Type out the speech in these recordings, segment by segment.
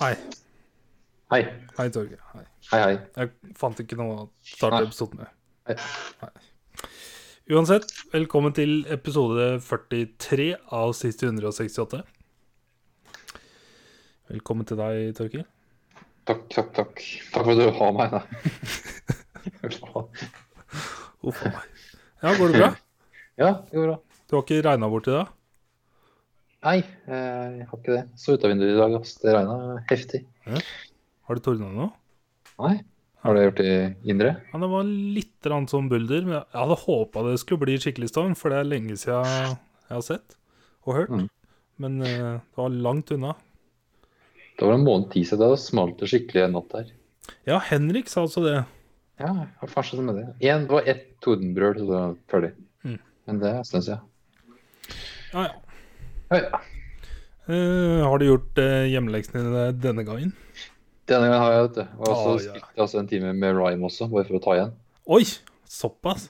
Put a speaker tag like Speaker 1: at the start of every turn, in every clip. Speaker 1: Hei.
Speaker 2: Hei.
Speaker 1: Hei, Torgeir. Hei.
Speaker 2: Hei, hei.
Speaker 1: Jeg fant ikke noe å starte
Speaker 2: Nei.
Speaker 1: episoden med.
Speaker 2: Hei.
Speaker 1: Uansett, velkommen til episode 43 av Siste 168. Velkommen til deg, Torgeir.
Speaker 2: Takk, takk, takk. Takk for at du har meg. Da.
Speaker 1: Uff a meg. Ja, går det bra?
Speaker 2: Ja, det går bra.
Speaker 1: Du har ikke regna bort i dag?
Speaker 2: Nei, eh, jeg har ikke det. Så ut av vinduet i dag, ass. Det regna heftig.
Speaker 1: Har det tordna nå?
Speaker 2: Nei. Har du gjort det i indre?
Speaker 1: Ja, det var litt rann sånn bulder, men jeg hadde håpa det skulle bli skikkelig storm, for det er lenge siden jeg har sett og hørt.
Speaker 2: Mm.
Speaker 1: Men eh, det var langt unna.
Speaker 2: Det var en måned tid siden da det smalt det skikkelig en natt her.
Speaker 1: Ja, Henrik sa altså det.
Speaker 2: Ja, hva faen skjedde med det? En, det var ett tordenbrøl, så det var ferdig.
Speaker 1: Mm.
Speaker 2: Men det syns jeg.
Speaker 1: Ja, ja.
Speaker 2: Ja, ja.
Speaker 1: Eh, har du gjort eh, hjemmeleksene dine denne gangen?
Speaker 2: Denne gangen har jeg det. vet du. Og så
Speaker 1: Ah, ja.
Speaker 2: spilte jeg altså en time med Rhyme også, bare for å ta igjen.
Speaker 1: Oi, såpass!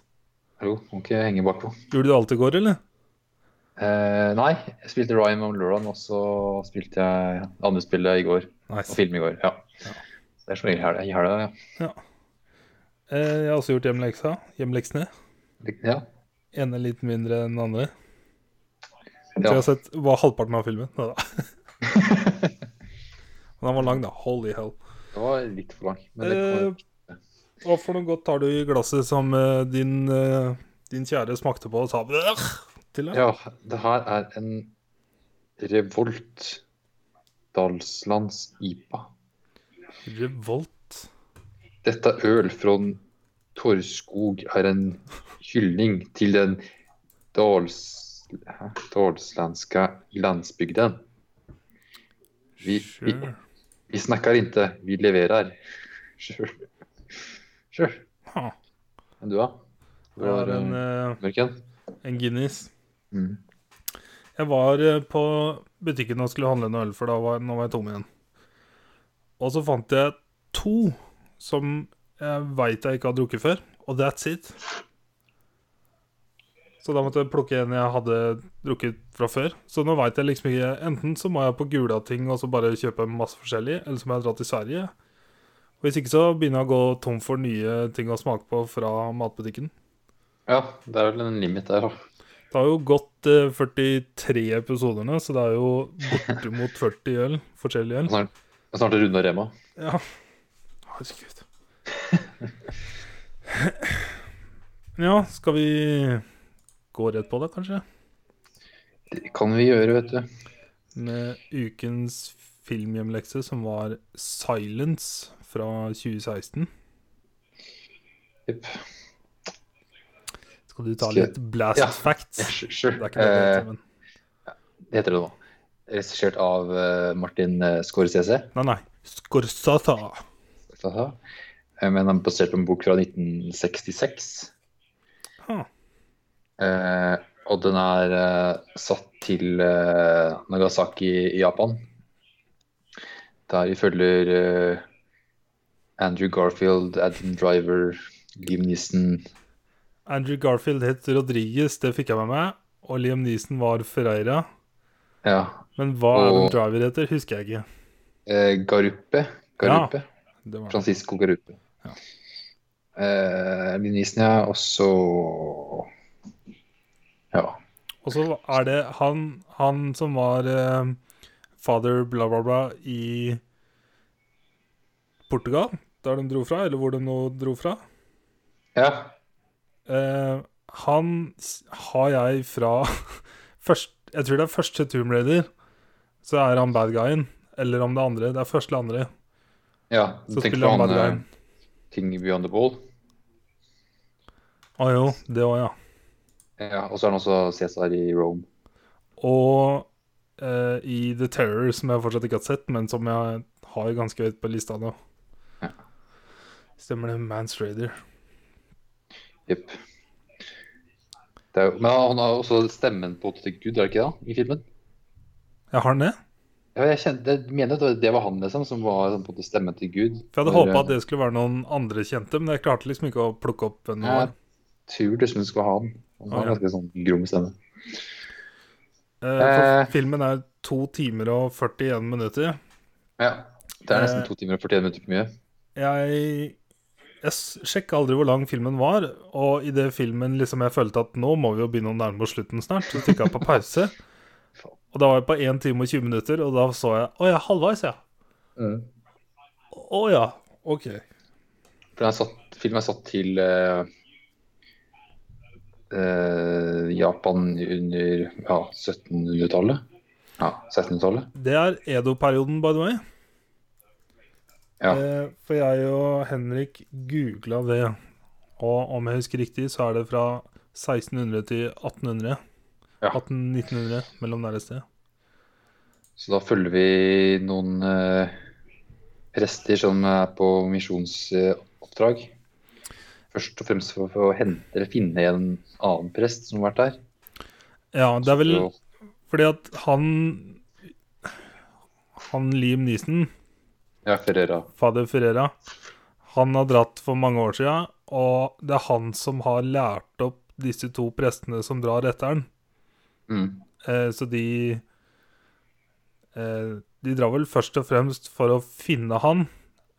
Speaker 2: Hallo, må ikke henge bakpå.
Speaker 1: Gjorde du alt i går, eller?
Speaker 2: Eh, nei, jeg spilte Rhyme om lørdagen, og så spilte jeg andre spillet i går. Og
Speaker 1: Nice.
Speaker 2: film i går, ja.
Speaker 1: Ja.
Speaker 2: Så Det er som regel i helga- i helga, ja.
Speaker 1: Eh, jeg har også gjort hjemmeleksa. Hjemmeleksene.
Speaker 2: ja.
Speaker 1: Ene litt mindre enn den andre. Så jeg
Speaker 2: ja.
Speaker 1: har sett var halvparten av filmen. Neida. Men den var lang, da. Holy hell.
Speaker 2: Det var litt for langt. Men det kommer.
Speaker 1: Eh, hva for noe godt har du i glasset som eh, din, eh, din kjære smakte på og sa «Bæh!» til deg?
Speaker 2: Ja, det her er en Revolt Dalslands IPA.
Speaker 1: Revolt.
Speaker 2: Dette øl fra Torskog er en hyldning til den dals, hæ? dalslandske landsbygden. Vi, vi,
Speaker 1: Sure.
Speaker 2: vi snakker ikke, vi leverer. Sjøl. Sjøl.
Speaker 1: Ha.
Speaker 2: Men du, da? Du
Speaker 1: Det
Speaker 2: har
Speaker 1: er en,
Speaker 2: eh,
Speaker 1: eh,
Speaker 2: mørken?
Speaker 1: en Guinness.
Speaker 2: Mm.
Speaker 1: Jeg var eh, på butikken og skulle handle en øl, for da var, nå var jeg tom igjen. Og så fant jeg to som jeg veit jeg ikke har drukket før, og that's it. Så da måtte jeg plukke en jeg hadde drukket fra før. Så nå veit jeg liksom ikke Enten så må jeg på Gulating og så bare kjøpe masse forskjellig, eller så må jeg dra til Sverige. Og Hvis ikke så begynner jeg å gå tom for nye ting å smake på fra matbutikken.
Speaker 2: Ja, det er vel en limit der, da.
Speaker 1: Det har jo gått eh, 43 episoder nå, så det er jo bortimot 40 øl. Forskjellig øl.
Speaker 2: Snart, snart er Rune og Rema.
Speaker 1: Ja. Herregud. Ja, skal vi gå rett på det, kanskje?
Speaker 2: Det kan vi gjøre, vet du.
Speaker 1: Med ukens filmhjemlekse, som var 'Silence' fra 2016.
Speaker 2: Jepp.
Speaker 1: Skal du ta
Speaker 2: Skal-
Speaker 1: litt blast
Speaker 2: Ja.
Speaker 1: facts?
Speaker 2: Ja,
Speaker 1: Det
Speaker 2: Sure.
Speaker 1: er ikke det det
Speaker 2: Eh,
Speaker 1: heter, men
Speaker 2: det heter det nå. Regissert av eh, Martin eh, Scorsese.
Speaker 1: Nei, nei. Scorsata.
Speaker 2: Haha. Eh, Men den er basert på en bok fra 1966.
Speaker 1: Ha.
Speaker 2: Eh, og den er eh, satt til eh, Nagasaki i Japan. Der vi følger eh, Andrew Garfield, Adam Driver, Liam Neeson
Speaker 1: Andrew Garfield het Rodriguez, det fikk jeg med meg. Og Liam Neeson var Ferreira.
Speaker 2: ja,
Speaker 1: Men hva
Speaker 2: Og-
Speaker 1: Adam Driver heter, husker jeg ikke.
Speaker 2: eh, Garupe. Garupe.
Speaker 1: Det var...
Speaker 2: Francisco Garupe.
Speaker 1: Ja.
Speaker 2: Eh, Liam Neeson, ja. Og så Ja.
Speaker 1: Og så er det han, han som var eh, father bla, bla, bla i Portugal, der de dro fra, eller hvor de nå dro fra.
Speaker 2: ja.
Speaker 1: Eh, han s- har jeg fra først, Jeg tror det er første Tomb Raider, så er han bad guyen. Eller om det er andre. Det er første eller andre.
Speaker 2: Ja, du
Speaker 1: Så
Speaker 2: tenker
Speaker 1: spiller
Speaker 2: på
Speaker 1: han
Speaker 2: han
Speaker 1: bad
Speaker 2: eh,
Speaker 1: guyen.
Speaker 2: King Beyond the Ball. eh,
Speaker 1: Å jo, det òg, ja.
Speaker 2: Ja, og så er han også Cæsar i Rome.
Speaker 1: Og eh, i The Terror, som jeg fortsatt ikke har sett, men som jeg har ganske høyt på lista nå.
Speaker 2: Ja.
Speaker 1: Stemmer det. Mans Raider.
Speaker 2: Jepp. Det er jo- Men han har jo også stemmen på til Gud, er det ikke det? I filmen?
Speaker 1: Jeg har den det.
Speaker 2: Ja, jeg kjente, jeg mener at det- det var han liksom, som var sånn, på en måte stemmen til Gud.
Speaker 1: For jeg hadde
Speaker 2: For,
Speaker 1: håpa at
Speaker 2: eh,
Speaker 1: det skulle være noen andre kjente, men jeg klarte liksom ikke å plukke opp hvem det
Speaker 2: Jeg
Speaker 1: var.
Speaker 2: tror liksom det skulle være han. Han har
Speaker 1: Ah, ja.
Speaker 2: ganske sånn grom stemme.
Speaker 1: Eh, for
Speaker 2: eh.
Speaker 1: filmen er to timer og 41 minutter.
Speaker 2: Ja. Det er nesten to timer og 41 minutter for mye.
Speaker 1: Jeg, jeg s- sjekka aldri hvor lang filmen var, og i det filmen liksom jeg følte at nå må vi jo begynne å nærme oss slutten snart, så trykka jeg på pause. Og da var jeg på 1 time og 20 minutter, og da så jeg Å ja, halvveis, ja. Å ja. OK.
Speaker 2: For den er satt, filmen er satt til eh, eh, Japan under ja, 1700-tallet. Ja, 1600-tallet.
Speaker 1: Det er Edo-perioden, by the way.
Speaker 2: Ja.
Speaker 1: Eh, for jeg og Henrik googla det, og om jeg husker riktig, så er det fra 1600 til 1800.
Speaker 2: Ja.
Speaker 1: 1800-1900, mellom der et sted.
Speaker 2: Så da følger vi noen eh, prester som er på misjonsoppdrag. Først og fremst for, for å hente eller finne en annen prest som har vært der.
Speaker 1: Ja, det er vel
Speaker 2: Så-
Speaker 1: Fordi at han Han Liam Neeson,
Speaker 2: Ja, Ferreira.
Speaker 1: fader Ferreira, han har dratt for mange år siden, og det er han som har lært opp disse to prestene som drar etter han.
Speaker 2: Mm.
Speaker 1: Eh, så de eh, De drar vel først og fremst for å finne han,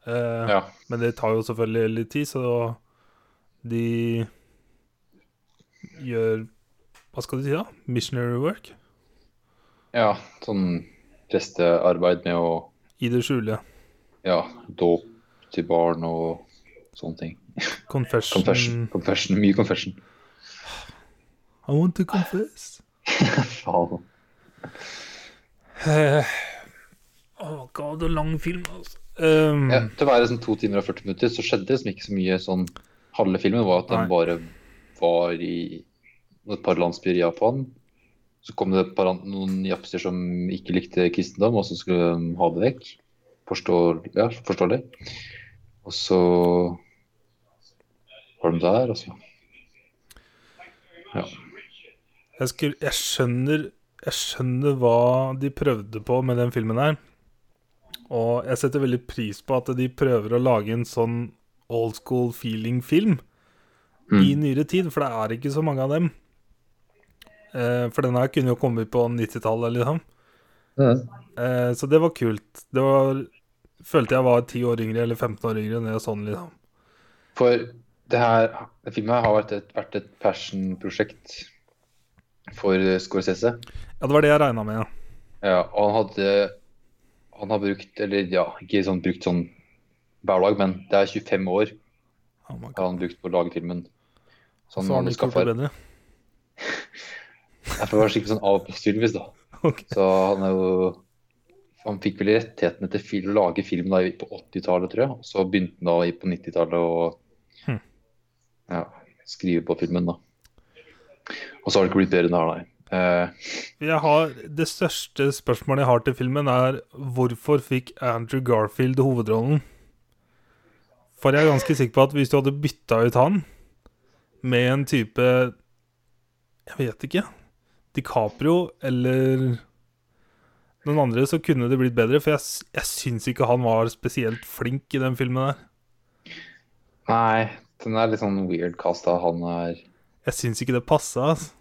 Speaker 1: eh,
Speaker 2: Ja.
Speaker 1: men det tar jo selvfølgelig litt tid, så de gjør Hva skal du si, da? Missionary work?
Speaker 2: ja, sånn prestearbeid med å
Speaker 1: I det skjule.
Speaker 2: ja, dåp til barn og sånne ting.
Speaker 1: Confession.
Speaker 2: Confession. confession. Mye confession.
Speaker 1: I want to confess.
Speaker 2: Faen. Eh.
Speaker 1: oh god, og lang film, altså. Um,
Speaker 2: Ja, til å være sånn to timer og 40 minutter så skjedde det liksom ikke så mye sånn Halve filmen var at den
Speaker 1: Nei.
Speaker 2: bare var i et par landsbyer i Japan. Så kom det et par, an- noen japser som ikke likte kristendom, og så skulle de ha det vekk. Forstår, ja, forstår det. Og så var de der, og så Ja.
Speaker 1: Jeg, skulle, jeg skjønner Jeg skjønner hva de prøvde på med den filmen her. Og jeg setter veldig pris på at de prøver å lage en sånn old school feeling-film
Speaker 2: Mm.
Speaker 1: i nyere tid, for det er ikke så mange av dem. Eh, for den her kunne jo kommet på 90-tallet, liksom. Eh, så det var kult. Det var Følte jeg var 10 år yngre eller 15 år yngre når jeg så den, liksom.
Speaker 2: For det her det filmen her har vært et, vært et passion-prosjekt for Scorsese.
Speaker 1: Ja, det var det jeg regna med. ja.
Speaker 2: Ja, og han hadde Han har brukt, eller ja, ikke sånn brukt sånn hver dag, men det er 25 år
Speaker 1: Oh my
Speaker 2: har han brukt på å lage filmen. Så han
Speaker 1: Så har
Speaker 2: hadde
Speaker 1: den ikke
Speaker 2: skaffa
Speaker 1: gjort det bedre.
Speaker 2: Jeg var skikkelig sånn avstyrvis, da.
Speaker 1: Ok.
Speaker 2: Så han er jo Han fikk vel rettighetene til fil, å lage film da i- på 80-tallet, tror jeg. Og så begynte han da i- på 90-tallet å
Speaker 1: Hm.
Speaker 2: ja, skrive på filmen, da. Og så har det ikke blitt bedre enn det her, nei. Eh,
Speaker 1: Jeg har, det største spørsmålet jeg har til filmen, er hvorfor fikk Andrew Garfield hovedrollen? For jeg er ganske sikker på at hvis du hadde bytta ut han med en type Jeg vet ikke. DiCaprio eller den andre, så kunne det blitt bedre. For jeg, s- jeg syns ikke han var spesielt flink i den filmen der.
Speaker 2: nei, den er litt sånn weird cast, da. Han er
Speaker 1: Jeg syns ikke det passa. Altså.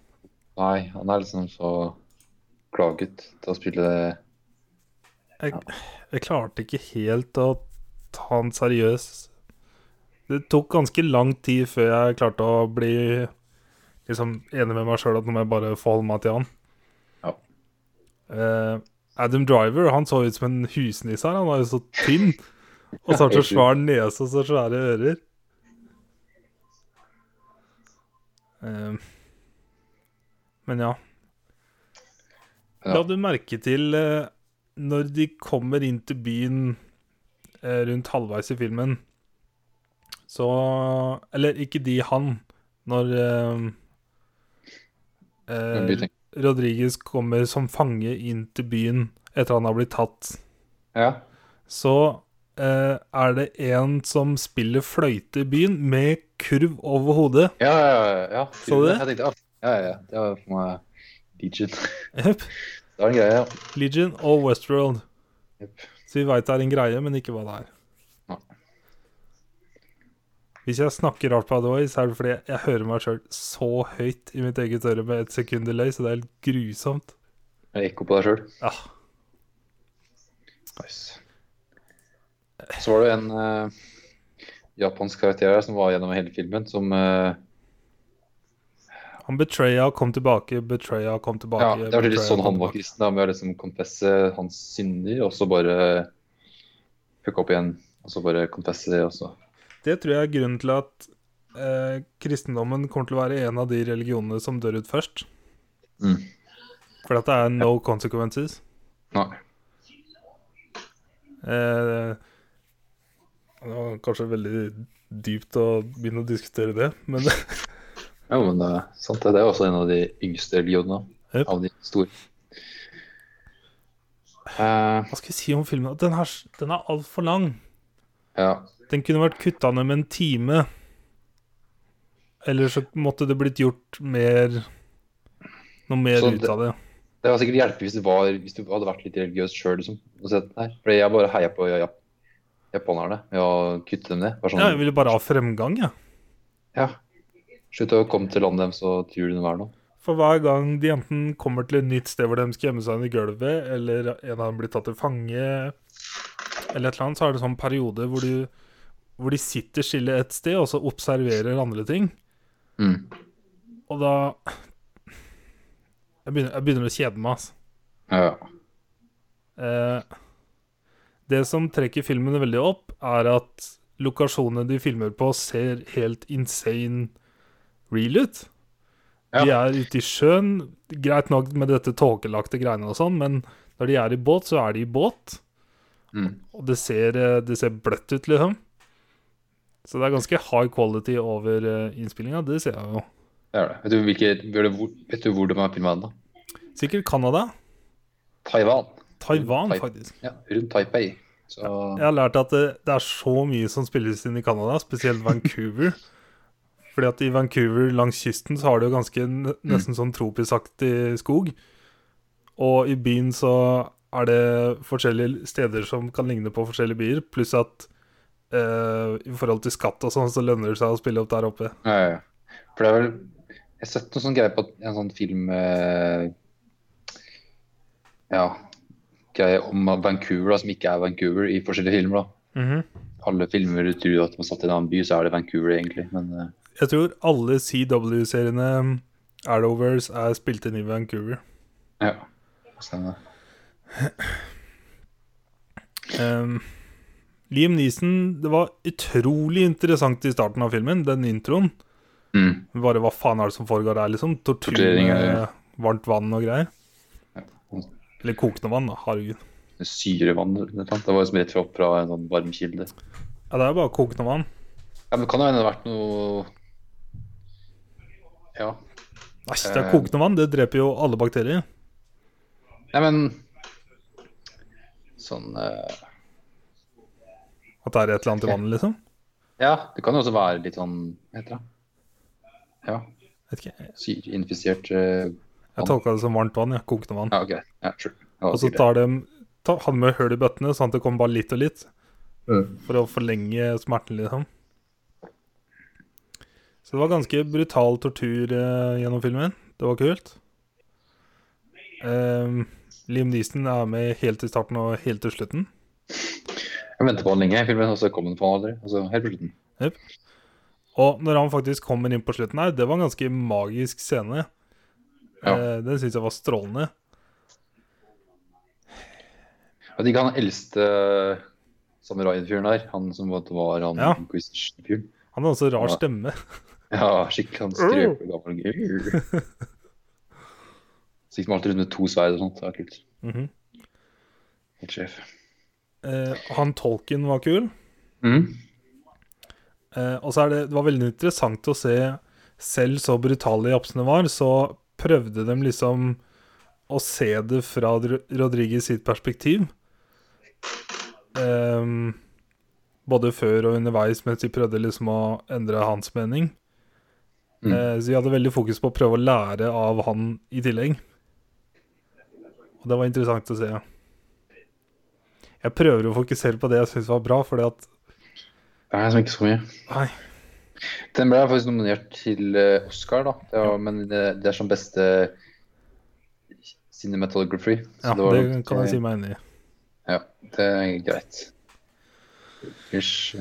Speaker 2: Nei, han er liksom så klaget til å spille
Speaker 1: Jeg klarte ikke helt å ta han seriøs. Det tok ganske lang tid før jeg klarte å bli liksom enig med meg sjøl at nå må jeg bare forholde meg til han.
Speaker 2: Ja.
Speaker 1: Eh, Adam Driver han så ut som en husnisse her. Han var jo så tynn. Og så har han så svær nese og så svære ører. Eh, men ja.
Speaker 2: Ja.
Speaker 1: La du merke til eh, når de kommer inn til byen eh, rundt halvveis i filmen, så Eller ikke de, han. Når eh,
Speaker 2: en
Speaker 1: eh,
Speaker 2: byting.
Speaker 1: Rodriguez kommer som fange inn til byen etter han har blitt tatt,
Speaker 2: Ja.
Speaker 1: så eh, er det en som spiller fløyte i byen med kurv over hodet.
Speaker 2: Ja, ja, ja, ja.
Speaker 1: Så du det?
Speaker 2: Jeg tenkte, ah, ja, ja, ja, ja. Det var for meg Legion.
Speaker 1: Jep.
Speaker 2: Det var en greie, ja.
Speaker 1: Legion og Westworld.
Speaker 2: Jep.
Speaker 1: Så vi veit det er en greie, men ikke hva det er.
Speaker 2: Nei.
Speaker 1: Hvis jeg snakker rart, by the way, så er det fordi jeg hører meg sjøl så høyt i mitt eget øre med et sekund delay, så det er helt grusomt.
Speaker 2: Er det ekko på deg sjøl?
Speaker 1: Ja.
Speaker 2: Nice. Så var det en eh, japansk karakter her som var gjennom hele filmen, som eh,
Speaker 1: Han betraya, kom tilbake, betraya, kom tilbake.
Speaker 2: Ja, det var litt
Speaker 1: betraya,
Speaker 2: sånn
Speaker 1: kom
Speaker 2: han var
Speaker 1: tilbake.
Speaker 2: kristen, da, med å liksom confesse hans synder, og så bare fucke opp igjen, og så bare confesse det også.
Speaker 1: Det tror jeg er grunnen til at eh, kristendommen kommer til å være en av de religionene som dør ut først.
Speaker 2: Mm.
Speaker 1: For at det er no consequences.
Speaker 2: Nei.
Speaker 1: Eh, det var kanskje veldig dypt å begynne å diskutere det, men
Speaker 2: Jo, men det er sant, det. Det er også en av de yngste religionene.
Speaker 1: Jep.
Speaker 2: Av de store. Eh,
Speaker 1: hva skal vi si om filmen? Den, her, den er altfor lang.
Speaker 2: ja.
Speaker 1: Den kunne vært kutta ned med en time. Eller så måtte det blitt gjort mer Noe mer
Speaker 2: Så
Speaker 1: ut
Speaker 2: det-
Speaker 1: av det.
Speaker 2: Det var sikkert hjelpelig hvis, det var- hvis du hadde vært litt religiøs sjøl. Liksom, og sett den her. Fordi jeg bare heier på jap japanerne med å kutte dem ned. Bare sånn,
Speaker 1: Ja, jeg ville bare ha fremgang, jeg.
Speaker 2: ja. Slutt å komme til landet deres og tror de er noe.
Speaker 1: For hver gang de enten kommer til et nytt sted hvor de skal gjemme seg under gulvet, eller en av dem blir tatt til fange, eller et eller annet, så er det sånn periode hvor, du, hvor de sitter stille et sted, og så observerer andre ting.
Speaker 2: Mm.
Speaker 1: Og da Jeg begynner, jeg begynner å kjede meg, altså.
Speaker 2: Ja, ja.
Speaker 1: Eh, det som trekker filmen veldig opp, er at lokasjonene de filmer på, ser helt insane real ut. De er ute i sjøen. Greit nok med dette tåkelagte greiene og sånn, men når de er i båt, så er de i båt.
Speaker 2: Mm.
Speaker 1: Og det ser, eh, det ser bløtt ut, liksom. Så det er ganske high quality over eh, innspillinga, det ser jeg jo.
Speaker 2: Det er det. Vet du, hvilke, vet du hvor, vet du hvor de er filma da?
Speaker 1: Sikkert Canada.
Speaker 2: Taiwan.
Speaker 1: Taiwan,
Speaker 2: Tai-
Speaker 1: faktisk.
Speaker 2: Ja, rundt Taipei. Så
Speaker 1: Jeg har lært at det, det er så mye som spilles inn i Canada, spesielt Vancouver. Fordi at i Vancouver langs kysten så har du jo ganske n- nesten sånn tropisaktig skog. Og i byen så er det forskjellige steder som kan ligne på forskjellige byer, pluss at eh, i forhold til skatt og sånn, så lønner det seg å spille opp der oppe.
Speaker 2: ja, ja, ja. For det er vel Jeg har sett noe sånn greie på at en sånn film eh, Ja. Greie om Vancouver, da, som ikke er Vancouver, i forskjellige filmer. da. Alle filmer du tror at man satt i en annen by, så er det Vancouver, egentlig. Men eh,
Speaker 1: Jeg tror alle CW-seriene Arrowverse er spilt inn i Vancouver.
Speaker 2: ja. Stemmer.
Speaker 1: Ehm, Liam Neeson, det var utrolig interessant i starten av filmen, den introen.
Speaker 2: Mm.
Speaker 1: Bare hva faen er det som foregår her, liksom? Tortur
Speaker 2: Tortering, ja, ja.
Speaker 1: med varmt vann og greier. Eller kokende vann, da. Herregud.
Speaker 2: Syrevann eller noe sånt. Det var liksom rett fra- opp fra en sånn varmkilde.
Speaker 1: Ja, det er bare kokende vann.
Speaker 2: Ja, men kan det hende det har vært noe Ja.
Speaker 1: Æsj, det er
Speaker 2: Eh.
Speaker 1: kokende vann. Det dreper jo alle bakterier.
Speaker 2: Nei, men Sånn eh,
Speaker 1: At det er et eller annet i vannet, liksom.
Speaker 2: Ja, det kan jo også være litt sånn Hva heter det? Ja,
Speaker 1: Vet ikke.
Speaker 2: syreinfisert eh,
Speaker 1: Jeg tolka det som varmt vann, ja. Kokende vann.
Speaker 2: Ja, OK. Ja, sure. Ja,
Speaker 1: Og så
Speaker 2: sikkert.
Speaker 1: tar de ta, Han med hull i bøttene, sånn at det kommer bare litt og litt.
Speaker 2: Mm.
Speaker 1: For å forlenge smerten, liksom. Så det var ganske brutal tortur eh, gjennom filmen. Det var kult. Ehm, Liam Neeson er med helt til starten og helt til slutten.
Speaker 2: Jeg venter på han lenge, i filmen, og så kom han på han aldri. Og så helt på slutten.
Speaker 1: Og når han faktisk kommer inn på slutten her, det var en ganske magisk scene.
Speaker 2: Ja.
Speaker 1: Eh, den syns jeg var strålende.
Speaker 2: Jeg digger han eldste samuraien-fyren der. Han som var- var han
Speaker 1: Ja.
Speaker 2: inquisition-fyren.
Speaker 1: Han hadde også rar
Speaker 2: Ja.
Speaker 1: stemme.
Speaker 2: Ja, skikkelig han strøpe gammel gutt. Sikkert alltid rundt med to sverd og sånt. Det var kult.
Speaker 1: Mhm.
Speaker 2: Helt sjef.
Speaker 1: Eh, han tolken var kul.
Speaker 2: Mm.
Speaker 1: Eh, og så er det, det var veldig interessant å se, selv så brutale japsene var, så prøvde de liksom å se det fra Dr- Rodriguez sitt perspektiv. Ehm, både før og underveis, mens de prøvde liksom å endre hans mening.
Speaker 2: Mm.
Speaker 1: Eh, så de hadde veldig fokus på å prøve å lære av han i tillegg. Og det var interessant å se. Jeg prøver å fokusere på det jeg syns var bra, fordi at
Speaker 2: Nei, som ikke så mye.
Speaker 1: Nei.
Speaker 2: Den ble faktisk nominert til eh, Oscar, da. Det var, men det, det er som beste cinematography.
Speaker 1: Ja,
Speaker 2: var
Speaker 1: det
Speaker 2: nok- eh,
Speaker 1: kan jeg si meg enig i.
Speaker 2: Ja, det er greit. Hysj.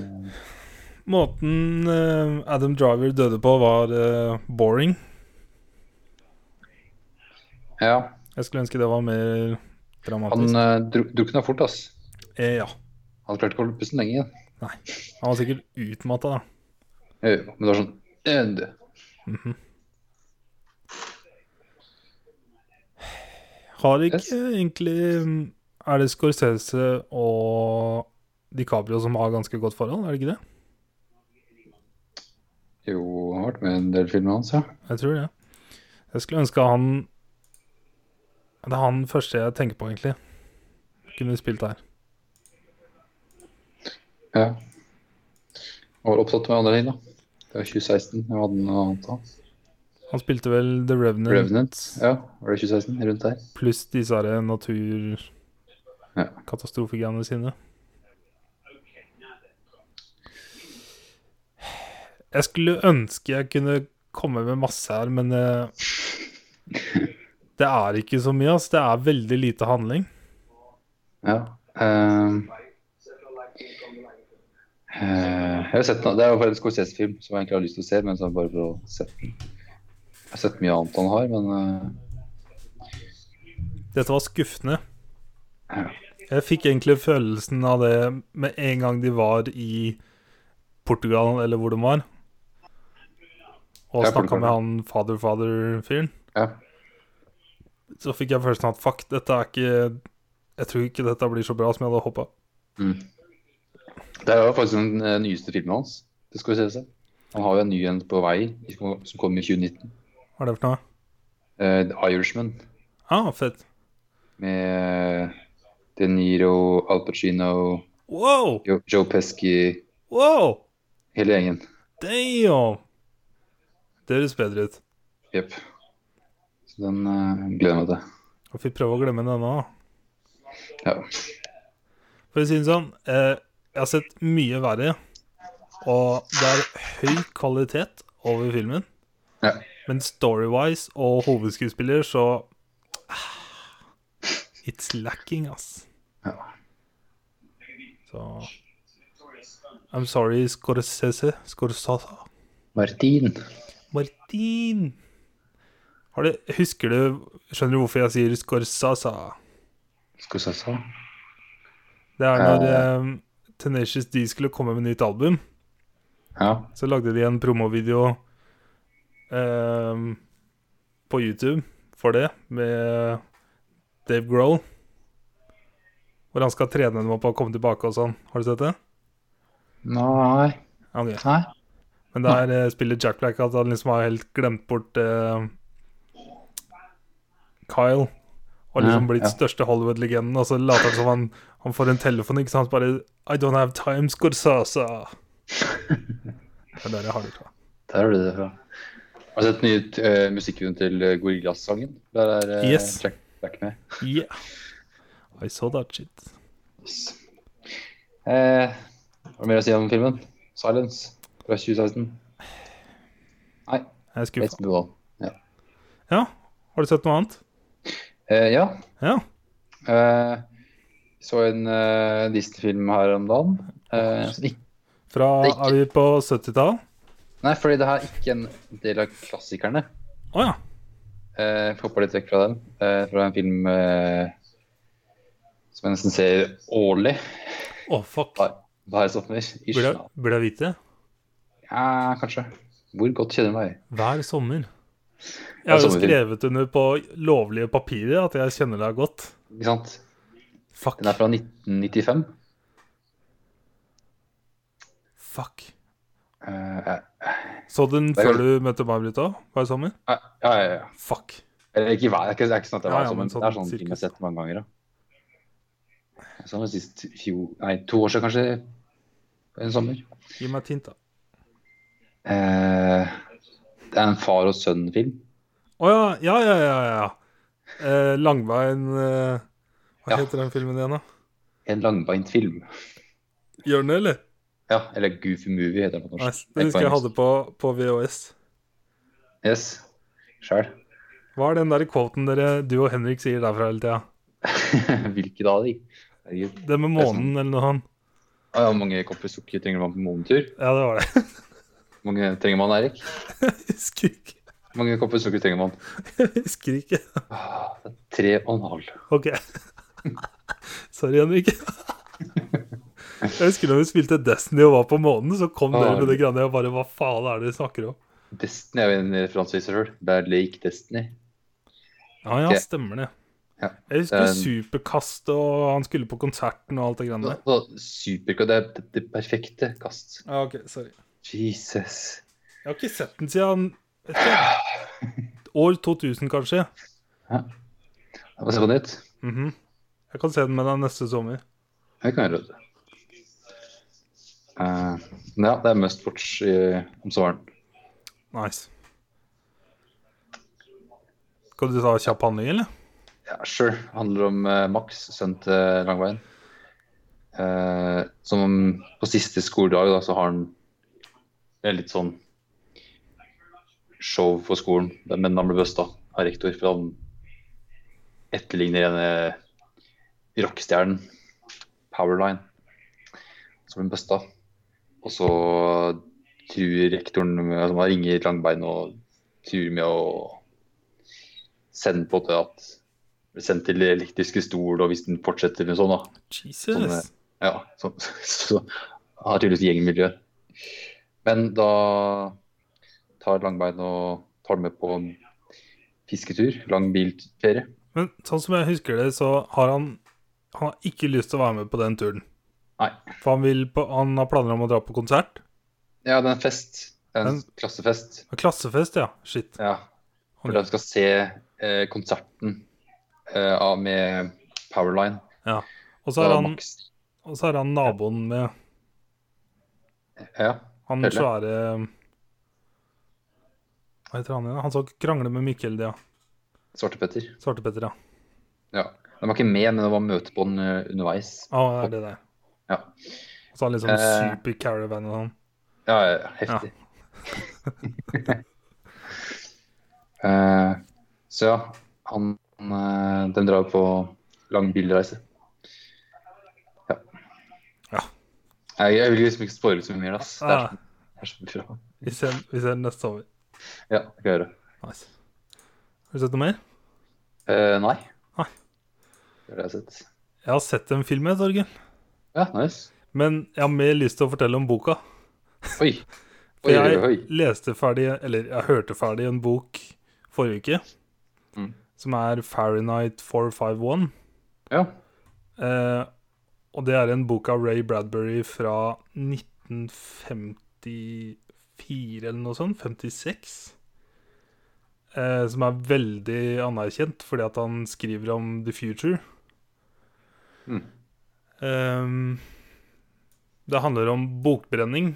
Speaker 1: Måten eh, Adam Driver døde på, var eh, boring.
Speaker 2: Ja,
Speaker 1: Jeg skulle ønske det var mer dramatisk.
Speaker 2: han eh, dru- drukna fort, ass.
Speaker 1: eh, ja.
Speaker 2: Han klarte ikke å holde pusten lenge igjen.
Speaker 1: Han var sikkert utmatta, da.
Speaker 2: Jo, jo, Men det var sånn «End».
Speaker 1: Mhm. Har ikke
Speaker 2: Yes.
Speaker 1: egentlig mm, Er det Scorsese og DiCaprio som har ganske godt forhold, er det ikke det?
Speaker 2: Jo, han har vært med i en del filmer hans, ja.
Speaker 1: Jeg tror det. Jeg skulle ønske han Det er han første jeg tenker på, egentlig. Kunne spilt her.
Speaker 2: Ja. Jeg var opptatt med andre ting, da. Det var 2016. Jeg hadde noe annet da.
Speaker 1: Han spilte vel The Revenant,
Speaker 2: Revenant. Ja, var det 2016? Rundt der.
Speaker 1: pluss disse her
Speaker 2: Ja.
Speaker 1: naturkatastrofegreiene sine. Jeg skulle ønske jeg kunne komme med masse her, men eh, det er ikke så mye. ass. Det er veldig lite handling.
Speaker 2: Ja. ehm. Eh, jeg har sett den, Det er jo bare en Scorsese-film som jeg egentlig har lyst til å se, men så er det bare for å sette den. Jeg har sett mye annet han har, men eh,
Speaker 1: Dette var skuffende.
Speaker 2: Ja.
Speaker 1: Jeg fikk egentlig følelsen av det med en gang de var i Portugal, eller hvor de var, og
Speaker 2: Ja,
Speaker 1: snakka
Speaker 2: Portugal.
Speaker 1: med han father-father-fyren,
Speaker 2: eh, ja.
Speaker 1: så fikk jeg følelsen av at fuck, dette er ikke Jeg tror ikke dette blir så bra som jeg hadde håpa.
Speaker 2: Mm. Det er jo faktisk den eh, nyeste filmen hans. Det skal vi se. Han har jo en ny en på vei i- som kom i 2019.
Speaker 1: Hva er det for noe?
Speaker 2: Eh, The Irishman
Speaker 1: Ah, fett.
Speaker 2: med eh, De Niro, Al Pacino,
Speaker 1: Wow!
Speaker 2: Jo- Joe Pesci,
Speaker 1: Wow!
Speaker 2: hele gjengen.
Speaker 1: Damn! Det høres bedre ut.
Speaker 2: Jepp. Så den eh, gleder jeg meg til.
Speaker 1: Jeg fikk prøve å glemme denne. da.
Speaker 2: Ja.
Speaker 1: For å si det sånn, eh, jeg har sett mye verre, og det er høy kvalitet over filmen.
Speaker 2: Ja.
Speaker 1: Men storywise og hovedskuespiller, så ah, It's lacking, ass.
Speaker 2: Ja.
Speaker 1: Så I'm sorry, Scorsese. Scorsese.
Speaker 2: Martin.
Speaker 1: Martin. Har du, husker du Skjønner du hvorfor jeg sier Scorsese?
Speaker 2: Skal vi se sånn? så.
Speaker 1: Det er når eh, Tenacious D skulle komme med nytt album.
Speaker 2: Ja.
Speaker 1: Så lagde de en promovideo ehm, på YouTube for det, med Dave Grohl. Hvor han skal trene dem opp og komme tilbake og sånn. Har du sett det?
Speaker 2: Nei.
Speaker 1: Ok.
Speaker 2: Nei.
Speaker 1: Men der eh, spiller Jack Black at han liksom har helt glemt bort eh, Kyle. Og
Speaker 2: Ja,
Speaker 1: liksom blitt
Speaker 2: ja.
Speaker 1: største Hollywood-legenden, og så later han som han, han får en telefon, ikke sant? Bare I don't have time, Scorsese. Det er der jeg har det fra.
Speaker 2: Der har du det fra. Har du sett den nye eh, musikkvideoen til eh, Gorillaz-sangen? Der er eh,
Speaker 1: Yes.
Speaker 2: Jack Black med.
Speaker 1: Yeah. I saw that shit.
Speaker 2: Yes. Eh, har du mer å si om filmen? 'Silence' fra 2016. Nei,
Speaker 1: Jeg er
Speaker 2: let's
Speaker 1: skuffa.
Speaker 2: move on. Ja.
Speaker 1: Ja, har du sett noe annet?
Speaker 2: Eh, ja.
Speaker 1: Ja.
Speaker 2: Eh, så en eh, Disney-film her om dagen. Eh, som ikke,
Speaker 1: Fra
Speaker 2: Det er ikke-
Speaker 1: Er vi på 70-tall?
Speaker 2: nei, fordi det her er ikke en del av klassikerne.
Speaker 1: Å ja.
Speaker 2: Eh, Hoppa litt vekk fra den. Eh, fra en film eh, som jeg nesten ser årlig.
Speaker 1: Å, fuck.
Speaker 2: Bare, bare sommer. Ish.
Speaker 1: Burde jeg, burde jeg vite det?
Speaker 2: Ja, kanskje. Hvor godt kjenner du meg?
Speaker 1: Hver sommer. Jeg
Speaker 2: Ja,
Speaker 1: har jo
Speaker 2: sommerfilm.
Speaker 1: skrevet under på lovlige papirer at jeg kjenner deg godt.
Speaker 2: Ikke sant?
Speaker 1: Fuck.
Speaker 2: Den er fra 1995.
Speaker 1: Fuck.
Speaker 2: Eh,
Speaker 1: Så du den
Speaker 2: Det er
Speaker 1: før du møtte meg, Britt, òg? Hver sommer?
Speaker 2: ja, Ah, ja, ja, ja.
Speaker 1: Fuck.
Speaker 2: Eller ikke hver, det er ikke, det er ikke sånn at det
Speaker 1: Ja,
Speaker 2: er
Speaker 1: ja,
Speaker 2: hver sommer.
Speaker 1: men sånn
Speaker 2: det er sånn
Speaker 1: cirka.
Speaker 2: film jeg har sett mange ganger. Da. Jeg så den sist fjor, nei, to år siden kanskje, en sommer.
Speaker 1: Gi meg et hint, da.
Speaker 2: Eh, det er en far og sønn-film.
Speaker 1: Å ja, ja, ja, ja. ja. Eh, langbein eh, Hva
Speaker 2: Ja.
Speaker 1: heter den filmen igjen, da?
Speaker 2: En langbeint film.
Speaker 1: Gjør den det, eller?
Speaker 2: Ja, eller Goofy Movie heter den på
Speaker 1: Nei,
Speaker 2: norsk.
Speaker 1: den husker jeg
Speaker 2: på
Speaker 1: hadde på, på VHS.
Speaker 2: engelsk. Yes, sjæl.
Speaker 1: Hva er den der quoten dere, du og Henrik sier derfra hele tida?
Speaker 2: Hvilke da? de? Herregud.
Speaker 1: Det med månen eller noe sånt?
Speaker 2: Ah, ja, hvor mange kopper sukker trenger man på månedstur?
Speaker 1: Ja, det var det.
Speaker 2: Hvor mange trenger man, Erik?
Speaker 1: Jeg husker ikke.
Speaker 2: Hvor mange kopper sukker trenger man?
Speaker 1: Jeg husker ikke.
Speaker 2: Ah, det er tre og en halv.
Speaker 1: Ok. Sorry, Henrik. Jeg husker når vi spilte Destiny og var på månen, så kom dere med det greiene og bare Hva faen er det dere snakker om?
Speaker 2: Destiny er jo en referanse i seg sjøl. Det er Lake Destiny.
Speaker 1: Ja, ja,
Speaker 2: Ok.
Speaker 1: stemmer det.
Speaker 2: Ja, Eh,
Speaker 1: Jeg husker
Speaker 2: det er en-
Speaker 1: Superkast, og han skulle på konserten og alt det greiene der.
Speaker 2: Så, super, det er det, det perfekte kast.
Speaker 1: Ja, ok, sorry.
Speaker 2: Jesus.
Speaker 1: Jeg har ikke sett den siden vet ikke, år 2000, kanskje.
Speaker 2: Jeg må se på nytt.
Speaker 1: Mhm. Jeg kan se den med deg neste sommer.
Speaker 2: Det kan jeg gjøre. vet du. Eh, men ja, det er must watch i, om sommeren.
Speaker 1: Nice. Skal du ta kjapp handling, eller?
Speaker 2: Ja, sure. Det handler om eh, Max, sønn til Langveien. Eh, som på siste skoledag da, så har han det er litt sånn show for skolen, men han ble busta av rektor. For han etterligner en eh, rockestjernen, Powerline, som ble busta. Og så truer rektoren med altså, Han ringer Langbein og truer med å sende på til at blir sendt til elektriske stol, og hvis den fortsetter med sånn, da. Sånn, eh,
Speaker 1: Jesus.
Speaker 2: Ja, så, så, så har tydeligvis gjengmiljø. Men da tar Langbein og tar den med på en fisketur, lang bilferie.
Speaker 1: Men sånn som jeg husker det, så har han Han har ikke lyst til å være med på den turen.
Speaker 2: Nei.
Speaker 1: For han, vil på, han har planer om å dra på konsert.
Speaker 2: Ja, det er en fest. Det er en
Speaker 1: Men-
Speaker 2: klassefest.
Speaker 1: Klassefest, ja. Shit.
Speaker 2: Ja, hvor de skal se eh, konserten eh, av- med Powerline.
Speaker 1: Og så er
Speaker 2: Da
Speaker 1: han,
Speaker 2: Max.
Speaker 1: og så er han naboen med
Speaker 2: Ja,
Speaker 1: han
Speaker 2: Pelle.
Speaker 1: svære Hva heter han igjen? Han som krangler med Mikkel, det, ja.
Speaker 2: Svarte Petter.
Speaker 1: Svartepetter, ja.
Speaker 2: Ja. De var ikke med, men det var møte på den eh, underveis.
Speaker 1: Ah, det er det der.
Speaker 2: Ja.
Speaker 1: Og så har han liksom
Speaker 2: Eh.
Speaker 1: super caravan og sånn.
Speaker 2: Ja, ja, ja, heftig. Eh, så ja, han, eh, den drar på lang bilreise. Ja.
Speaker 1: Ja.
Speaker 2: Jeg, jeg vil liksom ikke spoile så mye mer, ass. Det er, sånn.
Speaker 1: Ah.
Speaker 2: så- det er så bra.
Speaker 1: Vi ser, vi ser den neste sommer.
Speaker 2: Ja, det kan jeg gjøre.
Speaker 1: Nice. Har du sett noe mer?
Speaker 2: Eh, nei.
Speaker 1: Nei.
Speaker 2: Det er det jeg har sett.
Speaker 1: Jeg har sett en film, jeg, Torgen.
Speaker 2: Ja, nice.
Speaker 1: Men jeg har mer lyst til å fortelle om boka.
Speaker 2: Oi.
Speaker 1: For
Speaker 2: Oi, oi,
Speaker 1: jeg
Speaker 2: oi.
Speaker 1: leste ferdig, eller jeg hørte ferdig en bok forrige uke,
Speaker 2: Mm.
Speaker 1: som er Fahrenheit 451.
Speaker 2: Ja.
Speaker 1: Eh, og det er en bok av Ray Bradbury fra 1954 eller noe sånt, 56. Eh, som er veldig anerkjent fordi at han skriver om the future.
Speaker 2: Mm.
Speaker 1: Ehm, det handler om bokbrenning.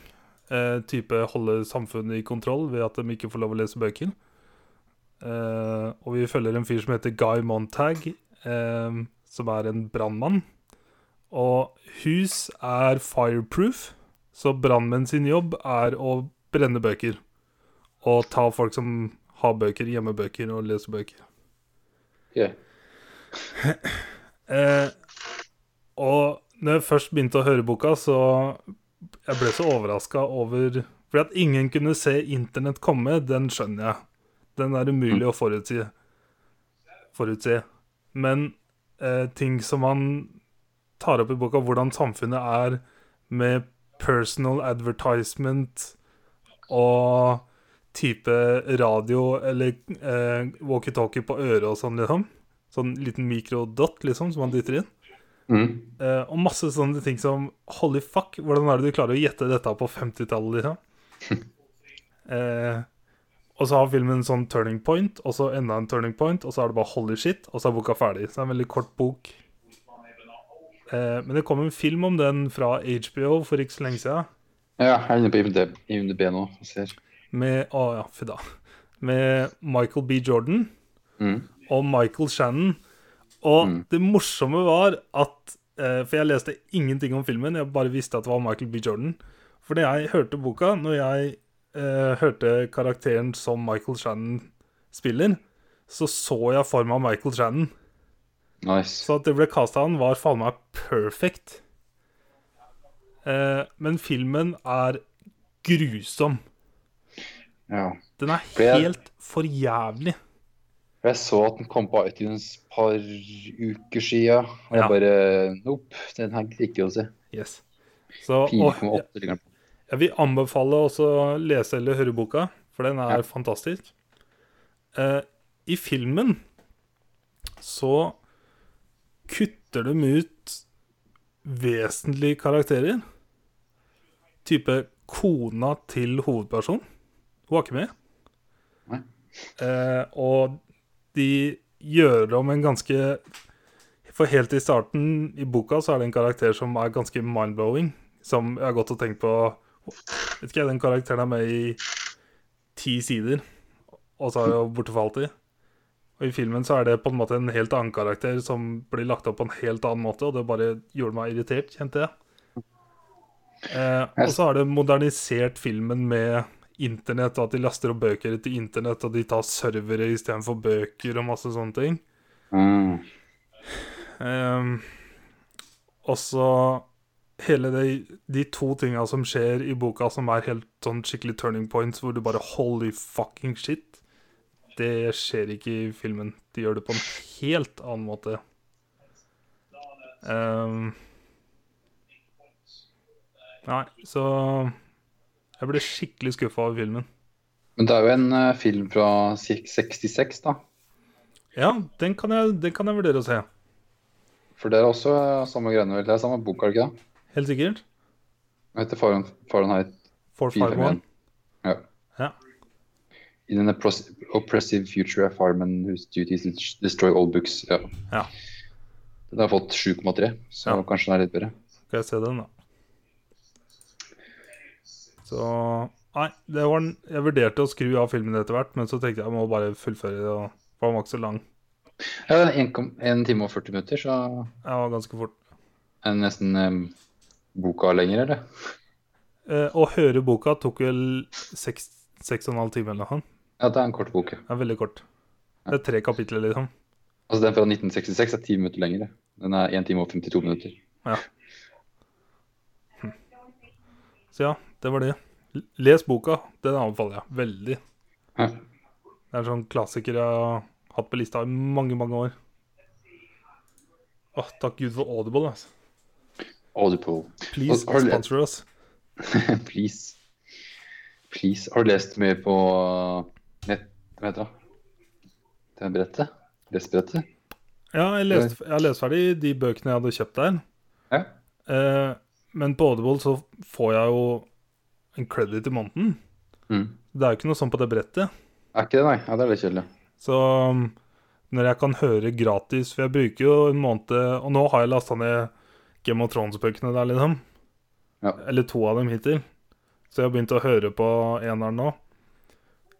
Speaker 1: Eh, type holde samfunnet i kontroll ved at de ikke får lov å lese bøker. Eh, og vi følger en fyr som heter Guy Montag, eh, som er en brannmann. Og hus er fireproof, så brannmenn sin jobb er å brenne bøker. Og ta folk som har bøker, hjemmebøker og lesebøker.
Speaker 2: ok.
Speaker 1: Eh, og når jeg først begynte å høre boka, så jeg ble så overraska over Fordi at ingen kunne se internett komme, den skjønner jeg. Den er umulig å forutsi. forutse. Men eh, ting som han tar opp i boka, hvordan samfunnet er med personal advertisement og type radio eller eh, walkietalkie på øret og sånn, liksom. Sånn liten mikrodott, liksom, som han dytter inn.
Speaker 2: Mm.
Speaker 1: Eh, og masse sånne ting som Holy fuck, hvordan er det du klarer å gjette dette på 50-tallet, liksom? eh, og så har filmen en sånn turning point, og så enda en turning point, og så er det bare holy shit, og så er boka ferdig. Så det er en veldig kort bok. Eh, men det kom en film om den fra HBO for ikke så lenge siden.
Speaker 2: Ja, jeg er inne på IMDb, IMDb nå og ser.
Speaker 1: Med, å, ja, fy da. med Michael B. Jordan.
Speaker 2: Mm.
Speaker 1: og Michael Shannon. Og
Speaker 2: Mm.
Speaker 1: det morsomme var at eh, For jeg leste ingenting om filmen, jeg bare visste at det var Michael B. Jordan. For da jeg hørte boka, når jeg eh, hørte karakteren som Michael Shannon spiller, så så jeg for meg Michael Shannon.
Speaker 2: Nice.
Speaker 1: Så at det ble casta han, var faen meg perfect. Eh, men filmen er grusom.
Speaker 2: Ja.
Speaker 1: Den er
Speaker 2: For jeg-
Speaker 1: helt for jævlig.
Speaker 2: For Jeg så at den kom på iTunes et par uker siden, og
Speaker 1: Ja.
Speaker 2: jeg bare Nope, den her liker jeg å se.
Speaker 1: Yes. Så, og,
Speaker 2: 4,8 ligger den på.
Speaker 1: Jeg vil anbefale også å lese eller høre boka, for den er
Speaker 2: Ja.
Speaker 1: fantastisk. Eh, I filmen så kutter de ut vesentlige karakterer. Type kona til hovedpersonen. Hun var ikke med.
Speaker 2: Nei.
Speaker 1: Eh, og de gjør om en ganske For helt i starten i boka så er det en karakter som er ganske mind-blowing. Som jeg har gått og tenkt på Vet ikke, jeg, den karakteren er med i ti sider, og så er det jo borte for alltid. Og i filmen så er det på en måte en helt annen karakter som blir lagt opp på en helt annen måte, og det bare gjorde meg irritert, kjente jeg. Eh, og så har det modernisert filmen med internett, og at de laster opp bøker etter internett, og de tar servere istedenfor bøker og masse sånne ting.
Speaker 2: Mm.
Speaker 1: Um, og så hele de, de to tinga som skjer i boka, som er helt sånn skikkelig turning points, hvor du bare holy fucking shit. Det skjer ikke i filmen. De gjør det på en helt annen måte. Um, nei, så Jeg ble skikkelig skuffa over filmen.
Speaker 2: Men det er jo en eh, film fra sek- 66, da.
Speaker 1: Ja, den kan jeg, den kan jeg vurdere å se.
Speaker 2: For det er også eh, samme greiene, vel? Det er samme bok, er det ikke det?
Speaker 1: Helt sikkert.
Speaker 2: Den heter Faren- Fahrenheit
Speaker 1: 451.
Speaker 2: 451. Ja.
Speaker 1: Ja.
Speaker 2: In an oppros- oppressive future, a fireman whose duty is to destroy all books. Ja.
Speaker 1: Ja.
Speaker 2: Den har fått 7,3, så
Speaker 1: Ja.
Speaker 2: kanskje den er litt bedre.
Speaker 1: Skal jeg se den, da. Så Nei, det var den Jeg vurderte å skru av filmen etter hvert, men så tenkte jeg jeg må bare fullføre det, og for den var ikke så lang.
Speaker 2: Ja, 1 time og 40 minutter, så
Speaker 1: Jeg var ganske fort.
Speaker 2: er det nesten em, boka lenger, eller?
Speaker 1: Eh, å høre boka tok vel seks, seks og en halv time eller noe. sånt.
Speaker 2: Ja, det er en kort bok. ja.
Speaker 1: Det er veldig kort. Det er tre kapitler, liksom.
Speaker 2: Altså Den fra 1966 er 10 minutter lengre. Den er 1 time og 52 minutter.
Speaker 1: Så ja, det var det. L- Les boka. Den anbefaler jeg veldig.
Speaker 2: Ja.
Speaker 1: Det er en sånn klassiker jeg har hatt på lista i mange, mange år. Åh, takk Gud for Audible, altså.
Speaker 2: Audible.
Speaker 1: Please,
Speaker 2: Altså, Har du-
Speaker 1: sponsor oss.
Speaker 2: Please. Please. Har du lest mye på eh, nett... Hva heter det? Det er brettet? Lesebrettet?
Speaker 1: Ja, jeg leste, jeg har lest ferdig de bøkene jeg hadde kjøpt der.
Speaker 2: Ja.
Speaker 1: Eh, men på Audible så får jeg jo en credit i måneden.
Speaker 2: Mm.
Speaker 1: Det er jo ikke noe sånn på det brettet.
Speaker 2: Er ikke det, nei? Ja, det er litt kjedelig.
Speaker 1: Så um, når jeg kan høre gratis For jeg bruker jo en måned Og nå har jeg lasta ned Game of Thrones-bøkene der, liksom.
Speaker 2: Ja.
Speaker 1: Eller to av dem hittil. Så jeg har begynt å høre på eneren nå.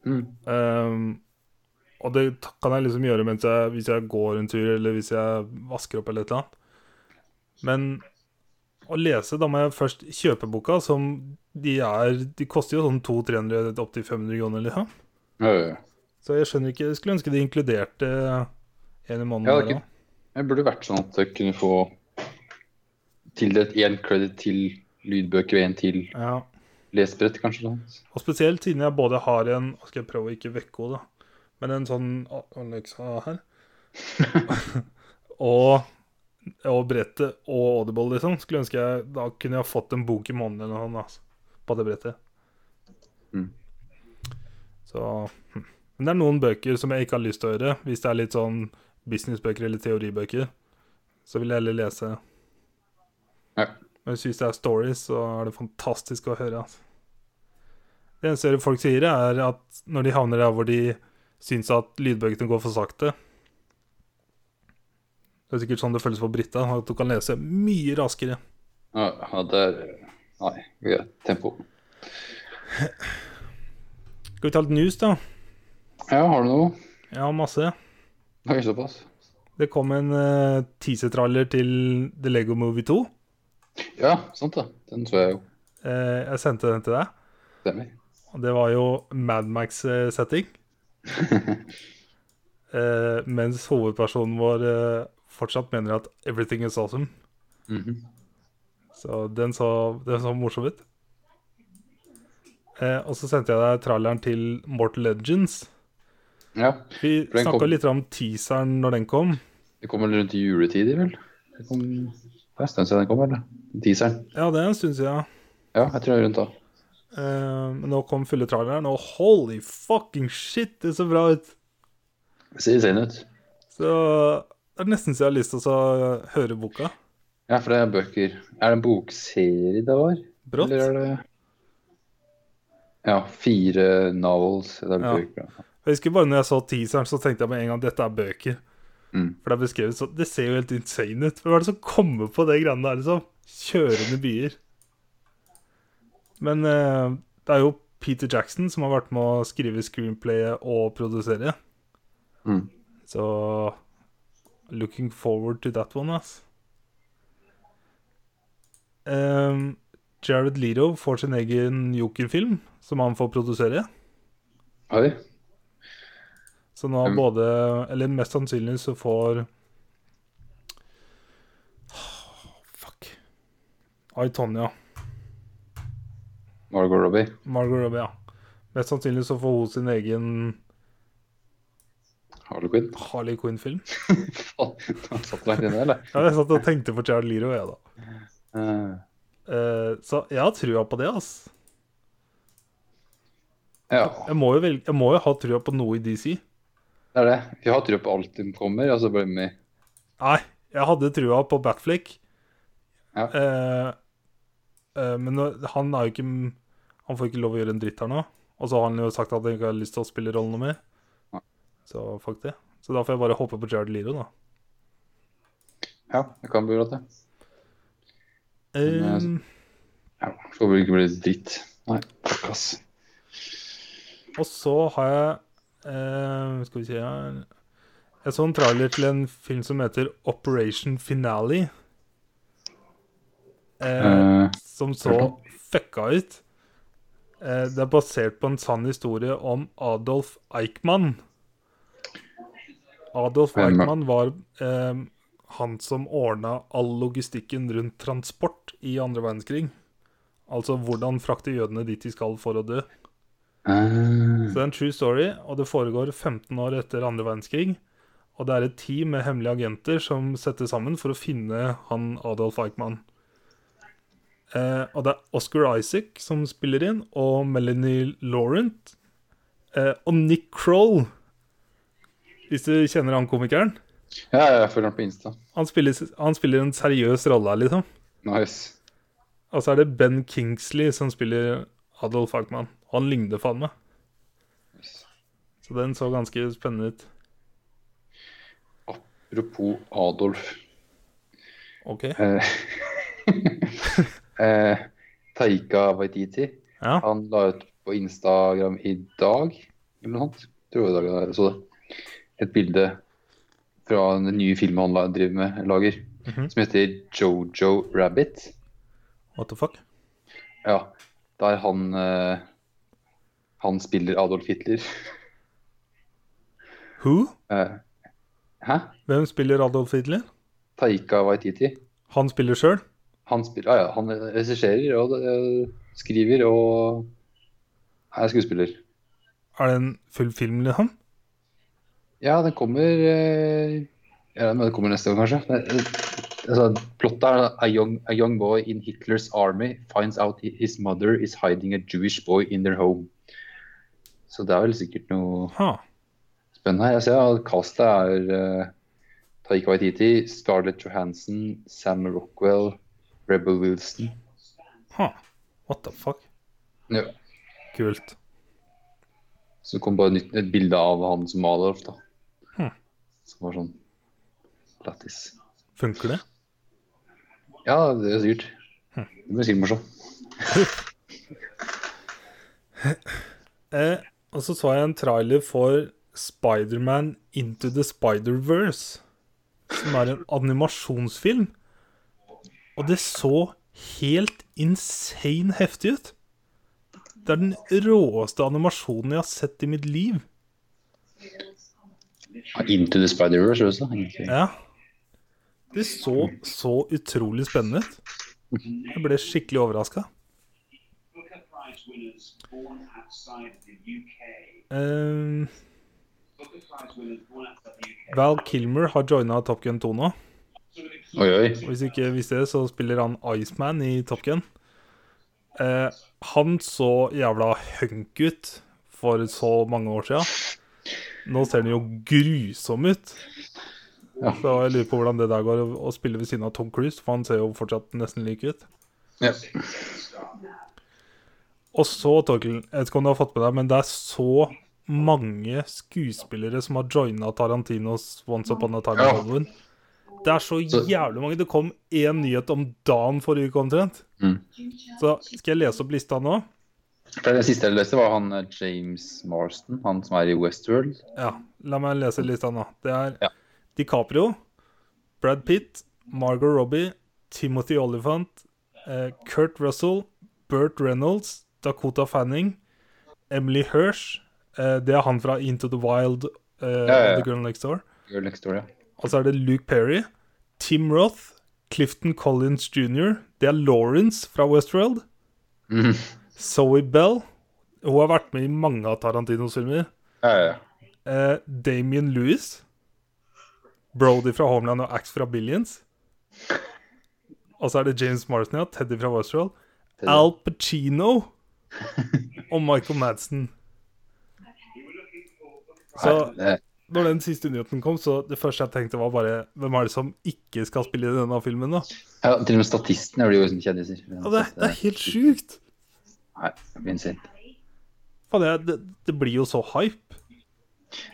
Speaker 2: Mm.
Speaker 1: Ehm, og det ta- kan jeg liksom gjøre mens jeg, hvis jeg går en tur, eller hvis jeg vasker opp, eller et eller annet. Men å lese, da må jeg først kjøpe boka, som de er De koster jo sånn 200-300, opp til 500 kroner, liksom.
Speaker 2: Ja, ja, ja.
Speaker 1: Så jeg skjønner ikke Jeg skulle ønske de inkluderte en i måneden. der
Speaker 2: Ja, det er
Speaker 1: også.
Speaker 2: Det burde vært sånn at jeg kunne få tildelt én credit til lydbøker og én til
Speaker 1: ja.
Speaker 2: lesebrett, kanskje. Sånn.
Speaker 1: Og spesielt siden jeg både har en Nå skal jeg prøve å ikke vekke henne, da. Men en sånn A- Alexa her. og, og brettet og Audible, liksom. Skulle ønske jeg Da kunne jeg fått en bok i måneden eller noe altså, på det brettet.
Speaker 2: Mm.
Speaker 1: Så hm. Men det er noen bøker som jeg ikke har lyst til å høre. Hvis det er litt sånn businessbøker eller teoribøker, så vil jeg heller lese.
Speaker 2: Ja.
Speaker 1: Men hvis det er stories, så er det fantastisk å høre. Altså. Det eneste folk sier, er at når de havner der hvor de syns at lydbøkene går for sakte Det er sikkert sånn det føles for Britta, at du kan lese mye raskere.
Speaker 2: Ja, ja, det er Nei, greit. Tempo.
Speaker 1: Skal vi ta litt news, da?
Speaker 2: Ja, har du noe?
Speaker 1: Ja, masse.
Speaker 2: Oi, såpass.
Speaker 1: Det kom en eh, teaser-traller til The Lego Movie 2.
Speaker 2: Ja, sant det. Den så jeg jo.
Speaker 1: Eh, jeg sendte den til deg.
Speaker 2: Stemmer.
Speaker 1: Og det var jo Madmax-setting. eh, mens hovedpersonen vår eh, fortsatt mener at 'everything is awesome'.
Speaker 2: Mhm.
Speaker 1: Så den så, den så morsom ut. Eh, og så sendte jeg deg traileren til Mortal Legends.
Speaker 2: Ja,
Speaker 1: Vi
Speaker 2: For den
Speaker 1: snakka
Speaker 2: kom-
Speaker 1: litt om teaseren når den kom.
Speaker 2: Det kom vel rundt juletider, vel? Det kom... Det er en stund siden den kom, eller? Teaseren.
Speaker 1: Ja, det er en stund siden.
Speaker 2: Ja, jeg tror det er rundt da.
Speaker 1: Eh, men nå kom fulle traileren, og holy fucking shit, det så bra ut!
Speaker 2: Det ser sane ut.
Speaker 1: Så det er nesten så jeg har lyst til å så eh, høre boka.
Speaker 2: Ja, for det er bøker. Er det en bokserie det var?
Speaker 1: Brått.
Speaker 2: Eller er det Ja, fire novels. Det er
Speaker 1: Ja.
Speaker 2: bøker. Ja.
Speaker 1: Jeg husker bare når jeg så teaseren, så tenkte jeg med en gang dette er bøker.
Speaker 2: Mm.
Speaker 1: For det er beskrevet så Det ser jo helt insane ut. Hvem er det som kommer på det greiene der, liksom? Kjørende byer. Men eh, det er jo Peter Jackson som har vært med å skrive screenplayet og produsere.
Speaker 2: Mm.
Speaker 1: Så looking forward to that one, ass. Ehm, Jared Leto får sin egen Joker-film, som han får produsere.
Speaker 2: Oi.
Speaker 1: Så nå har
Speaker 2: Mm.
Speaker 1: både Eller mest sannsynlig så får Fuck. Aitonia.
Speaker 2: Margot Robbie.
Speaker 1: Margot Robbie, ja. Mest sannsynlig så får hun sin egen
Speaker 2: Harley Quinn.
Speaker 1: Harley Quinn-film.
Speaker 2: Faen, du har satt langt inne, eller?
Speaker 1: Ja, jeg satt og tenkte på Jared Leroy, jeg, da.
Speaker 2: Eh,
Speaker 1: Eh, så jeg har trua på det, ass.
Speaker 2: ja,
Speaker 1: Jeg må jo, velge, jeg må jo ha trua på noe i DC.
Speaker 2: det er det. Vi har tro på alt som kommer, altså og så blir vi
Speaker 1: Nei, jeg hadde trua på Batflick.
Speaker 2: Ja.
Speaker 1: Eh, eh, men nå- han er jo ikke Han får ikke lov å gjøre en dritt her nå. Og så har han jo sagt at han ikke har lyst til å spille rollen noe mer.
Speaker 2: Nei.
Speaker 1: Så fuck det. Så da får jeg bare håpe på Jared Liro, da.
Speaker 2: Ja, det kan bli rått, det. Men, eh,
Speaker 1: Ehm,
Speaker 2: Ja, skal vel ikke bli dritt. Nei, fuck, ass.
Speaker 1: og så har jeg eh, Skal vi se her Jeg så en trailer til en film som heter Operation Finale. Eh,
Speaker 2: Eh,
Speaker 1: som så fucka ut. Eh, Det er basert på en sann historie om Adolf Eichmann. Adolf
Speaker 2: Hvem er-
Speaker 1: Eichmann var eh, han som ordna all logistikken rundt transport i andre verdenskrig. Altså hvordan frakte jødene dit de skal for å dø.
Speaker 2: eh,
Speaker 1: Så det er en true story, og det foregår 15 år etter andre verdenskrig. Og det er et team med hemmelige agenter som settes sammen for å finne han Adolf Eichmann. Eh, og det er Oscar Isaac som spiller inn, og Melanie Laurent. Eh, og Nick Kroll, hvis du kjenner han komikeren.
Speaker 2: ja, ja, jeg følger den på Insta.
Speaker 1: Han spiller, han spiller en seriøs rolle her, liksom.
Speaker 2: Nice.
Speaker 1: Og så er det Ben Kingsley som spiller Adolf Eichmann. Og han ligner faen meg. Så den så ganske spennende ut.
Speaker 2: Apropos Adolf.
Speaker 1: Ok.
Speaker 2: Eh, eh, Taika Waititi,
Speaker 1: Ja.
Speaker 2: han la ut på Instagram i dag, eller noe sånt, tror jeg det var i dag, jeg så det, et bilde fra den nye filmen han la- driver med, lager,
Speaker 1: Mhm.
Speaker 2: som heter Jojo Rabbit.
Speaker 1: What the fuck?
Speaker 2: Ja, der han, eh, han spiller Adolf Hitler.
Speaker 1: Who?
Speaker 2: Eh, hæ?
Speaker 1: Hvem spiller Adolf Hitler?
Speaker 2: Taika Waititi.
Speaker 1: Han spiller sjøl?
Speaker 2: Han spiller, ah, ja, ja, han regisserer og eh, skriver og er skuespiller.
Speaker 1: Er det en full film, liksom?
Speaker 2: Ja, den kommer eh, ja, men Den kommer neste år, kanskje. Det- det- Altså, Plottet er a young, a young boy in Hitler's army finds out hi- his mother is hiding a Jewish boy in their home. Så det er vel sikkert noe
Speaker 1: Ha.
Speaker 2: spennende her. Jeg ser at castet er eh, Taika Waititi, Scarlett Johansson, Sam Rockwell, Rebel Wilson.
Speaker 1: Ha. What the fuck?
Speaker 2: Ja.
Speaker 1: Kult.
Speaker 2: Så kom bare nytt, et bilde av han som Adolf, da.
Speaker 1: Hm.
Speaker 2: Som var sånn lættis.
Speaker 1: Funker det?
Speaker 2: Ja, det er sikkert.
Speaker 1: Hm.
Speaker 2: Det blir sikkert morsomt.
Speaker 1: Eh, og så så jeg en trailer for Spiderman Into the Spider-Verse. Som er en animasjonsfilm. Og det så helt insane heftig ut. Det er den råeste animasjonen jeg har sett i mitt liv.
Speaker 2: Ja, Into the Spider-Verse også. egentlig.
Speaker 1: Ja. Det så så utrolig spennende ut. Jeg ble skikkelig overraska.
Speaker 3: Booker Prize winners born outside the UK. Booker Prize winners born outside the UK.
Speaker 1: Eh, Val Kilmer har joina Top Gun 2 nå.
Speaker 3: Sort of
Speaker 2: Oi, oi.
Speaker 1: Og Hvis du ikke visste det, så spiller han Iceman i Top Gun. Eh, han så jævla hunk ut for så mange år sia. Nå ser han jo grusom ut.
Speaker 2: Ja.
Speaker 1: Så jeg lurer på hvordan det der går å- å spille ved siden av Tom Cruise, for han ser jo fortsatt nesten lik ut.
Speaker 2: Ja.
Speaker 1: Og så, Torkel, jeg vet ikke om du har fått med deg, men det er så mange skuespillere som har joina Tarantinos Once Upon a Time in
Speaker 2: Ja.
Speaker 1: Hollywood. Det er så
Speaker 2: Så-
Speaker 1: jævlig mange. Det kom én nyhet om dagen forrige uke omtrent.
Speaker 2: Mm.
Speaker 1: Så skal jeg lese opp lista nå?
Speaker 2: For det siste jeg leste, var han eh, James Marston, han som er i Westworld.
Speaker 1: Ja, la meg lese lista nå. Det er
Speaker 2: Ja.
Speaker 1: DiCaprio, Brad Pitt, Margot Robbie, Timothy Olyphant, eh, Kurt Russell, Burt Reynolds, Dakota Fanning, Emily Hirsch eh, Det er han fra Into the Wild, eh,
Speaker 2: ja, ja.
Speaker 1: The Girl Next Door.
Speaker 2: Girl Next Door, ja.
Speaker 1: Og så er det Luke Perry, Tim Roth, Clifton Collins jr., det er Lawrence fra Westworld,
Speaker 2: Mhm.
Speaker 1: Zoe Bell Hun har vært med i mange av Tarantinos filmer.
Speaker 2: Ja, ja, ja.
Speaker 1: eh, Damien Lewis, Brody fra Homeland og Axe fra Billions. Og så er det James Marston, ja, Teddy fra Westworld.
Speaker 2: Teddy.
Speaker 1: Al Pacino og Michael Madsen. Så
Speaker 2: Nei, det-
Speaker 1: når den siste nyheten kom, så det første jeg tenkte var bare Hvem er det som ikke skal spille i denne filmen, da?
Speaker 2: ja, til og med statistene blir jo sånne kjendiser.
Speaker 1: Ja, det, det er helt sjukt!
Speaker 2: Nei, jeg blir insane.
Speaker 1: Faen, jeg- det, det blir jo så hype.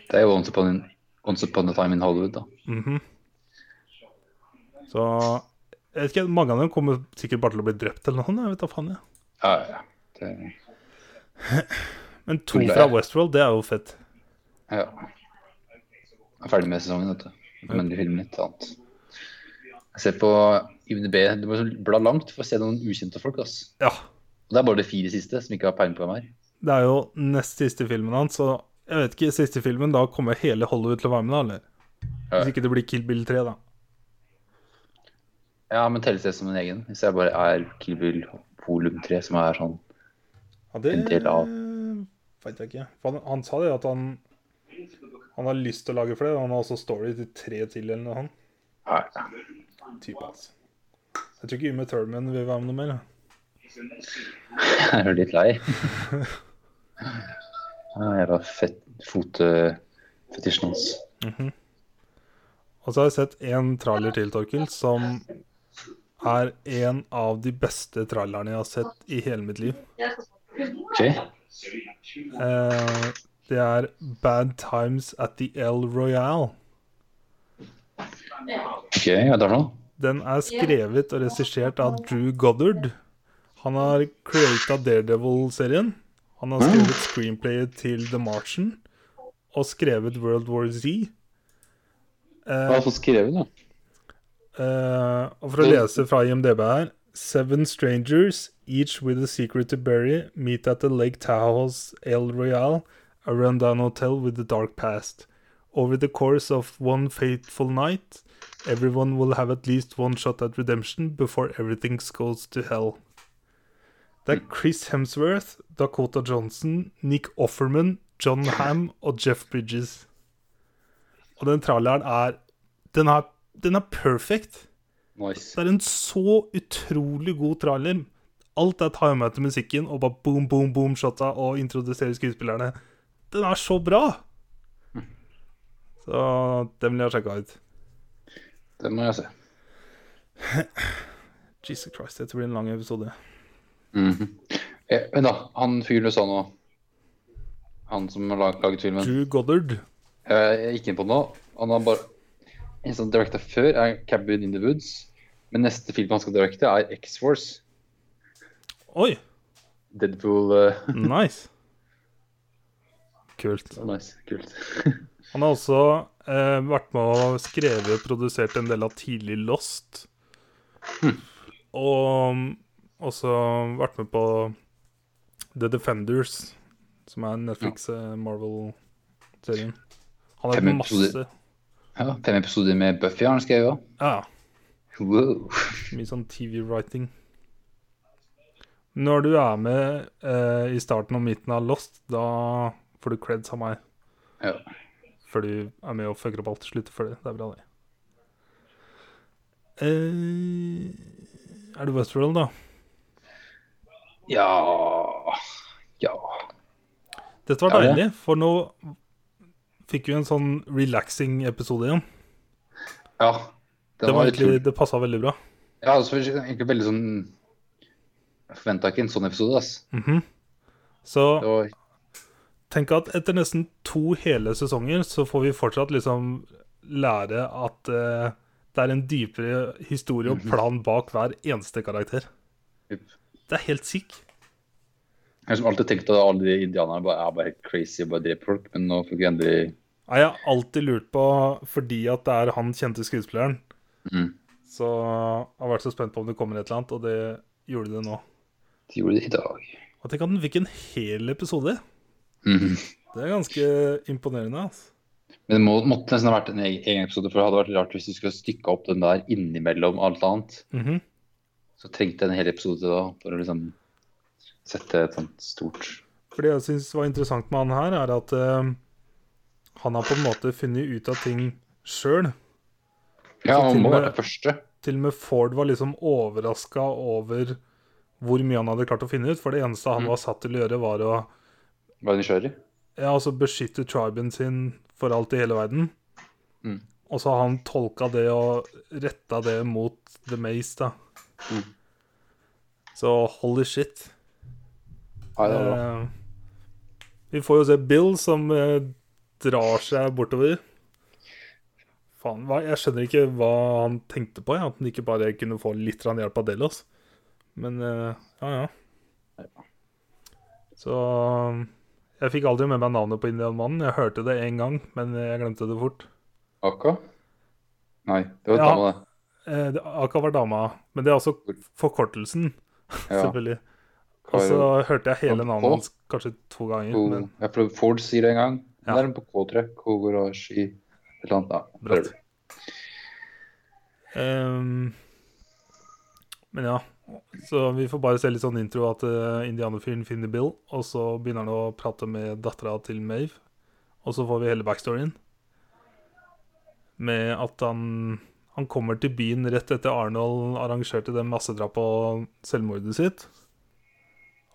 Speaker 2: Det er jo Once Upon, in, Once upon a Time in Hollywood, da.
Speaker 1: Mhm. Så jeg vet ikke, Mange av dem kommer sikkert bare til å bli drept eller noe sånt. Jeg vet da faen, jeg.
Speaker 2: Ja, ja, ja. Det,
Speaker 1: Men to
Speaker 2: Ulla,
Speaker 1: fra
Speaker 2: ja.
Speaker 1: Westworld, det er jo fett.
Speaker 2: ja. Jeg er ferdig med sesongen, vet du. Jeg kan endelig filme litt annet. Jeg ser på IMDb. Du må bla langt for å se noen ukjente folk. ass.
Speaker 1: Ja.
Speaker 2: Og Det er bare de fire siste som ikke har peiling på hvem er.
Speaker 1: Det er jo nest siste filmen hans, så jeg vet ikke, siste filmen, da kommer hele Hollywood til å være med, da, eller?
Speaker 2: Ja.
Speaker 1: Hvis ikke det blir Kill Bill 3, da.
Speaker 2: Ja, men telles det som en egen? Hvis jeg bare er Kill Bill Polum 3, som er sånn
Speaker 1: Ja, det
Speaker 2: En del av-
Speaker 1: veit jeg ikke. For han, han sa det at han han har lyst til å lage flere. Han har også story til tre til eller noe sånt.
Speaker 2: Nei.
Speaker 1: Type, altså. Jeg tror ikke Yme Turman vil være med noe mer.
Speaker 2: Jeg er litt lei. Ja, Jævla fett fotfetisjen hans.
Speaker 1: Og så har jeg sett én trailer til, Torkil, som er en av de beste trailerne jeg har sett i hele mitt liv.
Speaker 2: OK?
Speaker 1: Eh, det er Bad Times at the El Royale.
Speaker 2: OK, hva er det for noe?
Speaker 1: Den er skrevet og regissert av Drew Goddard. Han har creata Daredevil-serien. Han har skrevet screenplayet til The Martian og skrevet World War Z.
Speaker 2: Hva
Speaker 1: Eh,
Speaker 2: har du fått skrevet, da?
Speaker 1: Eh, og for å lese fra IMDb her Seven strangers, each with a secret to bury, meet at the Lake Tahoe's El Royale, a rundown hotel with a dark past. Over the course of one fateful night, everyone will have at least one shot at redemption before everything goes to hell. Det er Chris Hemsworth, Dakota Johnson, Nick Offerman, John Hamm og Jeff Bridges. Og den traileren er Den er, den er perfect.
Speaker 2: Nice.
Speaker 1: Det er en så utrolig god trailer. Alt er timet til musikken, og bare boom, boom, boom, shotta, og introdusere skuespillerne. Den er så bra! Så den vil jeg sjekke ut.
Speaker 2: Det må jeg se.
Speaker 1: Jesus Christ, dette blir en lang episode.
Speaker 2: Mhm. Eh, Men da, han fyren du sa nå Han som har lag- laget filmen.
Speaker 1: Drew Goddard.
Speaker 2: Eh, Jeg gikk inn på den nå. Han har bare En som directa før, er Cabin in the Woods. Men neste film han skal directe, er X-Force.
Speaker 1: Oi,
Speaker 2: Deadpool eh,
Speaker 1: nice. Kult.
Speaker 2: Nice. Kult.
Speaker 1: Han har også eh, vært med og skrevet og produsert en del av tidlig Lost. Og mm, også vært med på The Defenders, som er Netflix eh, Marvel-serien. Han har
Speaker 2: Fem
Speaker 1: gjort masse
Speaker 2: episoder. Ja, Fem episoder med Buffy har han skrevet òg.
Speaker 1: Ja,
Speaker 2: Wow.
Speaker 1: mye sånn TV-writing. Når du er med eh, i starten og midten av Lost, da får du creds av meg.
Speaker 2: Ja.
Speaker 1: Før du er med og fucker opp alt til slutt. For det. det er bra, det. Eh, er det Westworld, da?
Speaker 2: Ja Ja.
Speaker 1: Dette var
Speaker 2: Ja, det.
Speaker 1: deilig, for nå fikk vi en sånn relaxing episode igjen.
Speaker 2: ja. Den
Speaker 1: Det, var
Speaker 2: utrolig-
Speaker 1: egentlig, det passa veldig bra.
Speaker 2: Ja, altså, egentlig veldig sånn Jeg forventa ikke en sånn episode, ass.
Speaker 1: Mhm. Så
Speaker 2: Det var
Speaker 1: tenk at etter nesten to hele sesonger så får vi fortsatt liksom lære at eh, det er en dypere historie
Speaker 2: Mhm.
Speaker 1: og plan bak hver eneste karakter.
Speaker 2: Yep.
Speaker 1: Det er helt sick.
Speaker 2: Jeg har liksom alltid tenkt at alle de indianerne bare er bare helt crazy og bare dreper folk, men nå fikk jeg endelig
Speaker 1: Nei, Jeg har alltid lurt på, fordi at det er han kjente skuespilleren,
Speaker 2: Mhm.
Speaker 1: så jeg har vært så spent på om det kommer et eller annet, og det gjorde det nå.
Speaker 2: De gjorde det i dag.
Speaker 1: Og tenk at den fikk en hel episode.
Speaker 2: Mhm.
Speaker 1: Det er ganske imponerende, altså.
Speaker 2: Men det må, måtte nesten ha vært en egen egen episode, for det hadde vært rart hvis du skulle stykka opp den der innimellom alt annet.
Speaker 1: Mhm.
Speaker 2: Så trengte jeg en hel episode da for å liksom sette et sånt stort
Speaker 1: For det jeg syns var interessant med han her, er at eh, han har på en måte funnet ut av ting sjøl.
Speaker 2: Ja,
Speaker 1: Så til og
Speaker 2: man må
Speaker 1: med-
Speaker 2: være det første.
Speaker 1: Til og med Ford var liksom overraska over hvor mye han hadde klart å finne ut, for det eneste han
Speaker 2: Mm.
Speaker 1: var satt til å gjøre, var å
Speaker 2: Være nysgjerrig.
Speaker 1: ja, altså beskytte triben sin for alt i hele verden.
Speaker 2: Mm.
Speaker 1: Og så har han tolka det og retta det mot The Maze, da.
Speaker 2: Mm.
Speaker 1: Så holy shit.
Speaker 2: Ja, det var bra.
Speaker 1: Eh, vi får jo se Bill som eh, drar seg bortover. Faen, hva, jeg skjønner ikke hva han tenkte på, ja, at han ikke bare kunne få litt grann hjelp av Delos. Men eh, ja, ja. Så eh, Jeg fikk aldri med meg navnet på indianmannen. Jeg hørte det én gang, men jeg glemte det fort.
Speaker 2: Eh, Aka? Nei, det var
Speaker 1: Ja.
Speaker 2: dama, det.
Speaker 1: Eh, det- Aka var dama, men det er også forkortelsen,
Speaker 2: Ja.
Speaker 1: selvfølgelig. Og så
Speaker 2: Karo-
Speaker 1: hørte jeg hele
Speaker 2: Kom
Speaker 1: navnet
Speaker 2: på.
Speaker 1: hans kanskje to ganger.
Speaker 2: Ko-
Speaker 1: Men
Speaker 2: Ja, for Ford sier det en gang.
Speaker 1: Ja.
Speaker 2: Det er en på K, tror jeg. Kogorasji et eller annet. Ja,
Speaker 1: Bratt.
Speaker 2: prøver.
Speaker 1: Ehm, men ja. Så vi får bare se litt sånn intro at eh, indianerfyren finner Bill, og så begynner han å prate med dattera til Mave. Og så får vi hele backstoryen. Med at han Han kommer til byen rett etter Arnold arrangerte det massedrapet og selvmordet sitt.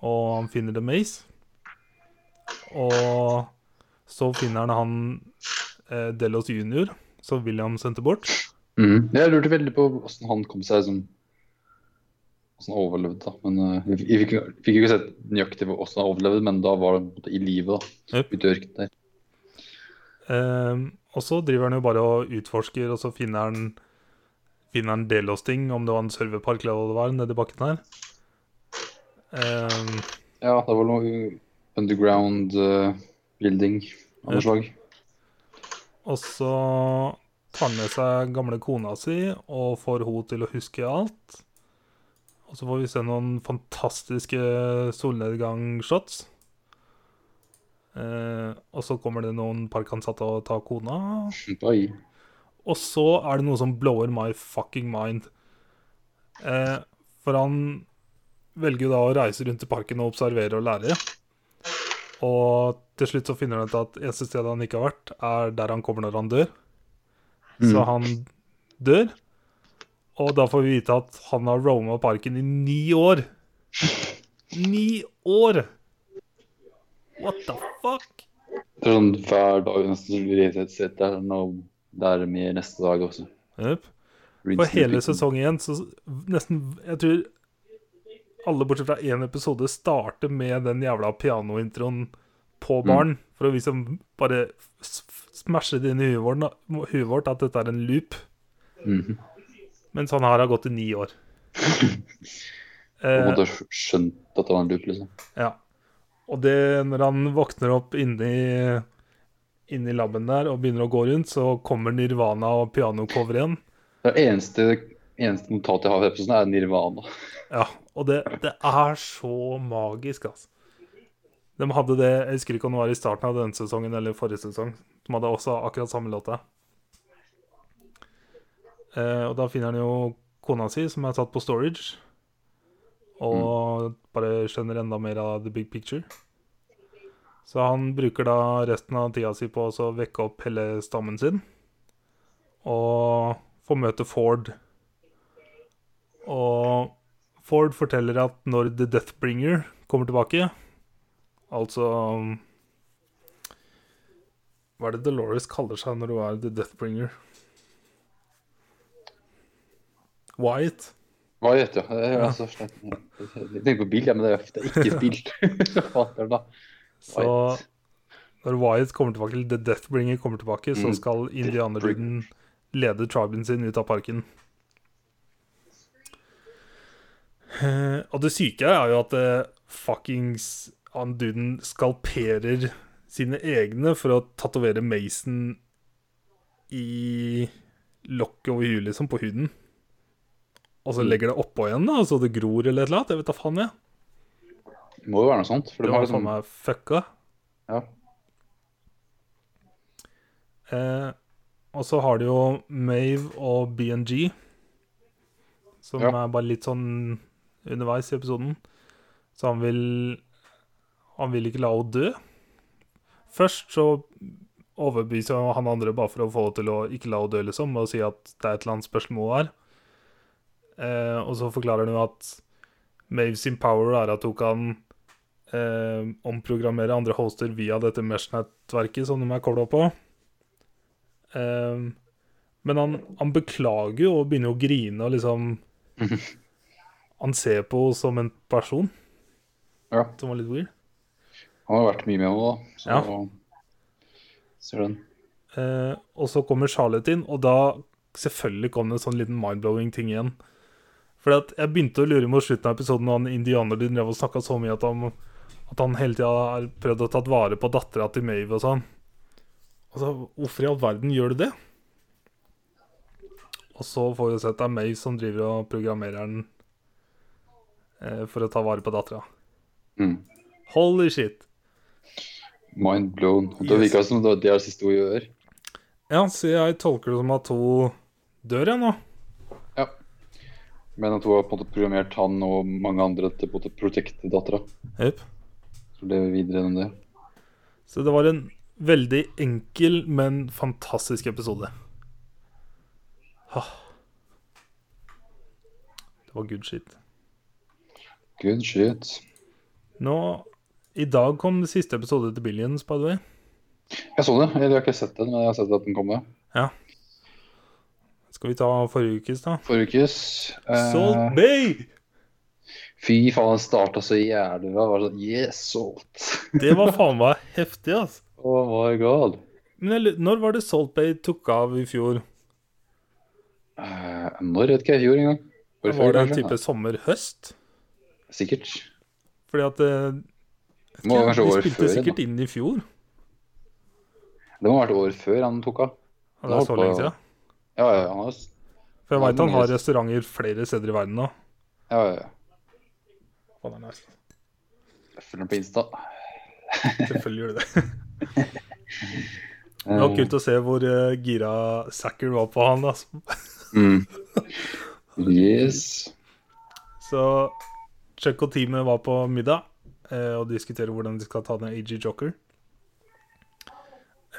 Speaker 1: Og han finner The Maze. Og så finner han han eh, Delos jr., som William sendte bort.
Speaker 2: Mhm. Jeg lurte veldig på hvordan han kom seg som Hvordan han overlevde, da. Men eh, vi, vi fikk, fikk jo ikke sett nøyaktig hvordan han overlevde, men da var han på en måte i live, da.
Speaker 1: Jep.
Speaker 2: Ute i ørkenen der.
Speaker 1: Ehm, og så driver han jo bare og utforsker, og så finner han Finner han Delos-ting, om det var en serverpark eller hva det var, nedi bakken her. Ehm,
Speaker 2: Ja, det var noe underground eh, building av noe
Speaker 1: Jep.
Speaker 2: slag.
Speaker 1: og så tar han med seg gamle kona si og får henne til å huske alt. Og så får vi se noen fantastiske solnedgangshots. Eh, og så kommer det noen parkansatte og tar kona.
Speaker 2: Oi.
Speaker 1: Og så er det noe som blower my fucking mind. Eh, for han velger jo da å reise rundt i parken og observere og lære. Og til slutt så finner han ut at eneste stedet han ikke har vært, er der han kommer når han dør. Så
Speaker 2: Mm.
Speaker 1: han dør. Og da får vi vite at han har roama parken i ni år. Ni år! What the fuck?
Speaker 2: Det er sånn hver dag nesten som vi rett og slett sitter der, og det er mye neste dag også.
Speaker 1: Yep.
Speaker 2: Rinse
Speaker 1: For
Speaker 2: and
Speaker 1: hele
Speaker 2: repeat.
Speaker 1: sesong én, så nesten Jeg tror alle bortsett fra én episode starter med den jævla pianointroen på
Speaker 2: Mm.
Speaker 1: baren. For å liksom bare s- f- smashe det inn i huet vårt, da- huet vårt at dette er en loop.
Speaker 2: Mhm.
Speaker 1: Mens han her har gått i ni år.
Speaker 2: Og på en
Speaker 1: Eh,
Speaker 2: måte skjønt at det var en loop, liksom.
Speaker 1: ja. Og det, når han våkner opp inni Inni laben der og begynner å gå rundt, så kommer Nirvana og pianocover igjen.
Speaker 2: Det er eneste, eneste notat jeg har fra episoden, er Nirvana.
Speaker 1: Ja, og det, det er så magisk, altså. De hadde det, jeg husker ikke om det var i starten av denne sesongen eller forrige sesong, som hadde også akkurat samme låta. Eh, og da finner han jo kona si, som er satt på storage, og bare skjønner enda mer av the big picture. Så han bruker da resten av tida si på å så vekke opp hele stammen sin. Og får møte Ford. Og Ford forteller at når The Deathbringer kommer tilbake, altså Hva er det Dolores kaller seg når hun er The Deathbringer? Wyatt.
Speaker 2: Hva vet du? Jeg, er altså, slett- jeg tenker på bil, ja, men det er det er ikke bil. Hva er det da?
Speaker 1: Så
Speaker 2: Wyatt.
Speaker 1: når Wyatt kommer tilbake, eller The Deathbringer kommer tilbake, så
Speaker 2: Mm,
Speaker 1: skal indianerbruden lede triben sin ut av parken. Eh, Og det syke er jo at eh, fuckings han duden skalperer sine egne for å tatovere Mason i lokket over huet, liksom, på huden. Og så
Speaker 2: Mm.
Speaker 1: legger det oppå igjen, da, så det gror eller et eller annet. Jeg vet da faen, jeg.
Speaker 2: Det må jo være noe sånt. For
Speaker 1: Det
Speaker 2: de har
Speaker 1: var faen
Speaker 2: liksom,
Speaker 1: meg fucka.
Speaker 2: ja,
Speaker 1: Eh, og så har du jo Mave og BNG, som
Speaker 2: Ja.
Speaker 1: er bare litt sånn underveis i episoden. Så han vil Han vil ikke la henne dø. Først så overbeviser han andre bare for å få henne til å ikke la henne dø, liksom, med å si at det er et eller annet spørsmål her. Eh, og så forklarer han jo at Mave sin power er at hun kan eh, omprogrammere andre hoster via dette mesh-nettverket som de er kobla på. Ehm, men han, han beklager jo og begynner å grine og liksom Han ser på henne som en person,
Speaker 2: ja.
Speaker 1: som var litt weird.
Speaker 2: Han har vært mye med henne, da. Så ser den.
Speaker 1: Eh, og så kommer Charlotte inn, og da selvfølgelig kom det en sånn liten mindblowing ting igjen. Fordi at jeg begynte å lure mot slutten av episoden når han indianeren drev og snakka så mye at han, at han hele tida har prøvd å ta vare på dattera til Mave og sånn. Altså, hvorfor i all verden gjør du det? Og så får vi jo sett det er Mave som driver og programmerer den eh, for å ta vare på dattera.
Speaker 2: Mm.
Speaker 1: Holy shit!
Speaker 2: Mind blown. Og Det
Speaker 1: Yes.
Speaker 2: virka som det var det er det siste hun gjør.
Speaker 1: Ja, så jeg tolker det som at hun dør, jeg nå.
Speaker 2: Men at hun har på en måte programmert han og mange andre til på en måte å protecte dattera.
Speaker 1: Yep.
Speaker 2: Så lever vi videre enn det.
Speaker 1: Så det var en veldig enkel, men fantastisk episode. Ah. Det var good shit.
Speaker 2: Good shit.
Speaker 1: Nå, I dag kom siste episode til Billions, by the way.
Speaker 2: Jeg så det. Eller jeg har ikke sett den, men jeg har sett at den kom. da.
Speaker 1: Skal vi ta forrige ukes, da?
Speaker 2: Forrige ukes eh,
Speaker 1: Salt Bay!
Speaker 2: Fy faen, den starta så jævlig bra. Det var sånn Yes, salt.
Speaker 1: Det var faen meg heftig, altså.
Speaker 2: Oh my god.
Speaker 1: Men jeg, lu- når var det Salt Bay tok av i fjor?
Speaker 2: Eh, når vet ikke jeg i fjor engang. Året før,
Speaker 1: Var det en
Speaker 2: kanskje?
Speaker 1: type sommer-høst?
Speaker 2: Ja, Sikkert.
Speaker 1: Fordi at eh,
Speaker 2: Det må, ha vært
Speaker 1: De
Speaker 2: året
Speaker 1: spilte
Speaker 2: før,
Speaker 1: jo sikkert
Speaker 2: da.
Speaker 1: inn i fjor.
Speaker 2: det må ha vært året før han tok av.
Speaker 1: Ja, Det er så lenge siden.
Speaker 2: Ja, ja, ja, han har s-
Speaker 1: For jeg
Speaker 2: Ja,
Speaker 1: veit han har
Speaker 2: mange-
Speaker 1: restauranter flere steder i verden nå.
Speaker 2: ja, ja, ja.
Speaker 1: Faen, det er nice.
Speaker 2: Jeg følger ham på Insta.
Speaker 1: Selvfølgelig gjør det det. Det var kult å se hvor eh, gira Sacker var på han. Altså.
Speaker 2: Mm. Yes.
Speaker 1: Så Chuck og teamet var på middag eh, og diskuterer hvordan de skal ta ned AG Joker.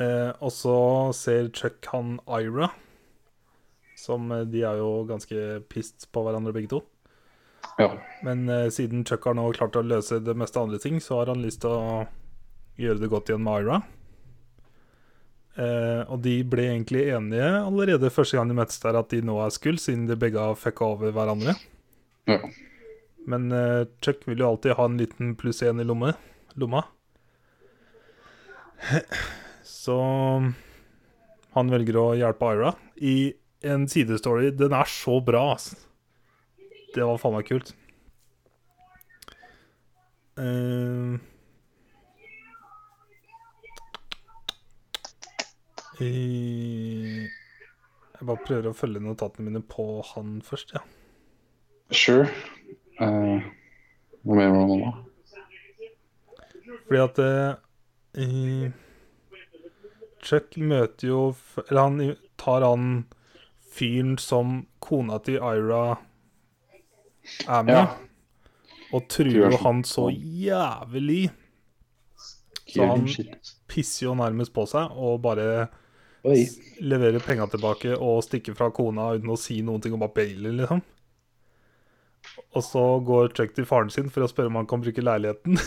Speaker 1: Eh, og så ser Chuck han Ira, som eh, de er jo ganske pissed på hverandre begge to.
Speaker 2: Ja.
Speaker 1: Men eh, siden Chuck har nå klart å løse det meste andre ting, så har han lyst til å gjøre det godt igjen med Ira. Eh, og de ble egentlig enige allerede første gang de møttes der, at de nå er skull, siden de begge har fucka over hverandre.
Speaker 2: ja.
Speaker 1: Men eh, Chuck vil jo alltid ha en liten pluss én i lomme, lomma. Så han velger å hjelpe Ira i en sidestory. Den er så bra, ass. Det var faen meg kult. Eh. Eh, Jeg bare prøver å følge notatene mine på han først, ja.
Speaker 2: Sure. Eh, Hva mer var det nå, da?
Speaker 1: Fordi at eh, eh, Chuck møter jo f- Eller han tar han fyren som kona til Ira er med.
Speaker 2: Ja.
Speaker 1: og truer han så jævlig. Så han pisser jo nærmest på seg og bare
Speaker 2: Oi.
Speaker 1: leverer penga tilbake og stikker fra kona uten å si noen ting og bare bailer, liksom. Og så går Chuck til faren sin for å spørre om han kan bruke leiligheten.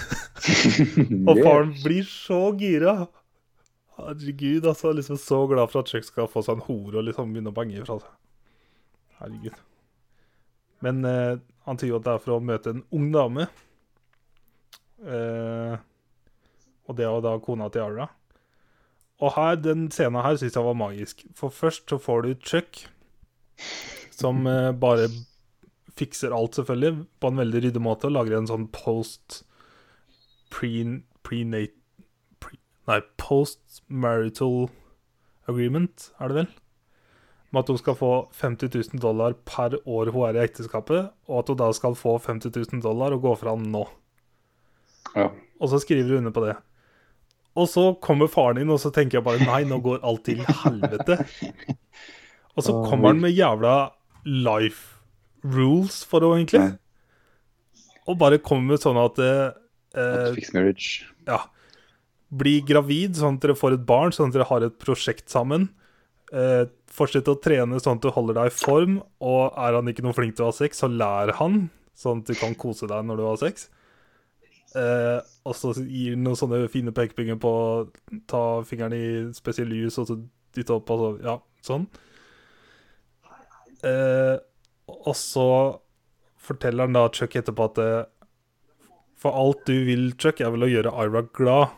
Speaker 1: Og faren blir så gira. Herregud, altså. Liksom så glad for at Chuck skal få seg en hore og liksom begynne å bange fra seg. Herregud. Men eh, han sier jo at det er for å møte en ung dame. Eh, og det er jo da kona til Ara. Og her, den scenen her syns jeg var magisk. For først så får du Chuck, som eh, bare fikser alt, selvfølgelig, på en veldig ryddig måte. og Lager en sånn post pre, prenat, pre, Nei, post marital agreement, er det vel? Med at hun skal få 50 000 dollar per år hun er i ekteskapet, og at hun da skal få 50 000 dollar og gå fra han nå.
Speaker 2: Ja.
Speaker 1: Og så skriver hun under på det. Og så kommer faren inn, og så tenker jeg bare nei, nå går alt til helvete. Og så
Speaker 2: Åh,
Speaker 1: kommer han med jævla life rules for henne, egentlig. Og bare kommer med sånn at eh,
Speaker 2: Fix marriage.
Speaker 1: ja, bli gravid sånn at dere får et barn, sånn at dere har et prosjekt sammen. Eh, fortsett å trene sånn at du holder deg i form, og er han ikke noe flink til å ha sex, så lær han, sånn at du kan kose deg når du har sex. Eh, og så gir han noen sånne fine pekepinger på å ta fingeren i spesielle lys og så dytte opp og så, ja, sånn. Eh, og så forteller han da Chuck etterpå at eh, for alt du vil, Chuck, er vel å gjøre Ira glad.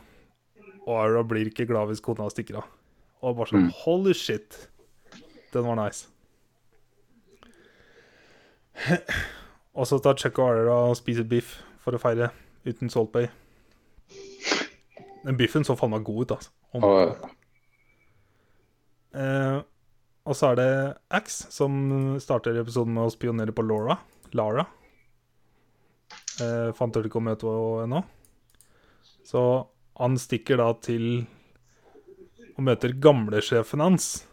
Speaker 1: Og Ira blir ikke glad hvis kona stikker av. Og bare sånn
Speaker 2: Mm.
Speaker 1: Holy shit. Den var nice. og så tar Chuck og Ira og spiser biff for å feire, uten Salt Bay. Den biffen så faen meg god ut, altså. Om-
Speaker 2: Og
Speaker 1: Eh, og så er det Axe som starter episoden med å spionere på Laura. Lara. Eh, for han tør ikke å møte henne ennå. Så han stikker da til og møter gamlesjefen hans.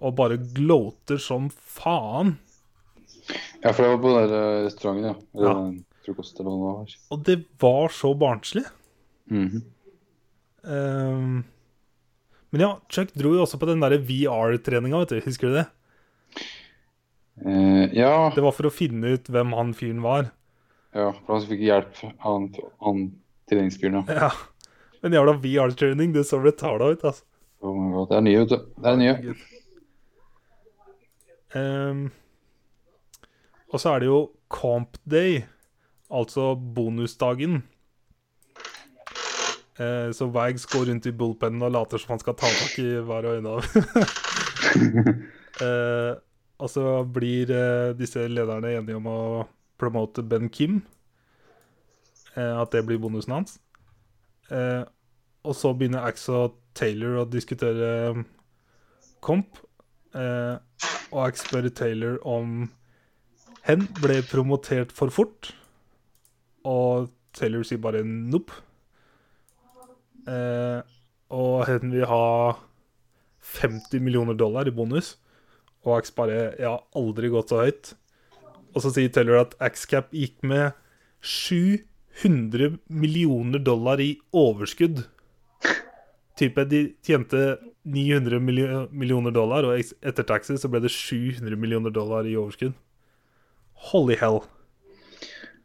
Speaker 1: Og bare gloater som faen.
Speaker 2: Ja, for det var på den der eh, restauranten, ja. Eller
Speaker 1: Ja.
Speaker 2: den frokost eller hva det var.
Speaker 1: Og det var så barnslig.
Speaker 2: Mhm.
Speaker 1: Ehm, men ja, Chuck dro jo også på den der VR-treninga, vet du. Husker du det?
Speaker 2: Eh, ja.
Speaker 1: Det var for å finne ut hvem han fyren var.
Speaker 2: ja, for han fikk hjelp av han, han treningsfyren. Ja.
Speaker 1: Ja. Men jævla VR-training, det så betala ut, altså.
Speaker 2: Oh my God. Det er nye, vet du. Det er nye.
Speaker 1: Herregud. Ehm, og så er det jo comp day, altså bonusdagen. Eh, så Wags går rundt i bullpennen og later som han skal ta tak i hver og en av Eh, Og så blir eh, disse lederne enige om å promote Ben Kim. Eh, at det blir bonusen hans. Eh, og så begynner Axe og Taylor å diskutere eh, komp. Eh, og jeg spør Taylor om hen ble promotert for fort. Og Taylor sier bare nope. Eh, og hen vil ha 50 millioner dollar i bonus. Og Ax bare Jeg har aldri gått så høyt. Og så sier Taylor at Axcap gikk med 700 millioner dollar i overskudd. Type de tjente 900 milli- millioner dollar, og eks- etter taxi så ble det 700 millioner dollar i overskudd. Holy hell.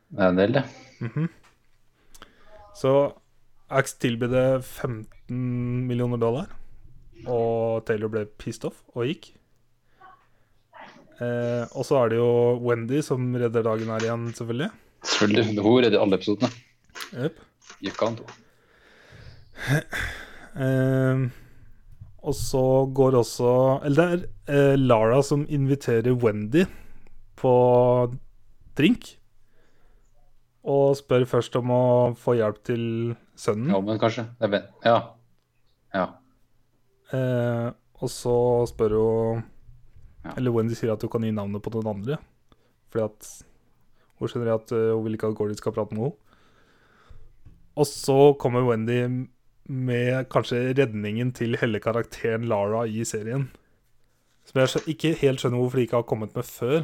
Speaker 2: Det er en del, det.
Speaker 1: Så Ax tilbød det 15 millioner dollar, og Taylor ble pissed off og gikk. Eh, og så er det jo Wendy som redder dagen her igjen, selvfølgelig.
Speaker 2: Selvfølgelig. Hun redder alle episodene.
Speaker 1: Jep.
Speaker 2: Gikk an.
Speaker 1: Ehm, og så går også Eller det er eh, Lara som inviterer Wendy på drink. Og spør først om å få hjelp til sønnen.
Speaker 2: Ja, men kanskje. Det er ben. Ja. Ja.
Speaker 1: Eh, og så spør hun
Speaker 2: Ja.
Speaker 1: Eller Wendy sier at hun kan gi navnet på den andre. Fordi at hun skjønner at eh, hun vil ikke at Gordon skal prate med henne. Og så kommer Wendy med kanskje redningen til hele karakteren Lara i serien. Som jeg skjø- ikke helt skjønner hvorfor de ikke har kommet med før.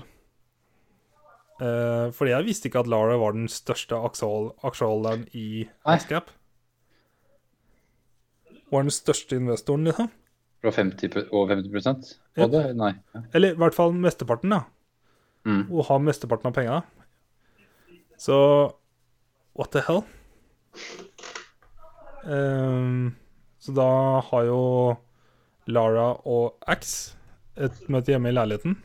Speaker 1: Eh, fordi jeg visste ikke at Lara var den største aksjehold- aksjeholderen i Ascap. Var den største investoren, liksom.
Speaker 2: Fra 50 pro- over 50
Speaker 1: Ja.
Speaker 2: Odde? Nei. Ja.
Speaker 1: Eller i hvert fall mesteparten, da.
Speaker 2: Mm.
Speaker 1: Og har mesteparten av penga. Så what the hell? Ehm, så da har jo Lara og Ax et møte hjemme i leiligheten.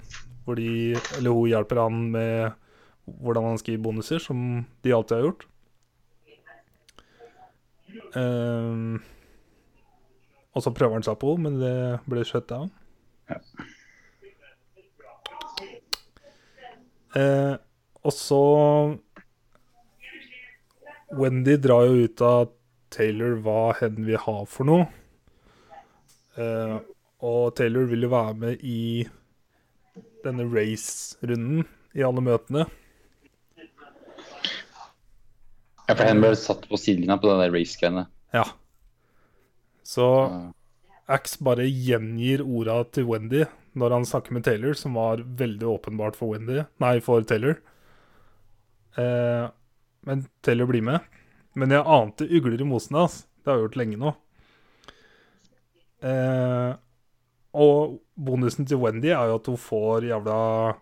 Speaker 1: Hvor de, eller hun hjelper han med hvordan han skal gi bonuser, som de alltid har gjort. Ehm, og så prøver han seg på henne, men det ble shut down. Eh, og så Wendy drar jo ut av Taylor hva hen vil ha for noe. Eh, og Taylor vil jo være med i denne race-runden i alle møtene.
Speaker 2: ja, for henne ble satt på sidelinja på den der race-greiene.
Speaker 1: Ja. Så
Speaker 2: Ja.
Speaker 1: Axe bare gjengir orda til Wendy når han snakker med Taylor, som var veldig åpenbart for Wendy Nei, for Taylor. Eh, men Taylor blir med. Men jeg ante ugler i mosen hans. Det har jeg gjort lenge nå. Eh, og bonusen til Wendy er jo at hun får jævla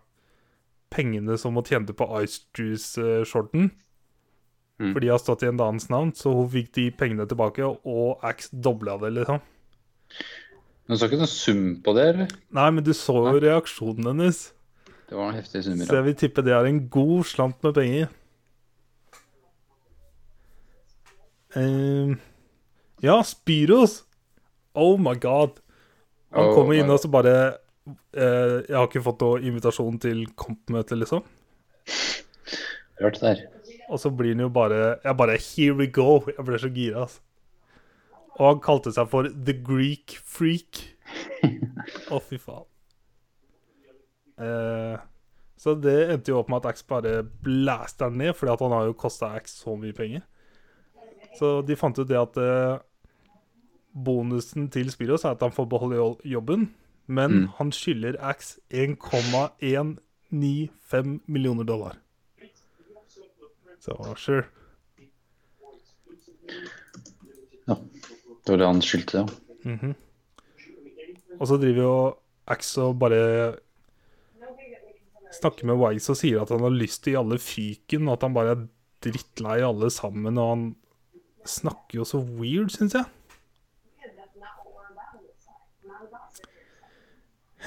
Speaker 1: pengene som hun tjente på Ice Juice-shorten.
Speaker 2: Mm.
Speaker 1: For de har stått i en annens navn, så hun fikk de pengene tilbake, og Axe dobla det, liksom.
Speaker 2: Men så ikke noen sum på det, eller?
Speaker 1: Nei, men du så jo reaksjonen hennes.
Speaker 2: Det var noen heftige
Speaker 1: Så
Speaker 2: summer.
Speaker 1: jeg vil tippe det er en god slant med penger. Ehm, ja, Spyros! Oh my god. Han
Speaker 2: Oh
Speaker 1: kommer inn
Speaker 2: my-
Speaker 1: og så bare eh, Jeg har ikke fått noe invitasjon til komp-møte, liksom.
Speaker 2: ja. Rart det der.
Speaker 1: Og så blir han jo bare Jeg bare Here we go! Jeg ble så gira, altså. Og han kalte seg for The Greek Freak. Å, fy faen. Eh, så det endte jo opp med at Axe bare blaster han ned, fordi at han har jo kosta Axe så mye penger. Så de fant ut det at eh, bonusen til Spiros er at han får beholde jo- jobben, men
Speaker 2: Mm.
Speaker 1: han skylder Axe 1,195 millioner dollar. Så sure.
Speaker 2: Det var det han skyldte, ja.
Speaker 1: Mhm. Og så driver jo Axe og bare snakker med Wags og sier at han har lyst til å gi alle fyken, og at han bare er drittlei alle sammen, og han snakker jo så weird, syns jeg.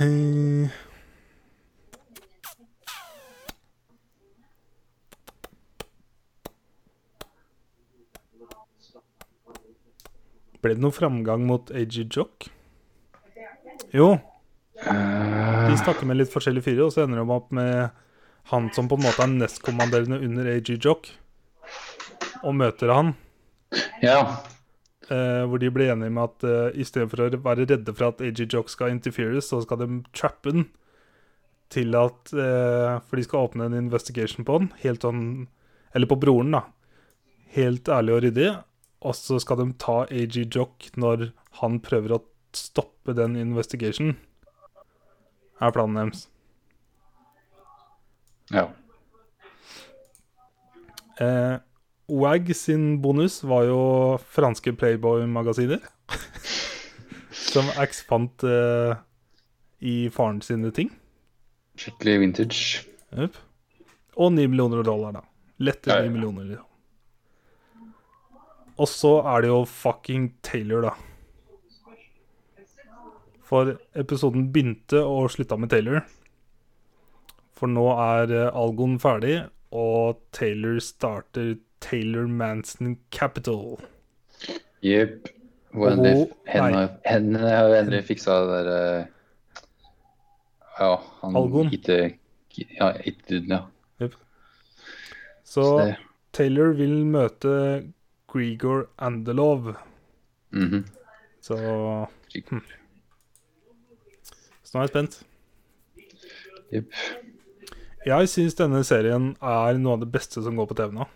Speaker 1: Eh, Ble det noen framgang mot AG Jock? Jo, de snakker med litt forskjellige fyrer, og så ender de opp med han som på en måte er nestkommanderende under AG Jock, og møter han.
Speaker 2: Ja.
Speaker 1: Eh, hvor de ble enige med at eh, i stedet for å være redde for at AG Jock skal interferes, så skal de trappe den til at eh, For de skal åpne en investigation på den, helt sånn Eller på broren, da. Helt ærlig og ryddig. Og så skal de ta AG Jock når han prøver å stoppe den investigationen. Er planen deres.
Speaker 2: ja.
Speaker 1: Eh, WAG sin bonus var jo franske Playboy-magasiner. som Axe fant eh, i faren sine ting.
Speaker 2: Skikkelig vintage.
Speaker 1: Jep. Og 9 millioner dollar, da. Lette
Speaker 2: Ja, ja.
Speaker 1: 9 millioner. liksom. Og så er det jo fucking Taylor, da. For episoden begynte og slutta med Taylor. For nå er eh, Algon ferdig, og Taylor starter Taylor Manson Capital.
Speaker 2: Jepp. Hvor enn de
Speaker 1: Og-
Speaker 2: hen-
Speaker 1: nei.
Speaker 2: hen- har jo endelig fiksa det der eh, Ja, han
Speaker 1: Algon.
Speaker 2: Ikke, ja, ikke, ja.
Speaker 1: Så
Speaker 2: Så det,
Speaker 1: Taylor vil møte Grigor Andelov.
Speaker 2: mhm.
Speaker 1: Så, Hm. så nå er jeg spent.
Speaker 2: Jepp.
Speaker 1: Jeg syns denne serien er noe av det beste som går på TV nå.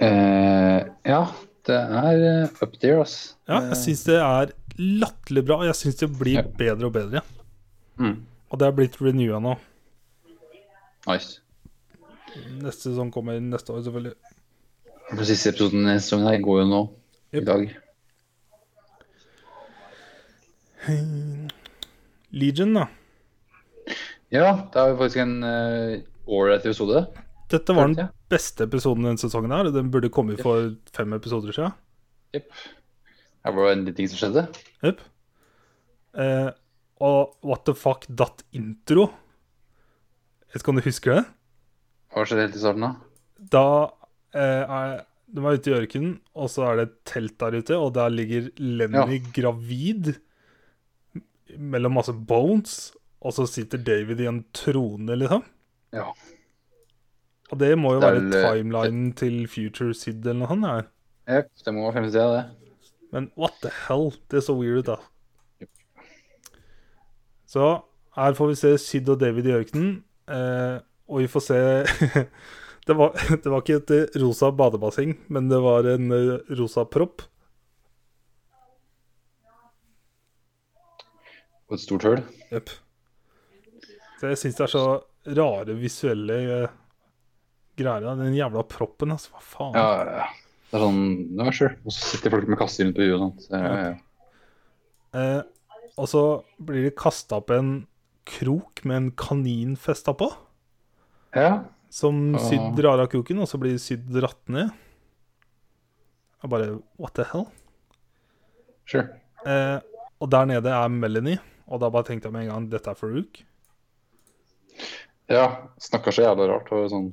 Speaker 2: Eh, ja, det er eh, up there, ass.
Speaker 1: Ja, jeg syns det er latterlig bra. og Jeg syns det blir
Speaker 2: Ja.
Speaker 1: bedre og bedre.
Speaker 2: Mm.
Speaker 1: Og det er blitt renewa nå.
Speaker 2: Nice.
Speaker 1: Neste sesong kommer neste år, selvfølgelig.
Speaker 2: Den siste episoden i sesongen her går jo nå i
Speaker 1: Jep.
Speaker 2: dag.
Speaker 1: Legion, da.
Speaker 2: Ja, det er jo faktisk en eh, ålreit episode.
Speaker 1: Dette var
Speaker 2: Hørte
Speaker 1: den
Speaker 2: jeg.
Speaker 1: beste episoden denne sesongen her. og Den burde kommet for fem episoder siden.
Speaker 2: Jep. Her var det en liten ting som skjedde.
Speaker 1: Jep. Eh, og what the fuck datt intro? Jeg vet ikke om du husker det?
Speaker 2: Hva skjedde helt i starten, da?
Speaker 1: Da eh, er de er ute i ørkenen, og så er det et telt der ute, og der ligger Lenny gravid mellom masse bones, og så sitter David i en trone, liksom.
Speaker 2: Ja.
Speaker 1: Og det må jo
Speaker 2: Det er
Speaker 1: være
Speaker 2: vel- eh,
Speaker 1: timelinen til Future Sid eller noe sånt. her.
Speaker 2: Jep, det må være fremste det.
Speaker 1: Men what the hell? Det så weird ut, da.
Speaker 2: Jep.
Speaker 1: Så her får vi se Sid og David i ørkenen. Eh, og vi får se det, var, det var ikke et eh, rosa badebasseng, men det var en eh, rosa propp.
Speaker 2: Og et stort høl.
Speaker 1: Jep. Så jeg syns det er så rare visuelle eh, greier. da. Den jævla proppen, altså. Hva faen?
Speaker 2: Ja, ja, ja. Det er sånn Ja, sure. Og så sitter folk med kasser rundt på huet og sånt. Ja, ja, ja.
Speaker 1: Eh, og så blir det kasta opp en krok med en kanin festa på.
Speaker 2: ja.
Speaker 1: Som
Speaker 2: Ah.
Speaker 1: Syd drar av kroken, og så blir Syd dratt ned. Jeg bare What the hell?
Speaker 2: sure.
Speaker 1: Eh, og der nede er Melanie, og da bare tenkte jeg med en gang dette er Farouk.
Speaker 2: Ja, snakka så jævla rart og sånn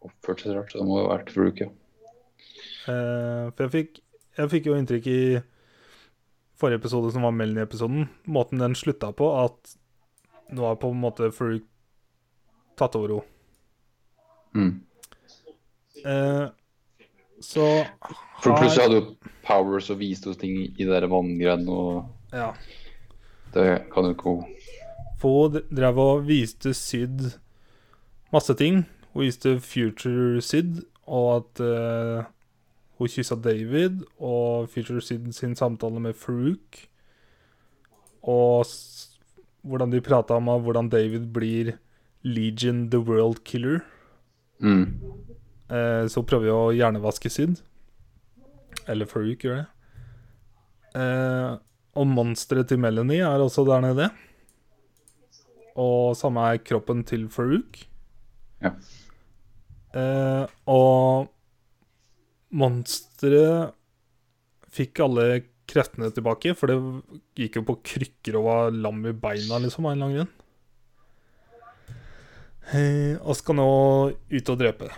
Speaker 2: oppførte seg rart. så Det må jo ha vært Rook, ja.
Speaker 1: Eh, for jeg fikk, jeg fikk jo inntrykk i forrige episode, som var Melanie-episoden, måten den slutta på, at nå har på en måte Farouk tatt over henne.
Speaker 2: Mm.
Speaker 1: Eh, så
Speaker 2: For plutselig hadde jo Powers og viste oss ting i det der vanngreiene, og
Speaker 1: Ja.
Speaker 2: det kan jo ikke hun
Speaker 1: Få d- drev og viste Syd masse ting. Hun viste Future Syd, og at eh, hun kyssa David, og Future Syd sin samtale med Farouk. Og s hvordan de prata om at hvordan David blir Legion the World Killer.
Speaker 2: mm.
Speaker 1: Eh, så prøver vi å hjernevaske Syd. Eller Farouk gjør det. Eh, og monsteret til Melanie er også der nede. Og samme er kroppen til Farouk.
Speaker 2: Ja.
Speaker 1: Eh, og monsteret fikk alle kreftene tilbake, for det gikk jo på krykker og var lam i beina, liksom, av en eller annen grunn. Eh, og skal nå ut og drepe.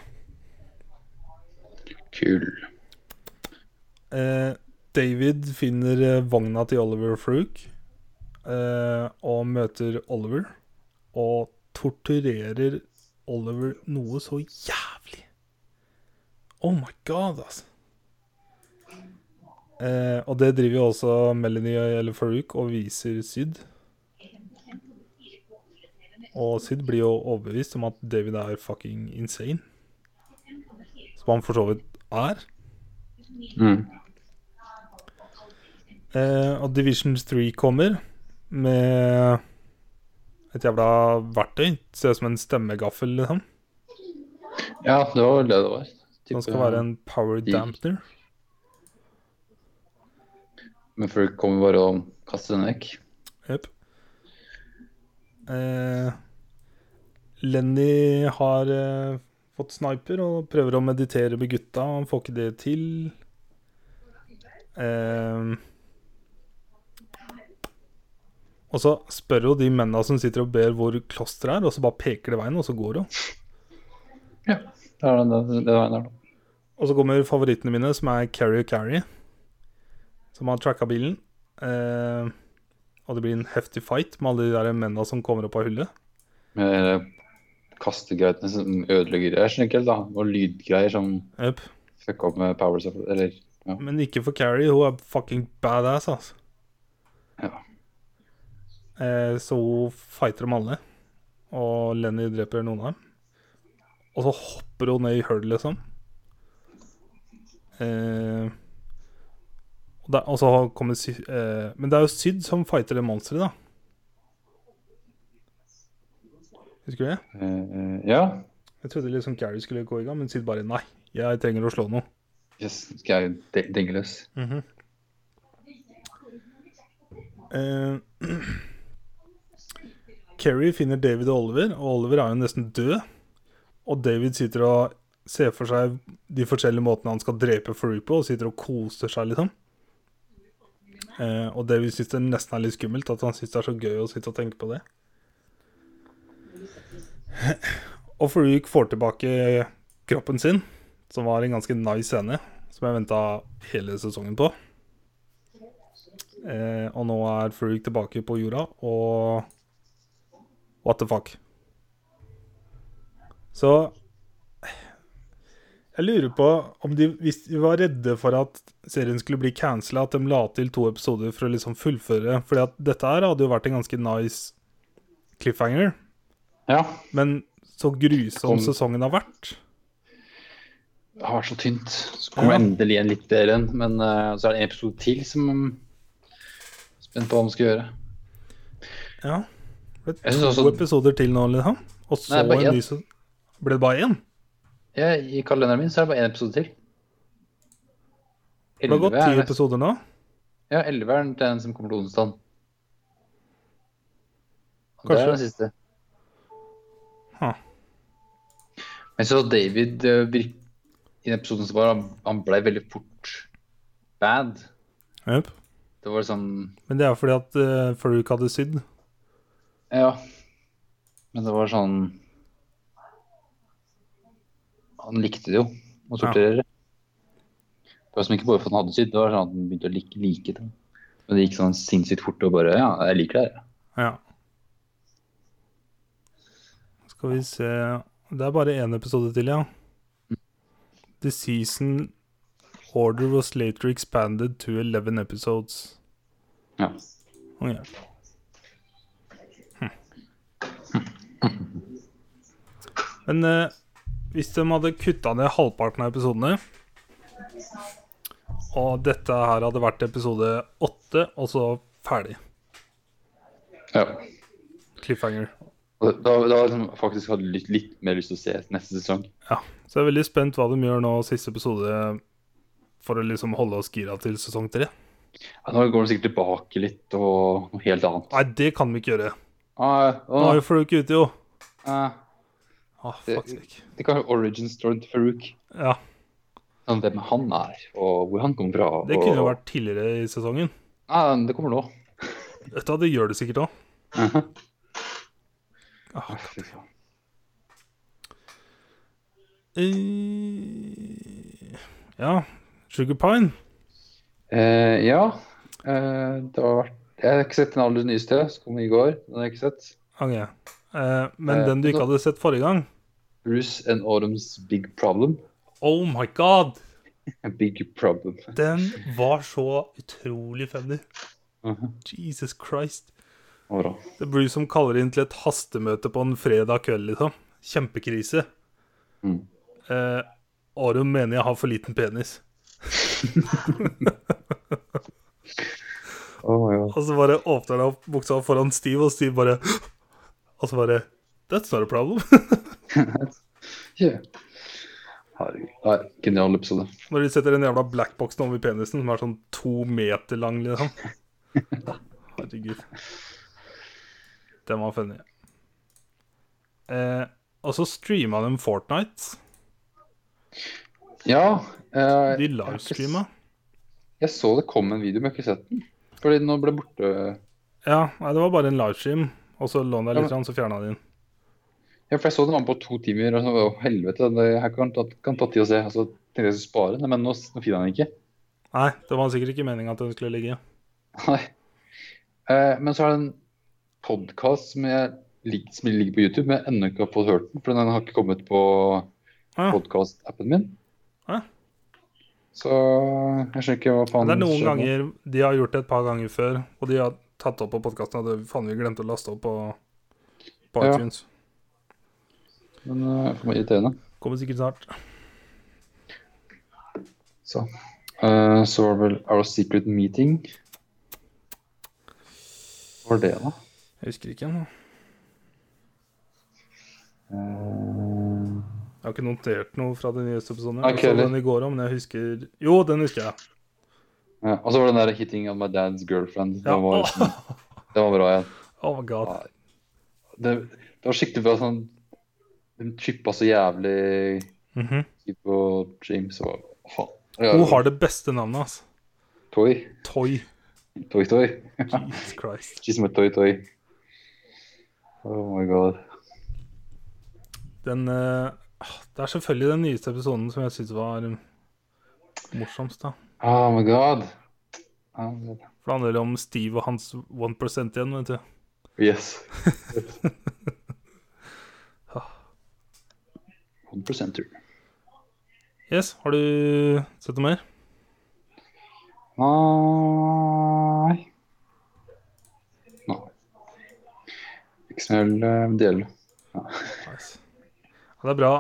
Speaker 2: Kul.
Speaker 1: Eh, David finner eh, vogna til Oliver Frook eh, og møter Oliver og torturerer Oliver noe så jævlig. Oh my god, altså. Eh, og det driver jo også Melanie eller Farouk og viser Syd. Og Syd blir jo overbevist om at David er fucking insane. Som han for så vidt er.
Speaker 2: Mm.
Speaker 1: Eh, og Division 3 kommer med et jævla verktøy. Ser ut som en stemmegaffel, liksom.
Speaker 2: Ja, det var vel det det var.
Speaker 1: Som skal
Speaker 2: Type-
Speaker 1: være en power dampener.
Speaker 2: Men folk kommer bare og kaster den vekk.
Speaker 1: Jep. Eh, Lenny har eh, fått sniper og prøver å meditere med gutta. Han får ikke det til. Eh, og så spør hun de mennene som sitter og ber hvor klosteret er, og så bare peker de veien, og så går hun.
Speaker 2: Ja, det er den det, det veien der, da.
Speaker 1: Og så kommer favorittene mine, som er Carrie og Carrie, som har tracka bilen. Eh, og det blir en heftig fight med alle de der mennene som kommer opp av hullet.
Speaker 2: Med eh, kastegreitene som ødelegger Jeg skjønner ikke helt, da. Og lydgreier som
Speaker 1: Jep.
Speaker 2: fucka opp med powers. Eller ja.
Speaker 1: Men ikke for Carrie, hun er fucking badass, altså.
Speaker 2: ja.
Speaker 1: Eh, så hun fighter dem alle. Og Lenny dreper noen av dem. Og så hopper hun ned i hullet, liksom. Eh, og, der, og så kommer sy eh, Men det er jo Syd som fighter det monsteret, da. Husker du det?
Speaker 2: Eh, ja.
Speaker 1: Jeg trodde liksom Gary skulle gå i gang, men Sid bare nei. Jeg trenger å slå noe.
Speaker 2: Yes, skal jeg de- denge løs?
Speaker 1: Eh, Kerry finner David og Oliver, og Oliver er jo nesten død. Og David sitter og ser for seg de forskjellige måtene han skal drepe Farouk på, og sitter og koser seg, liksom. Eh, og David syns det nesten er litt skummelt, at han syns det er så gøy å sitte og tenke på det. Og Farouk får tilbake kroppen sin, som var en ganske nice scene, som jeg venta hele sesongen på. Eh, og nå er Farouk tilbake på jorda, og What the fuck? Så Jeg lurer på om de Hvis de var redde for at serien skulle bli cancela, at de la til to episoder for å liksom fullføre Fordi at dette her hadde jo vært en ganske nice cliffhanger,
Speaker 2: Ja.
Speaker 1: men så grusom
Speaker 2: Kom.
Speaker 1: sesongen har vært
Speaker 2: Det har vært så tynt. Så kommer
Speaker 1: Ja.
Speaker 2: endelig en litt bedre en. Men eh, så er det en episode til som jeg er spent på hva man skal gjøre.
Speaker 1: Ja. Det
Speaker 2: Jeg
Speaker 1: ble to
Speaker 2: synes også-
Speaker 1: episoder til nå, liksom. Og så
Speaker 2: Nei, bare
Speaker 1: en
Speaker 2: én.
Speaker 1: ny se- Ble det bare én?
Speaker 2: Ja, I kalenderen min så er det bare én episode til.
Speaker 1: Det har gått
Speaker 2: Elleve er
Speaker 1: ti
Speaker 2: neste-
Speaker 1: episoder nå.
Speaker 2: Ja, 11 er den som kommer til onsdag. Det
Speaker 1: Kanskje.
Speaker 2: er den siste.
Speaker 1: Ha.
Speaker 2: Jeg så David eh, virk... i den episoden som var, han- han ble veldig fort bad.
Speaker 1: Jep.
Speaker 2: Det var sånn
Speaker 1: Men det er fordi at uh, Farouk hadde sydd.
Speaker 2: Ja. Men det var sånn Han likte det jo, å torturere. Det var som ikke bare for at han hadde sydd, det var sånn at han begynte å like, like det. Men det gikk sånn sinnssykt fort og bare Ja, jeg liker det her.
Speaker 1: Ja. Skal vi se Det er bare én episode til, ja. The season order was later expanded to 11 episodes.
Speaker 2: Ja.
Speaker 1: Ok. Hm. Men eh, hvis de hadde kutta ned halvparten av episodene Og dette her hadde vært episode åtte, og så ferdig.
Speaker 2: ja.
Speaker 1: Cliffhanger.
Speaker 2: Da, da, da liksom faktisk hadde jeg litt, litt mer lyst til å se neste sesong.
Speaker 1: Ja, så jeg er veldig spent hva de gjør nå siste episode for å liksom holde oss gira til sesong tre.
Speaker 2: Ja, nå går den sikkert tilbake litt og noe helt annet.
Speaker 1: Nei, det kan vi ikke gjøre.
Speaker 2: Ah,
Speaker 1: Nå
Speaker 2: ah,
Speaker 1: er jo Farouk ute, jo.
Speaker 2: ah,
Speaker 1: Ah, fuck sake.
Speaker 2: det kan være origin storyen til Farouk.
Speaker 1: Ja,
Speaker 2: Sånn, hvem han er, og hvor han kommer fra. Og,
Speaker 1: det kunne jo vært tidligere i sesongen.
Speaker 2: Ah, det kommer nå.
Speaker 1: Vet du hva, det gjør det sikkert òg.
Speaker 2: Ah, fy faen.
Speaker 1: Eh, Ja, Sugar Pine.
Speaker 2: Eh, ja, eh, det har vært Jeg har ikke sett den aller nyeste, som kom i går. Den har jeg ikke sett.
Speaker 1: Ok. Eh, men
Speaker 2: Eh,
Speaker 1: den du ikke
Speaker 2: nå-
Speaker 1: hadde sett forrige gang
Speaker 2: Bruce and Autumn's Big Problem.
Speaker 1: Oh my god!
Speaker 2: A big problem.
Speaker 1: Den var så utrolig funny.
Speaker 2: Mhm.
Speaker 1: Jesus Christ.
Speaker 2: Og bra.
Speaker 1: Det er Bruce som kaller inn til et hastemøte på en fredag kveld, liksom. Kjempekrise.
Speaker 2: Mm.
Speaker 1: Eh, Arum mener jeg har for liten penis.
Speaker 2: Å, ja.
Speaker 1: Og så bare åpner han opp buksa foran Steve, og Steve bare Og så bare That's not a problem.
Speaker 2: Yeah. Herregud. Nei, genial episode.
Speaker 1: Når de setter den jævla blackboxen over penisen, som er sånn to meter lang, liksom. Herregud. Den var funny. Eh, og så streama de Fortnite.
Speaker 2: Ja. eh,
Speaker 1: De
Speaker 2: jeg har ikke s-
Speaker 1: livestreama.
Speaker 2: Jeg så det kom en video, men jeg har ikke sett den. Fordi den nå ble borte.
Speaker 1: Ja, nei, det var bare en livestream, og så lå den der
Speaker 2: Ja,
Speaker 1: litt, grann, så fjerna de den.
Speaker 2: Ja, for jeg så den var på to timer, og så var det, å, helvete, det her kan ta, kan ta tid å se. Og så tenkte jeg jeg skulle spare den, men nå, s- nå finner jeg den ikke.
Speaker 1: Nei, det var sikkert ikke meninga at den skulle ligge.
Speaker 2: Nei. Eh, men så er det en podkast som, jeg lik- som ligger på YouTube, men jeg ennå ikke har fått hørt den, for den har ikke kommet på
Speaker 1: Ah.
Speaker 2: podkast-appen min.
Speaker 1: Ah.
Speaker 2: Så eh, jeg skjønner ikke hva faen
Speaker 1: Men det er noen
Speaker 2: skjer nå.
Speaker 1: ganger De har gjort det et par ganger før, og de har tatt opp på podkasten. Og det faen, vi glemte å laste opp på, på
Speaker 2: Ja.
Speaker 1: iTunes.
Speaker 2: Men eh, det var irriterende.
Speaker 1: Kommer sikkert snart.
Speaker 2: Så. Eh, så var det vel Our Secret Meeting. Hva var det, da?
Speaker 1: Jeg husker ikke ennå.
Speaker 2: Eh,
Speaker 1: Jeg har ikke notert noe fra de nyeste episodene.
Speaker 2: Nei,
Speaker 1: Jeg
Speaker 2: ikke
Speaker 1: så
Speaker 2: heller.
Speaker 1: den i går òg, men jeg husker Jo, den husker jeg.
Speaker 2: ja. Og så var det den der 'Hitting on my dad's girlfriend'.
Speaker 1: Ja.
Speaker 2: Den, var, liksom, den var bra igjen.
Speaker 1: Oh my god.
Speaker 2: Det, det var skikkelig bra sånn De chippa så jævlig
Speaker 1: Mhm.
Speaker 2: på James og faen.
Speaker 1: Hun har det beste navnet, altså.
Speaker 2: Toy.
Speaker 1: Toy.
Speaker 2: Toy, toy.
Speaker 1: Jesus Christ.
Speaker 2: She's my toy, toy. Oh my god.
Speaker 1: Den eh, ah, Det er selvfølgelig den nyeste episoden som jeg syns var um, morsomst, da.
Speaker 2: Oh my god. Oh my god.
Speaker 1: For det handler om Steve og hans 1 igjen, vet du.
Speaker 2: Yes. 100 tur.
Speaker 1: Yes, har du sett noe mer?
Speaker 2: Nei. Nei. Ikke som jeg vil eh, dele.
Speaker 1: Nice. Ja, det er bra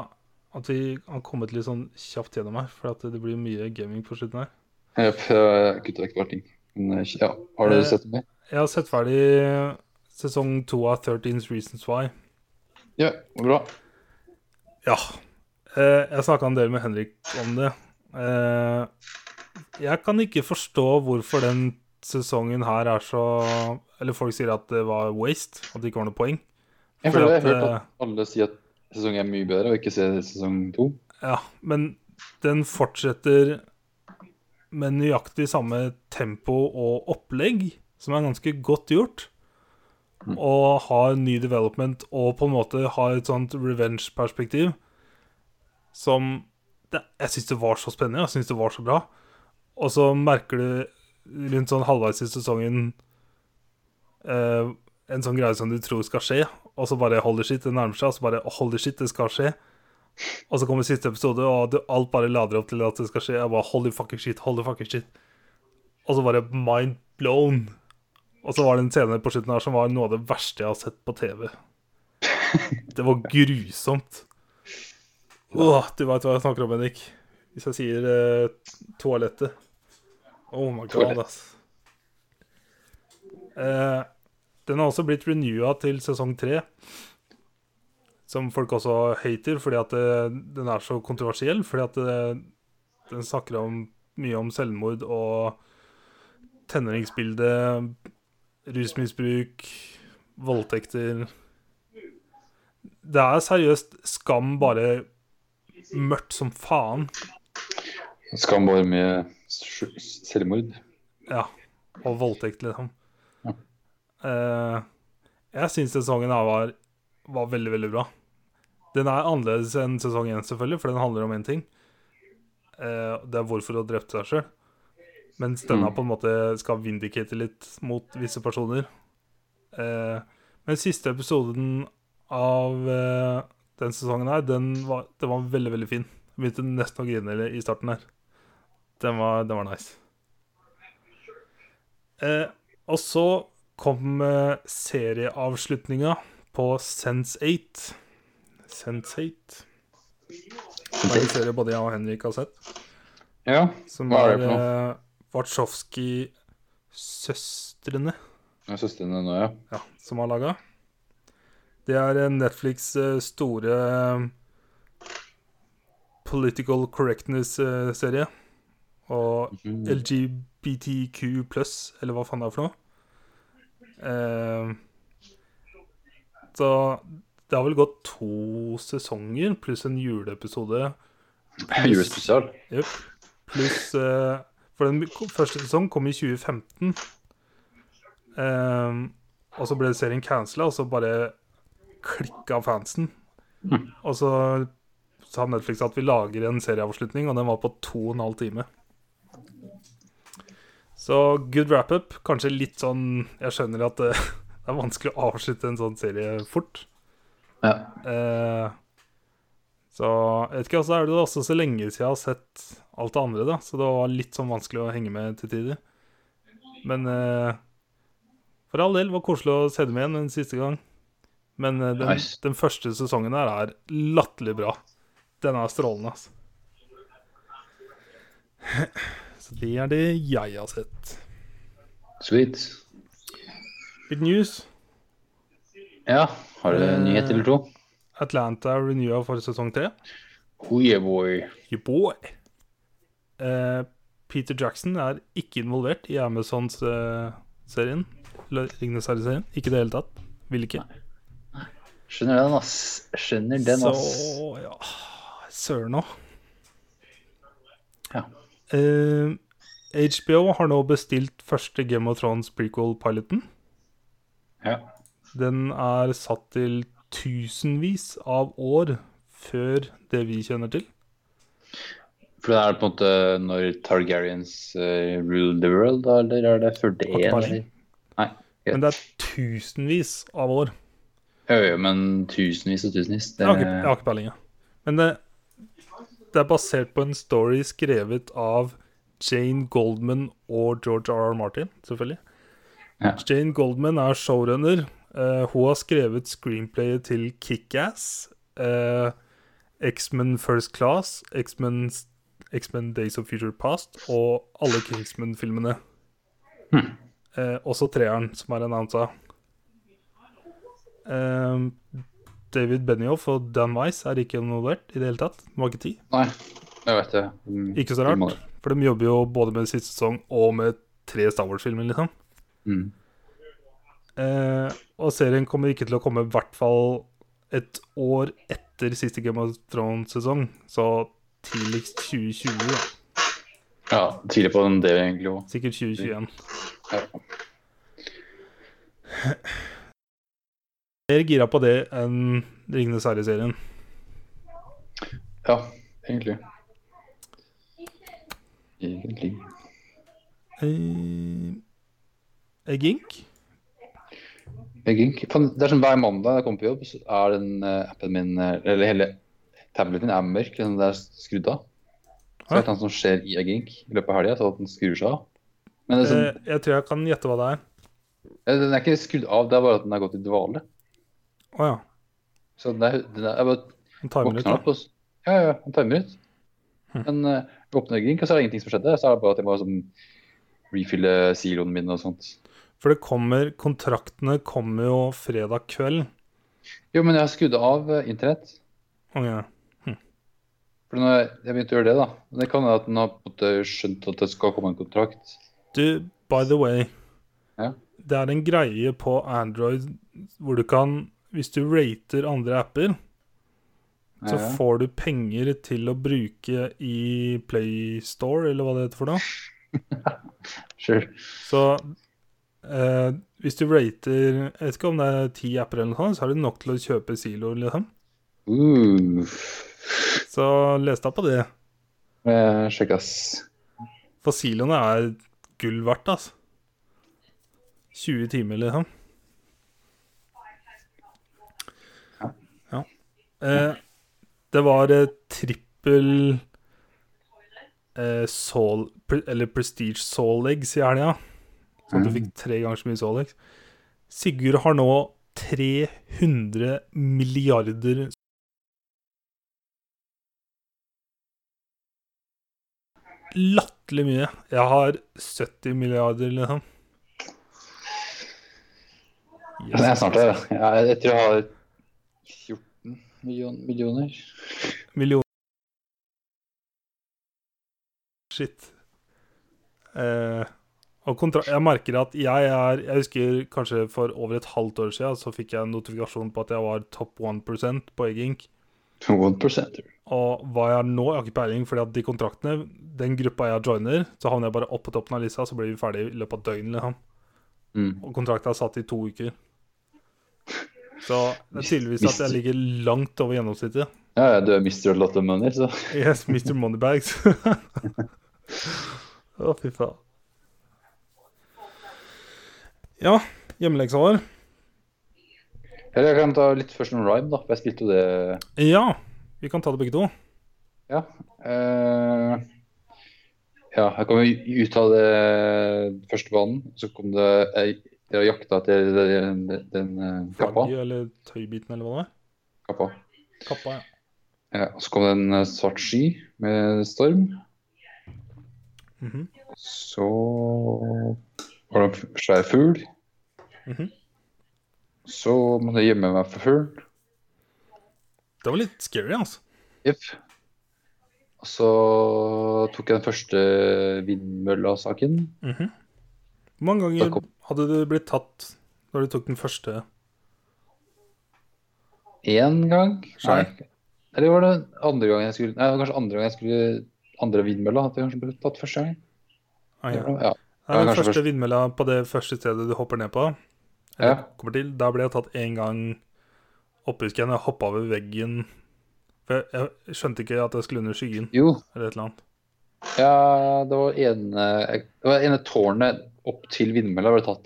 Speaker 1: at vi har kommet litt sånn kjapt gjennom her, for at det blir mye gaming på slutten her.
Speaker 2: Jepp, jeg kutta vekk et par ting. Men eh, ja, har
Speaker 1: Eh,
Speaker 2: dere sett mer?
Speaker 1: Jeg har sett ferdig sesong to av 13's Reasons Why.
Speaker 2: Ja, bra.
Speaker 1: Ja. Eh, Jeg snakka en del med Henrik om det. Eh, Jeg kan ikke forstå hvorfor den sesongen her er så Eller folk sier at det var waste, at det ikke var noe poeng.
Speaker 2: Jeg
Speaker 1: Fordi
Speaker 2: føler jeg
Speaker 1: at,
Speaker 2: har hørt
Speaker 1: eh,
Speaker 2: at alle sier at sesong er mye bedre, og ikke ser sesong to.
Speaker 1: Ja, men den fortsetter med nøyaktig samme tempo og opplegg, som er ganske godt gjort. Og har ny development og på en måte har et sånt revenge-perspektiv som det, Jeg syns det var så spennende, jeg syns det var så bra. Og så merker du rundt sånn halvveis i sesongen eh, en sånn greie som du tror skal skje, og så bare holder shit, det nærmer seg, og så bare holder shit, det skal skje. Og så kommer siste episode, og du, alt bare lader opp til at det skal skje. Jeg bare holy fucking shit, holy fucking shit. Og så bare mind blown. Og så var det en scene på slutten her som var noe av det verste jeg har sett på TV. Det var grusomt. Åh, du veit hva jeg snakker om, Henrik. Hvis jeg sier eh, toalettet. Oh my god,
Speaker 2: Toalett.
Speaker 1: ass. Eh, den har også blitt renewa til sesong tre som folk også hater, fordi at eh, den er så kontroversiell. Fordi at eh, den snakker om, mye om selvmord og tenåringsbilde, rusmisbruk, voldtekter Det er seriøst skam, bare mørkt som faen.
Speaker 2: Skam bare med sj- selvmord.
Speaker 1: Ja. Og voldtekt, liksom.
Speaker 2: Ja.
Speaker 1: Eh, jeg syns sesongen her var, var veldig, veldig bra. Den er annerledes enn sesong én, selvfølgelig, for den handler om én ting. Eh, det er hvorfor hun drepte seg sjøl. Mens denne på en måte skal vindicate litt mot visse personer. Eh, men siste episoden av eh, den sesongen her, den var, den var veldig, veldig fin. Jeg begynte nesten å grine i starten her. Den var, den var nice. Eh, og så kom eh, serieavslutninga på Sense8. Sense8 er en serie både jeg og Henrik har sett.
Speaker 2: Ja,
Speaker 1: Som eh,
Speaker 2: Hva er
Speaker 1: er
Speaker 2: det for noe?
Speaker 1: eh, Wartsowski-søstrene
Speaker 2: det er søstrene nå, ja.
Speaker 1: ja, som har laga. Det er eh, Netflix' eh, store eh, political correctness-serie. Og
Speaker 2: Mhm.
Speaker 1: LGBTQ pluss, eller hva faen det er for noe. Eh, så det har vel gått to sesonger pluss en juleepisode.
Speaker 2: Julespesial.
Speaker 1: Jepp. Pluss eh, For den ko- første sesongen kom i 2015. Ehm, og så ble serien cancela, og så bare klikka fansen. Og så sa Netflix at vi lager en serieavslutning, og den var på to og en halv time. Så good wrap-up. Kanskje litt sånn Jeg skjønner at det, det er vanskelig å avslutte en sånn serie fort.
Speaker 2: Ja.
Speaker 1: Eh, så jeg vet ikke, altså er det også så lenge siden jeg har sett alt det andre, da. Så det var litt sånn vanskelig å henge med til tider. Men eh, for all del, var koselig å se dem igjen en siste gang. Men eh, den,
Speaker 2: Nice.
Speaker 1: den første sesongen her er latterlig bra. Den er strålende, altså. Så det er det jeg har sett.
Speaker 2: Sweet.
Speaker 1: Litt news. Eh.
Speaker 2: Ja, har dere en nyhet eller to?
Speaker 1: Atlanta renewa for sesong tre.
Speaker 2: Oh yeah, boy.
Speaker 1: Your boy. Eh, Peter Jackson er ikke involvert i eh, Amazons-serien. Ringenes herre-serien. Ikke i det hele tatt. Vil ikke.
Speaker 2: Skjønner den, ass. Skjønner den, ass.
Speaker 1: Så ja Søren òg.
Speaker 2: Ja.
Speaker 1: Eh, HBO har nå bestilt første Game of Thrones prequel-piloten.
Speaker 2: ja.
Speaker 1: Den er satt til tusenvis av år før det vi kjenner til.
Speaker 2: For det er på en måte når Targaryens eh, rule the world, da, eller er det før det?
Speaker 1: Har ikke
Speaker 2: eller?
Speaker 1: peiling.
Speaker 2: Nei.
Speaker 1: Men det er tusenvis av år.
Speaker 2: Jo, jo, men tusenvis og tusenvis. Det,
Speaker 1: Jeg har ikke, jeg har ikke peiling. jeg. Men det, det er basert på en story skrevet av Jane Goldman og George R. R. Martin, selvfølgelig.
Speaker 2: Ja.
Speaker 1: Jane Goldman er showrunner. Eh, hun har skrevet screenplayet til Kick-Ass, eh, X-Men First Class, X-Men X-Men Days of Future Past og alle Kingsman-filmene. Eh, også treeren, som er annonsa. Eh, David Benioff og Dan Wise er ikke involvert i det hele tatt. De har ikke tid.
Speaker 2: Nei, jeg vet det. Mm,
Speaker 1: Ikke så
Speaker 2: de må
Speaker 1: rart, for de jobber jo både med siste sesong og med tre Star Wars-filmer, liksom.
Speaker 2: det. Mm.
Speaker 1: Eh, og serien kommer ikke til å komme i hvert fall et år etter siste Game of Thrones-sesong, så tidligst 2020, da.
Speaker 2: Ja, tidlig på den det egentlig òg.
Speaker 1: Sikkert 2021.
Speaker 2: Ja.
Speaker 1: Mer gira på det enn Ringenes herre-serien.
Speaker 2: ja, egentlig. Egentlig.
Speaker 1: Eh, Egg Inc.
Speaker 2: Egging. Faen, Det er sånn hver mandag jeg kommer på jobb, så er den eh, appen min eh, Eller hele tableten min er mørk. Den der er skrudd av. Så det
Speaker 1: Hæ?
Speaker 2: er noe som skjer i Egging i løpet av helga, så at den skrur seg av. Men det er sånn,
Speaker 1: Eh, jeg tror jeg kan gjette hva det er.
Speaker 2: eh, den er ikke skrudd av, det er bare at den er gått i dvale.
Speaker 1: Å ja.
Speaker 2: Så den er, den er jeg bare
Speaker 1: En timer ut,
Speaker 2: våkner opp
Speaker 1: da. Hm.
Speaker 2: og s- Ja, ja, en timer ut. Men eh, jeg åpner Egging, og så er det ingenting som skjedde. Så er det bare at jeg må sånn refille siloen min og sånt.
Speaker 1: For det kommer Kontraktene kommer jo fredag kveld.
Speaker 2: Jo, men jeg har skrudd av eh, internett.
Speaker 1: Å ja.
Speaker 2: For når jeg, jeg begynte å gjøre det, da. Men det kan være at den har på en måte skjønt at det skal komme en kontrakt.
Speaker 1: Du, by the way
Speaker 2: Ja.
Speaker 1: Det er en greie på Android hvor du kan Hvis du rater andre apper, så
Speaker 2: Ja.
Speaker 1: får du penger til å bruke i PlayStore, eller hva det heter for noe.
Speaker 2: Sure.
Speaker 1: Så eh, hvis du rater Jeg vet ikke om det er ti apper eller noe sånt, så er det nok til å kjøpe siloer, liksom.
Speaker 2: Uh.
Speaker 1: Så les deg på det.
Speaker 2: Eh, Sjekk, ass.
Speaker 1: For siloene er gull verdt, altså. 20 timer, liksom. Ja. Eh, det var eh, trippel eh, soul, pre, eller prestige soul eggs i helga. Så
Speaker 2: Mm.
Speaker 1: du fikk tre ganger så mye soul eggs. Sigurd har nå 300 milliarder Latterlig mye. Jeg har 70 milliarder, liksom.
Speaker 2: Ja, Jeg er snart der. ja. Jeg, jeg tror jeg har 14 million, millioner.
Speaker 1: Millioner Shit. Eh, og kontra jeg merker at jeg er Jeg husker kanskje for over et halvt år siden så fikk jeg en notifikasjon på at jeg var topp 1 på Eggink.
Speaker 2: 1%.
Speaker 1: Og hva jeg er nå, jeg har ikke peiling, fordi at de kontraktene, den gruppa jeg joiner, så havner jeg bare opp på toppen av lista, så blir vi ferdig i løpet av døgnet. Liksom.
Speaker 2: Mm.
Speaker 1: Og kontrakten er satt i to uker. Så det er tydeligvis at jeg ligger langt over gjennomsnittet.
Speaker 2: Ja, ja, du er mister a lot of money, så
Speaker 1: Yes, Mr. Moneybags. Å, fy faen. Ja, hjemmeleksa vår.
Speaker 2: Eller jeg kan ta litt først om Rhyme, da. For jeg spilte jo det
Speaker 1: Ja, vi kan ta det begge to.
Speaker 2: Ja. eh, ja, jeg kom jo ut av det første banen. Så kom det Jeg, jeg jakta etter den, den, eh, kappa.
Speaker 1: Flagget eller tøybiten eller hva det var.
Speaker 2: kappa.
Speaker 1: Kappa, ja.
Speaker 2: Ja, og så kom det en eh, svart sky med storm.
Speaker 1: Mhm.
Speaker 2: Så var det en svær fugl.
Speaker 1: Mhm.
Speaker 2: Så måtte jeg gjemme meg for fuglen.
Speaker 1: Det var litt scary, altså.
Speaker 2: Jepp. Og så tok jeg den første vindmølla-saken.
Speaker 1: Mhm. Hvor mange
Speaker 2: Da
Speaker 1: ganger
Speaker 2: kom-
Speaker 1: hadde du blitt tatt da du tok den første?
Speaker 2: Én gang.
Speaker 1: Skjønner.
Speaker 2: Nei. Eller var det andre gang jeg skulle Nei, det var kanskje andre gang jeg skulle Andre vindmølla. At jeg kanskje ble tatt første gang.
Speaker 1: Ah, ja.
Speaker 2: Ja.
Speaker 1: Nei, den
Speaker 2: kanskje
Speaker 1: første
Speaker 2: først.
Speaker 1: vindmølla på det første stedet du hopper ned på,
Speaker 2: Ja.
Speaker 1: eller kommer til, da ble jeg tatt én gang oppe, husker jeg, når jeg hoppa over veggen. For jeg, jeg skjønte ikke at jeg skulle under skyggen,
Speaker 2: Jo,
Speaker 1: eller et eller annet.
Speaker 2: ja, det var ene Det var ene tårnet opp til vindmølla ble tatt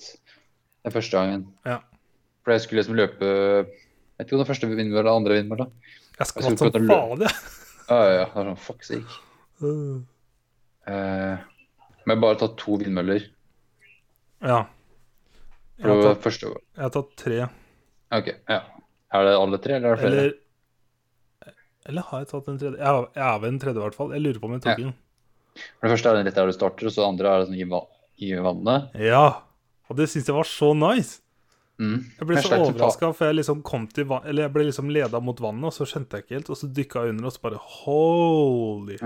Speaker 2: den første gangen.
Speaker 1: Ja.
Speaker 2: For jeg skulle liksom løpe Jeg vet ikke om den første vindmølla eller andre vindmølla.
Speaker 1: Jeg
Speaker 2: Jeg
Speaker 1: skvatt
Speaker 2: skulle
Speaker 1: som
Speaker 2: prøve å
Speaker 1: faen, jeg.
Speaker 2: Ja, ja, ja. Det var sånn fuck sake.
Speaker 1: Øh.
Speaker 2: Eh, men jeg har bare tatt to vindmøller.
Speaker 1: Ja. Jeg
Speaker 2: For
Speaker 1: har,
Speaker 2: det var
Speaker 1: tatt,
Speaker 2: første gang.
Speaker 1: jeg har tatt tre.
Speaker 2: OK. Ja. Er det alle tre, eller er det flere?
Speaker 1: Eller Eller har jeg tatt en tredje? Jeg har- Jeg er ved en tredje, i hvert fall. Jeg lurer på om jeg tok
Speaker 2: Ja.
Speaker 1: den.
Speaker 2: For det første er den rett der du starter, og så det andre er det sånn i, va i vannet.
Speaker 1: Ja. Og det syns jeg var så nice.
Speaker 2: Mm.
Speaker 1: Jeg ble
Speaker 2: Jeg
Speaker 1: så
Speaker 2: sleit totalt.
Speaker 1: overraska, for jeg liksom kom til vann, Eller jeg ble liksom leda mot vannet, og så skjønte jeg ikke helt. Og så dykka jeg under, og så bare holy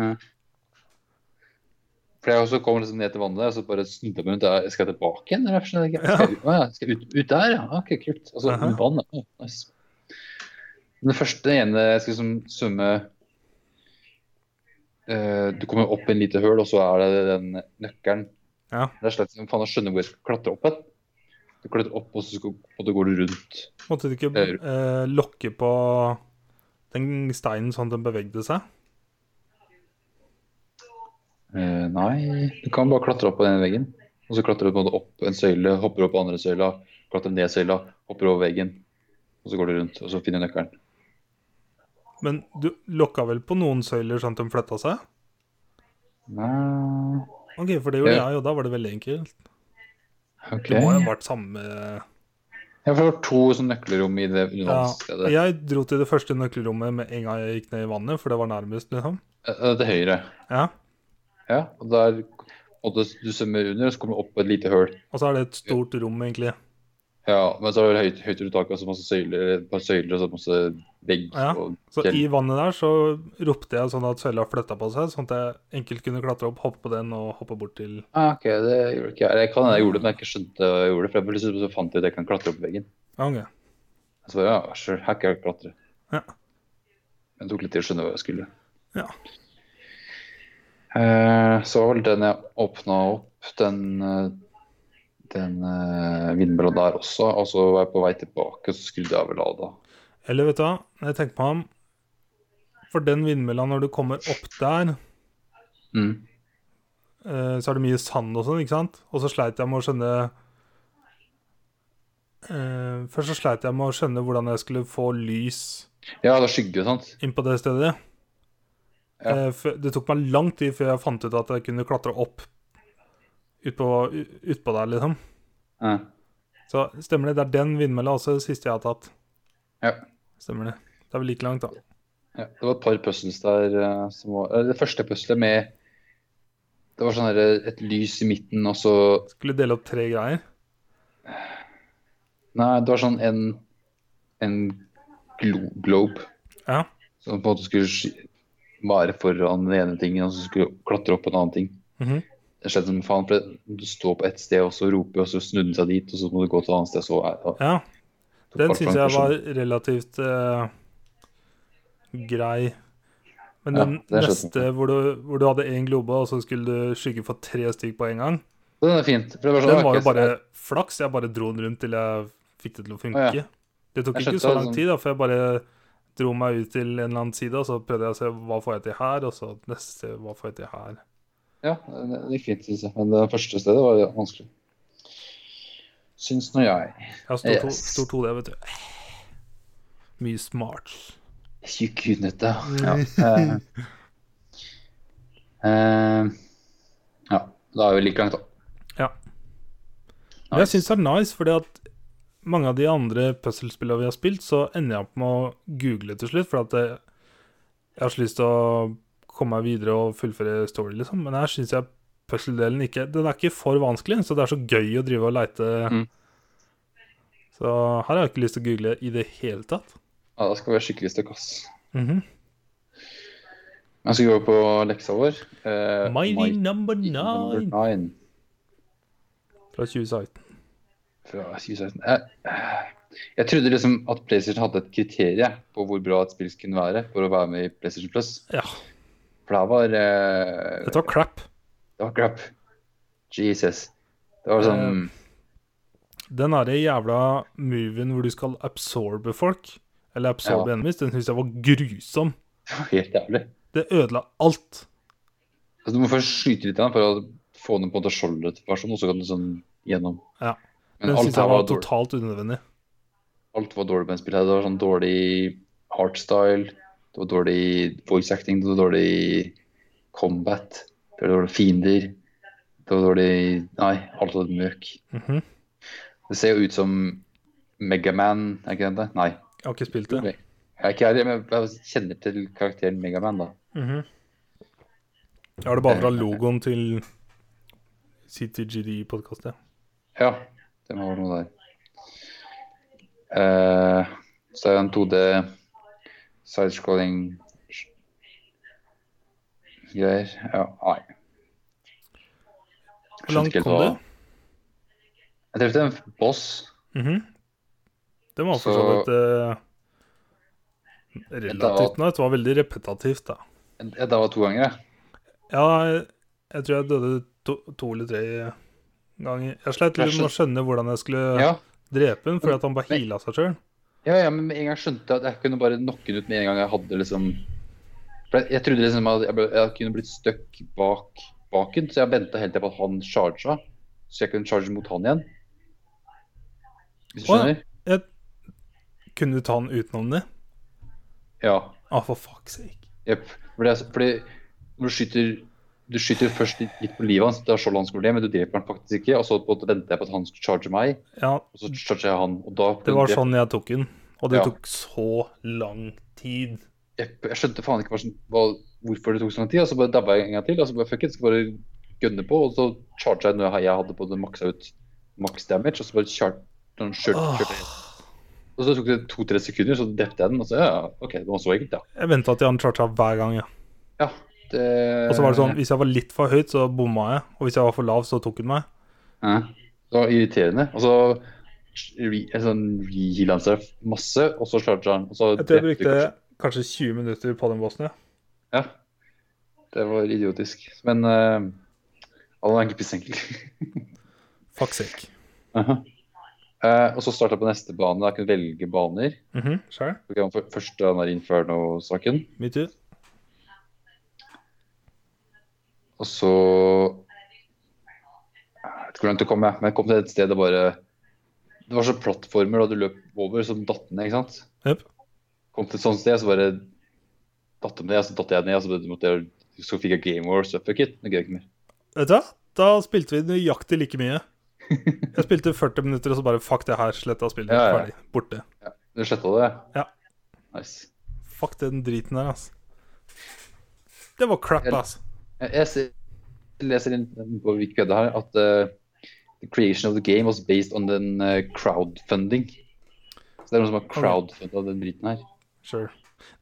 Speaker 2: For jeg også kom liksom ned til vannet, og så bare snudde jeg meg rundt. Jeg skal jeg tilbake igjen? Eller? Jeg skjønner ikke. Skal jeg ut, Å ja, skal jeg ut, ut der, ja? OK, kult. Og så
Speaker 1: Aha.
Speaker 2: under vannet. Ja, nice. Men det første ene jeg skal liksom svømme eh, Du kommer opp i en lite høl, og så er det den nøkkelen.
Speaker 1: Ja.
Speaker 2: Det er slett som faen å skjønne hvor jeg skal klatre opp hen. Du klatrer opp, og så skal, og da går du rundt.
Speaker 1: Måtte du ikke
Speaker 2: Det
Speaker 1: eh, lokke på den steinen sånn at den bevegde seg?
Speaker 2: Eh, nei, du kan bare klatre opp på den veggen. Og så klatrer du på en måte opp en søyle, hopper opp på andre søyla, klatrer ned søyla, hopper over veggen. Og så går du rundt, og så finner du nøkkelen.
Speaker 1: Men du lokka vel på noen søyler sånn at de flytta seg?
Speaker 2: Nei,
Speaker 1: OK, for det gjorde
Speaker 2: Ja.
Speaker 1: jeg, og da var det veldig enkelt.
Speaker 2: ok.
Speaker 1: Det må
Speaker 2: Ja,
Speaker 1: jo ha vært samme
Speaker 2: for det var to sånne nøkkelrom i det undervannsstedet. Ja.
Speaker 1: Jeg dro til det første nøkkelrommet med en gang jeg gikk ned i vannet, for det var nærmest, liksom.
Speaker 2: Til Eh, høyre.
Speaker 1: Ja.
Speaker 2: Ja, og der og det, du svømmer under, og så kommer du opp på et lite høl.
Speaker 1: Og så er det et stort rom, egentlig.
Speaker 2: Ja, men så er det høyt, høyt under taket, og så masse søyler, et par søyler, og så masse vegg.
Speaker 1: Ja,
Speaker 2: og
Speaker 1: Så
Speaker 2: fjell.
Speaker 1: i vannet der så ropte jeg sånn at søyla flytta på seg, sånn at jeg enkelt kunne klatre opp, hoppe på den og hoppe bort til
Speaker 2: Ah, ok, det gjorde ikke jeg. Eller Jeg kan hende jeg gjorde det, men jeg ikke skjønte hva jeg gjorde. For jeg plutselig så fant jeg ut at jeg kan klatre opp veggen.
Speaker 1: Ja, ok.
Speaker 2: Jeg svarer ja, sure, her kan jeg klatre.
Speaker 1: Ja.
Speaker 2: Men det tok litt tid å skjønne hva jeg skulle.
Speaker 1: Ja.
Speaker 2: Eh, så var vel den jeg åpna opp, den, eh, den eh, vindmølla der også. Og så var jeg på vei tilbake, og så skrudde jeg vel av da.
Speaker 1: Eller vet du hva, når jeg tenker meg om For den vindmølla, når du kommer opp der,
Speaker 2: Mm.
Speaker 1: eh, så er det mye sand og sånn, ikke sant? Og så sleit jeg med å skjønne eh, Først så sleit jeg med å skjønne hvordan jeg skulle få lys
Speaker 2: Ja, det er skygge, sant?
Speaker 1: inn på det stedet.
Speaker 2: Ja.
Speaker 1: Eh, for- Det tok meg lang tid før jeg fant ut at jeg kunne klatre opp utpå ut utpå der, liksom.
Speaker 2: Ja.
Speaker 1: Så stemmer det. Det er den vindmølla også, det siste jeg har tatt.
Speaker 2: ja.
Speaker 1: Stemmer det. Det er vel like langt, da.
Speaker 2: Ja, det var et par puzzles der eh, som var eller Det første puzzlet med Det var sånn her, et lys i midten, og så
Speaker 1: Skulle dele opp tre greier.
Speaker 2: Nei, det var sånn en, en glo globe
Speaker 1: Ja.
Speaker 2: som på en måte skulle sky- være foran den ene tingen, og så skulle klatre opp en annen ting.
Speaker 1: Mhm.
Speaker 2: Det skjedde som faen, for det- du står på ett sted og så roper, og så snudde den seg dit, og så må du gå til et annet sted, så er det
Speaker 1: Ja, den
Speaker 2: tok
Speaker 1: syns
Speaker 2: lang
Speaker 1: jeg var
Speaker 2: person.
Speaker 1: relativt eh, grei. Men
Speaker 2: Ja,
Speaker 1: den
Speaker 2: det er skjønt.
Speaker 1: neste, hvor du, hvor du hadde én globe, og så skulle du skygge for tre stykk på en gang,
Speaker 2: Den er fint. For det var sånn,
Speaker 1: Den var jo
Speaker 2: ok, så-
Speaker 1: bare flaks. Jeg bare dro den rundt til jeg fikk det til å funke.
Speaker 2: Å, ja.
Speaker 1: Det tok
Speaker 2: Jeg
Speaker 1: ikke
Speaker 2: skjønte
Speaker 1: så
Speaker 2: det,
Speaker 1: lang
Speaker 2: sånn.
Speaker 1: tid, da, for jeg bare dro meg ut til en eller annen side, og så prøvde jeg å se hva får jeg til her, og så neste sted, hva får jeg til her.
Speaker 2: Ja, det det gikk fint, synes jeg. Men det første stedet var vanskelig. Syns nå jeg.
Speaker 1: Jeg har stor, to,
Speaker 2: Yes.
Speaker 1: stort hode, jeg, vet du. Mye smart.
Speaker 2: Tjukk hudnøtte. Ja. Eh, eh, ja. Da er vi like langt, da.
Speaker 1: Ja. Men jeg
Speaker 2: Nice.
Speaker 1: syns det er nice, fordi at mange av de andre puzzlespillene vi har spilt, så ender jeg opp med å google til slutt, for at jeg, jeg har så lyst til å komme meg videre og fullføre story, liksom. Men her syns jeg puzzle-delen ikke Den er ikke for vanskelig, så det er så gøy å drive og leite.
Speaker 2: Mm.
Speaker 1: Så her har jeg ikke lyst til å google i det hele tatt.
Speaker 2: Ja, da skal vi ha skikkelig støkk, ass.
Speaker 1: Mhm.
Speaker 2: Jeg skal gå på leksa vår. Eh,
Speaker 1: Mighty Number
Speaker 2: number
Speaker 1: Nine
Speaker 2: nine
Speaker 1: fra 2016.
Speaker 2: fra 2016. Jeg, jeg trodde liksom at PlayStation hadde et kriterium på hvor bra et spill kunne være for å være med i PlayStation Plus.
Speaker 1: Ja.
Speaker 2: For det her var eh,
Speaker 1: Dette var crap.
Speaker 2: Det var crap. Jesus. Det var sånn
Speaker 1: Den derre jævla moven hvor du skal absorbe folk, eller absorbe
Speaker 2: Ja.
Speaker 1: enemies, den syns jeg var grusom.
Speaker 2: Det var helt jævlig.
Speaker 1: Det ødela alt.
Speaker 2: Altså, du må først skyte litt av den for å få den på en måte skjoldet-versjon, og så kan du sånn gjennom.
Speaker 1: Ja.
Speaker 2: Men
Speaker 1: Den syns
Speaker 2: alt her
Speaker 1: jeg
Speaker 2: var
Speaker 1: var
Speaker 2: dårlig.
Speaker 1: totalt unødvendig.
Speaker 2: Alt var dårlig med spillet. her. Det var sånn dårlig heartstyle, det var dårlig voice acting, det var dårlig combat, det var dårlig fiender. Det var dårlig Nei, alt var møk.
Speaker 1: Mhm.
Speaker 2: Det ser jo ut som Megaman, er ikke det det? Nei.
Speaker 1: Jeg har ikke spilt det.
Speaker 2: Jeg er ikke ærlig, men jeg kjenner til karakteren Megaman, da.
Speaker 1: Mhm. Jeg har det bare fra logoen til CTGD-podkastet.
Speaker 2: Ja, det må være noe der. Eh, så er det en 2D sidescrolling greier. Ja, nei.
Speaker 1: Hvor langt
Speaker 2: Skjønte ikke helt
Speaker 1: kom
Speaker 2: hva-
Speaker 1: du?
Speaker 2: Jeg trefte en boss.
Speaker 1: Mhm. Det var for så
Speaker 2: Så-
Speaker 1: vidt eh, relativt nice. Det var veldig repetitivt, da.
Speaker 2: Jeg jeg daua to ganger, jeg.
Speaker 1: Ja, jeg- jeg tror jeg døde to, to eller tre ganger. Jeg sleit litt med å skjønne hvordan jeg skulle
Speaker 2: Ja.
Speaker 1: drepe den, fordi at han bare heala seg sjøl.
Speaker 2: Ja, ja, men med en gang skjønte jeg at jeg kunne bare knocke den ut med en gang jeg hadde liksom For jeg, jeg trodde liksom at jeg, ble, jeg kunne blitt stuck bak baken, så jeg venta helt til på at han charga, så jeg kunne charge mot han igjen. Hvis du
Speaker 1: Å, ja.
Speaker 2: skjønner?
Speaker 1: Kunne du ta den utenom det?
Speaker 2: Ja.
Speaker 1: Ah, for fuck's sake.
Speaker 2: Jepp. Fordi, jeg- fordi når du skyter du skyter først litt, litt på livet hans, det er så langt kommer det, men du dreper han faktisk ikke. Og så på en måte venter jeg på at han skulle charge meg,
Speaker 1: Ja,
Speaker 2: og så charger jeg han. Og da
Speaker 1: det var sånn jeg tok den. Og det
Speaker 2: Ja.
Speaker 1: tok så lang tid.
Speaker 2: jeg, jeg skjønte faen ikke hva, som- hva, hvorfor det tok så lang tid, og så bare dabba jeg en gang til. Og så bare fuck it, skal bare gønne på, og så charga jeg når jeg hadde på det maksa ut maks damage, og så bare char- sånn kjør-
Speaker 1: Åh.
Speaker 2: kjørte jeg. Og så tok det to-tre sekunder, så drepte jeg den, og så ja, OK, det var så enkelt, ja.
Speaker 1: Jeg venta til han charga hver gang. Ja.
Speaker 2: ja det,
Speaker 1: Og så var det sånn, hvis jeg var litt for høyt, så bomma jeg. Og hvis jeg var for lav, så tok hun meg.
Speaker 2: Ja. Det var irriterende. Og så re- en sånn rehealer han seg masse, og så charger han. Og så
Speaker 1: Jeg tror jeg
Speaker 2: drepte vi
Speaker 1: brukte kanskje 20 minutter på den bossen, ja.
Speaker 2: kanskje- Ja. Det var idiotisk. Men uh, han er ikke pissenkel.
Speaker 1: Fuck's sake.
Speaker 2: Aha. Eh, og så starta jeg på neste bane. da Jeg kunne velge baner.
Speaker 1: Mm -hmm. Sjæl?
Speaker 2: Tok jeg den før- Første den der Inferno-saken.
Speaker 1: Me too.
Speaker 2: Og så Jeg vet ikke hvor langt jeg kom, jeg. Men jeg kom til et sted det bare Det var så plattformer da du løp over, som datt ned, ikke sant?
Speaker 1: Jep.
Speaker 2: Kom til et sånt sted, så bare datt de ned, og så datt jeg ned, og så måtte jeg så fikk jeg Game Wars og fuck it. Det gøy ikke mer.
Speaker 1: Vet du hva? Da spilte vi nøyaktig like mye. Jeg spilte 40 minutter, og så bare fuck det her. Sletta spillet.
Speaker 2: Ja, ja.
Speaker 1: Ferdig. Borte.
Speaker 2: Du sletta det?
Speaker 1: Ja.
Speaker 2: Nice.
Speaker 1: Fuck den driten der, ass. Det var crap,
Speaker 2: Jeg-
Speaker 1: ass.
Speaker 2: Jeg, jeg ser- jeg leser inn på Wikipedia her at eh, the creation of the game was based on den eh, crowdfunding. Så det er noen som har crowdfunda den driten her.
Speaker 1: Sure.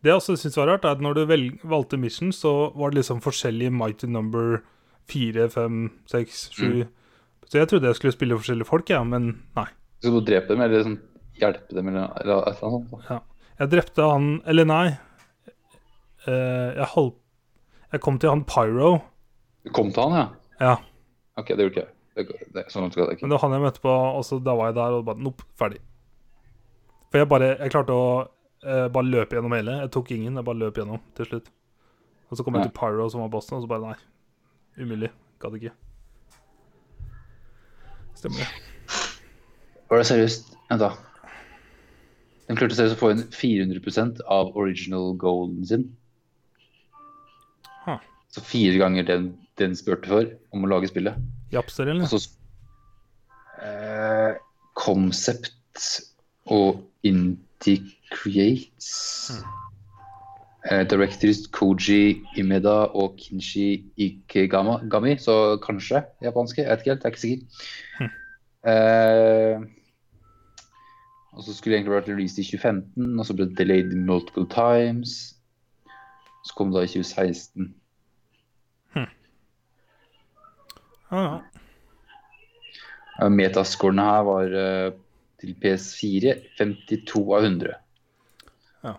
Speaker 1: Det jeg også syns var rart, er at når du vel, valgte mission, så var det liksom forskjellige mighty number 4, 5, 6, 7
Speaker 2: Mm.
Speaker 1: Så jeg trodde jeg skulle spille forskjellige folk, ja, men nei.
Speaker 2: Skal du drepe dem, eller sånn, hjelpe dem, eller, eller et eller annet? sånt, da?
Speaker 1: Ja. Jeg drepte han Eller nei. Eh, jeg holdt Jeg kom til han Pyro.
Speaker 2: Du kom til han, ja?
Speaker 1: Ja.
Speaker 2: OK, det gjorde ikke jeg. Det, går- det, sånn skal det
Speaker 1: Men
Speaker 2: ikke.
Speaker 1: det var han jeg møtte på, og så da var jeg der og bare Nopp, ferdig. For jeg bare Jeg klarte å eh, bare løpe gjennom hele. Jeg tok ingen, jeg bare løp gjennom til slutt. Og så kom
Speaker 2: Ja.
Speaker 1: jeg til Pyro, som var bossen, og så bare Nei. Umulig. Gadd ikke. Stemmer det.
Speaker 2: Var det seriøst? Vent, da. Den klarte seriøst å få inn 400 av original goalen sin.
Speaker 1: Huh.
Speaker 2: Så fire ganger den, den spurte for om å lage spillet.
Speaker 1: Japser, eller?
Speaker 2: Og så Altså, eh, Concept og Integrates eh, Directors Koji Imeda og Kinshi Ikegami, Gami, så kanskje japanske. Jeg vet ikke helt, jeg er ikke sikker. Eh, og så skulle det egentlig vært released i 2015, og så ble det delayed multiple times. Så kom det i 2016.
Speaker 1: Ja, ja.
Speaker 2: Eh, Metascorene her var eh, til PS4 52 av 100.
Speaker 1: Ja.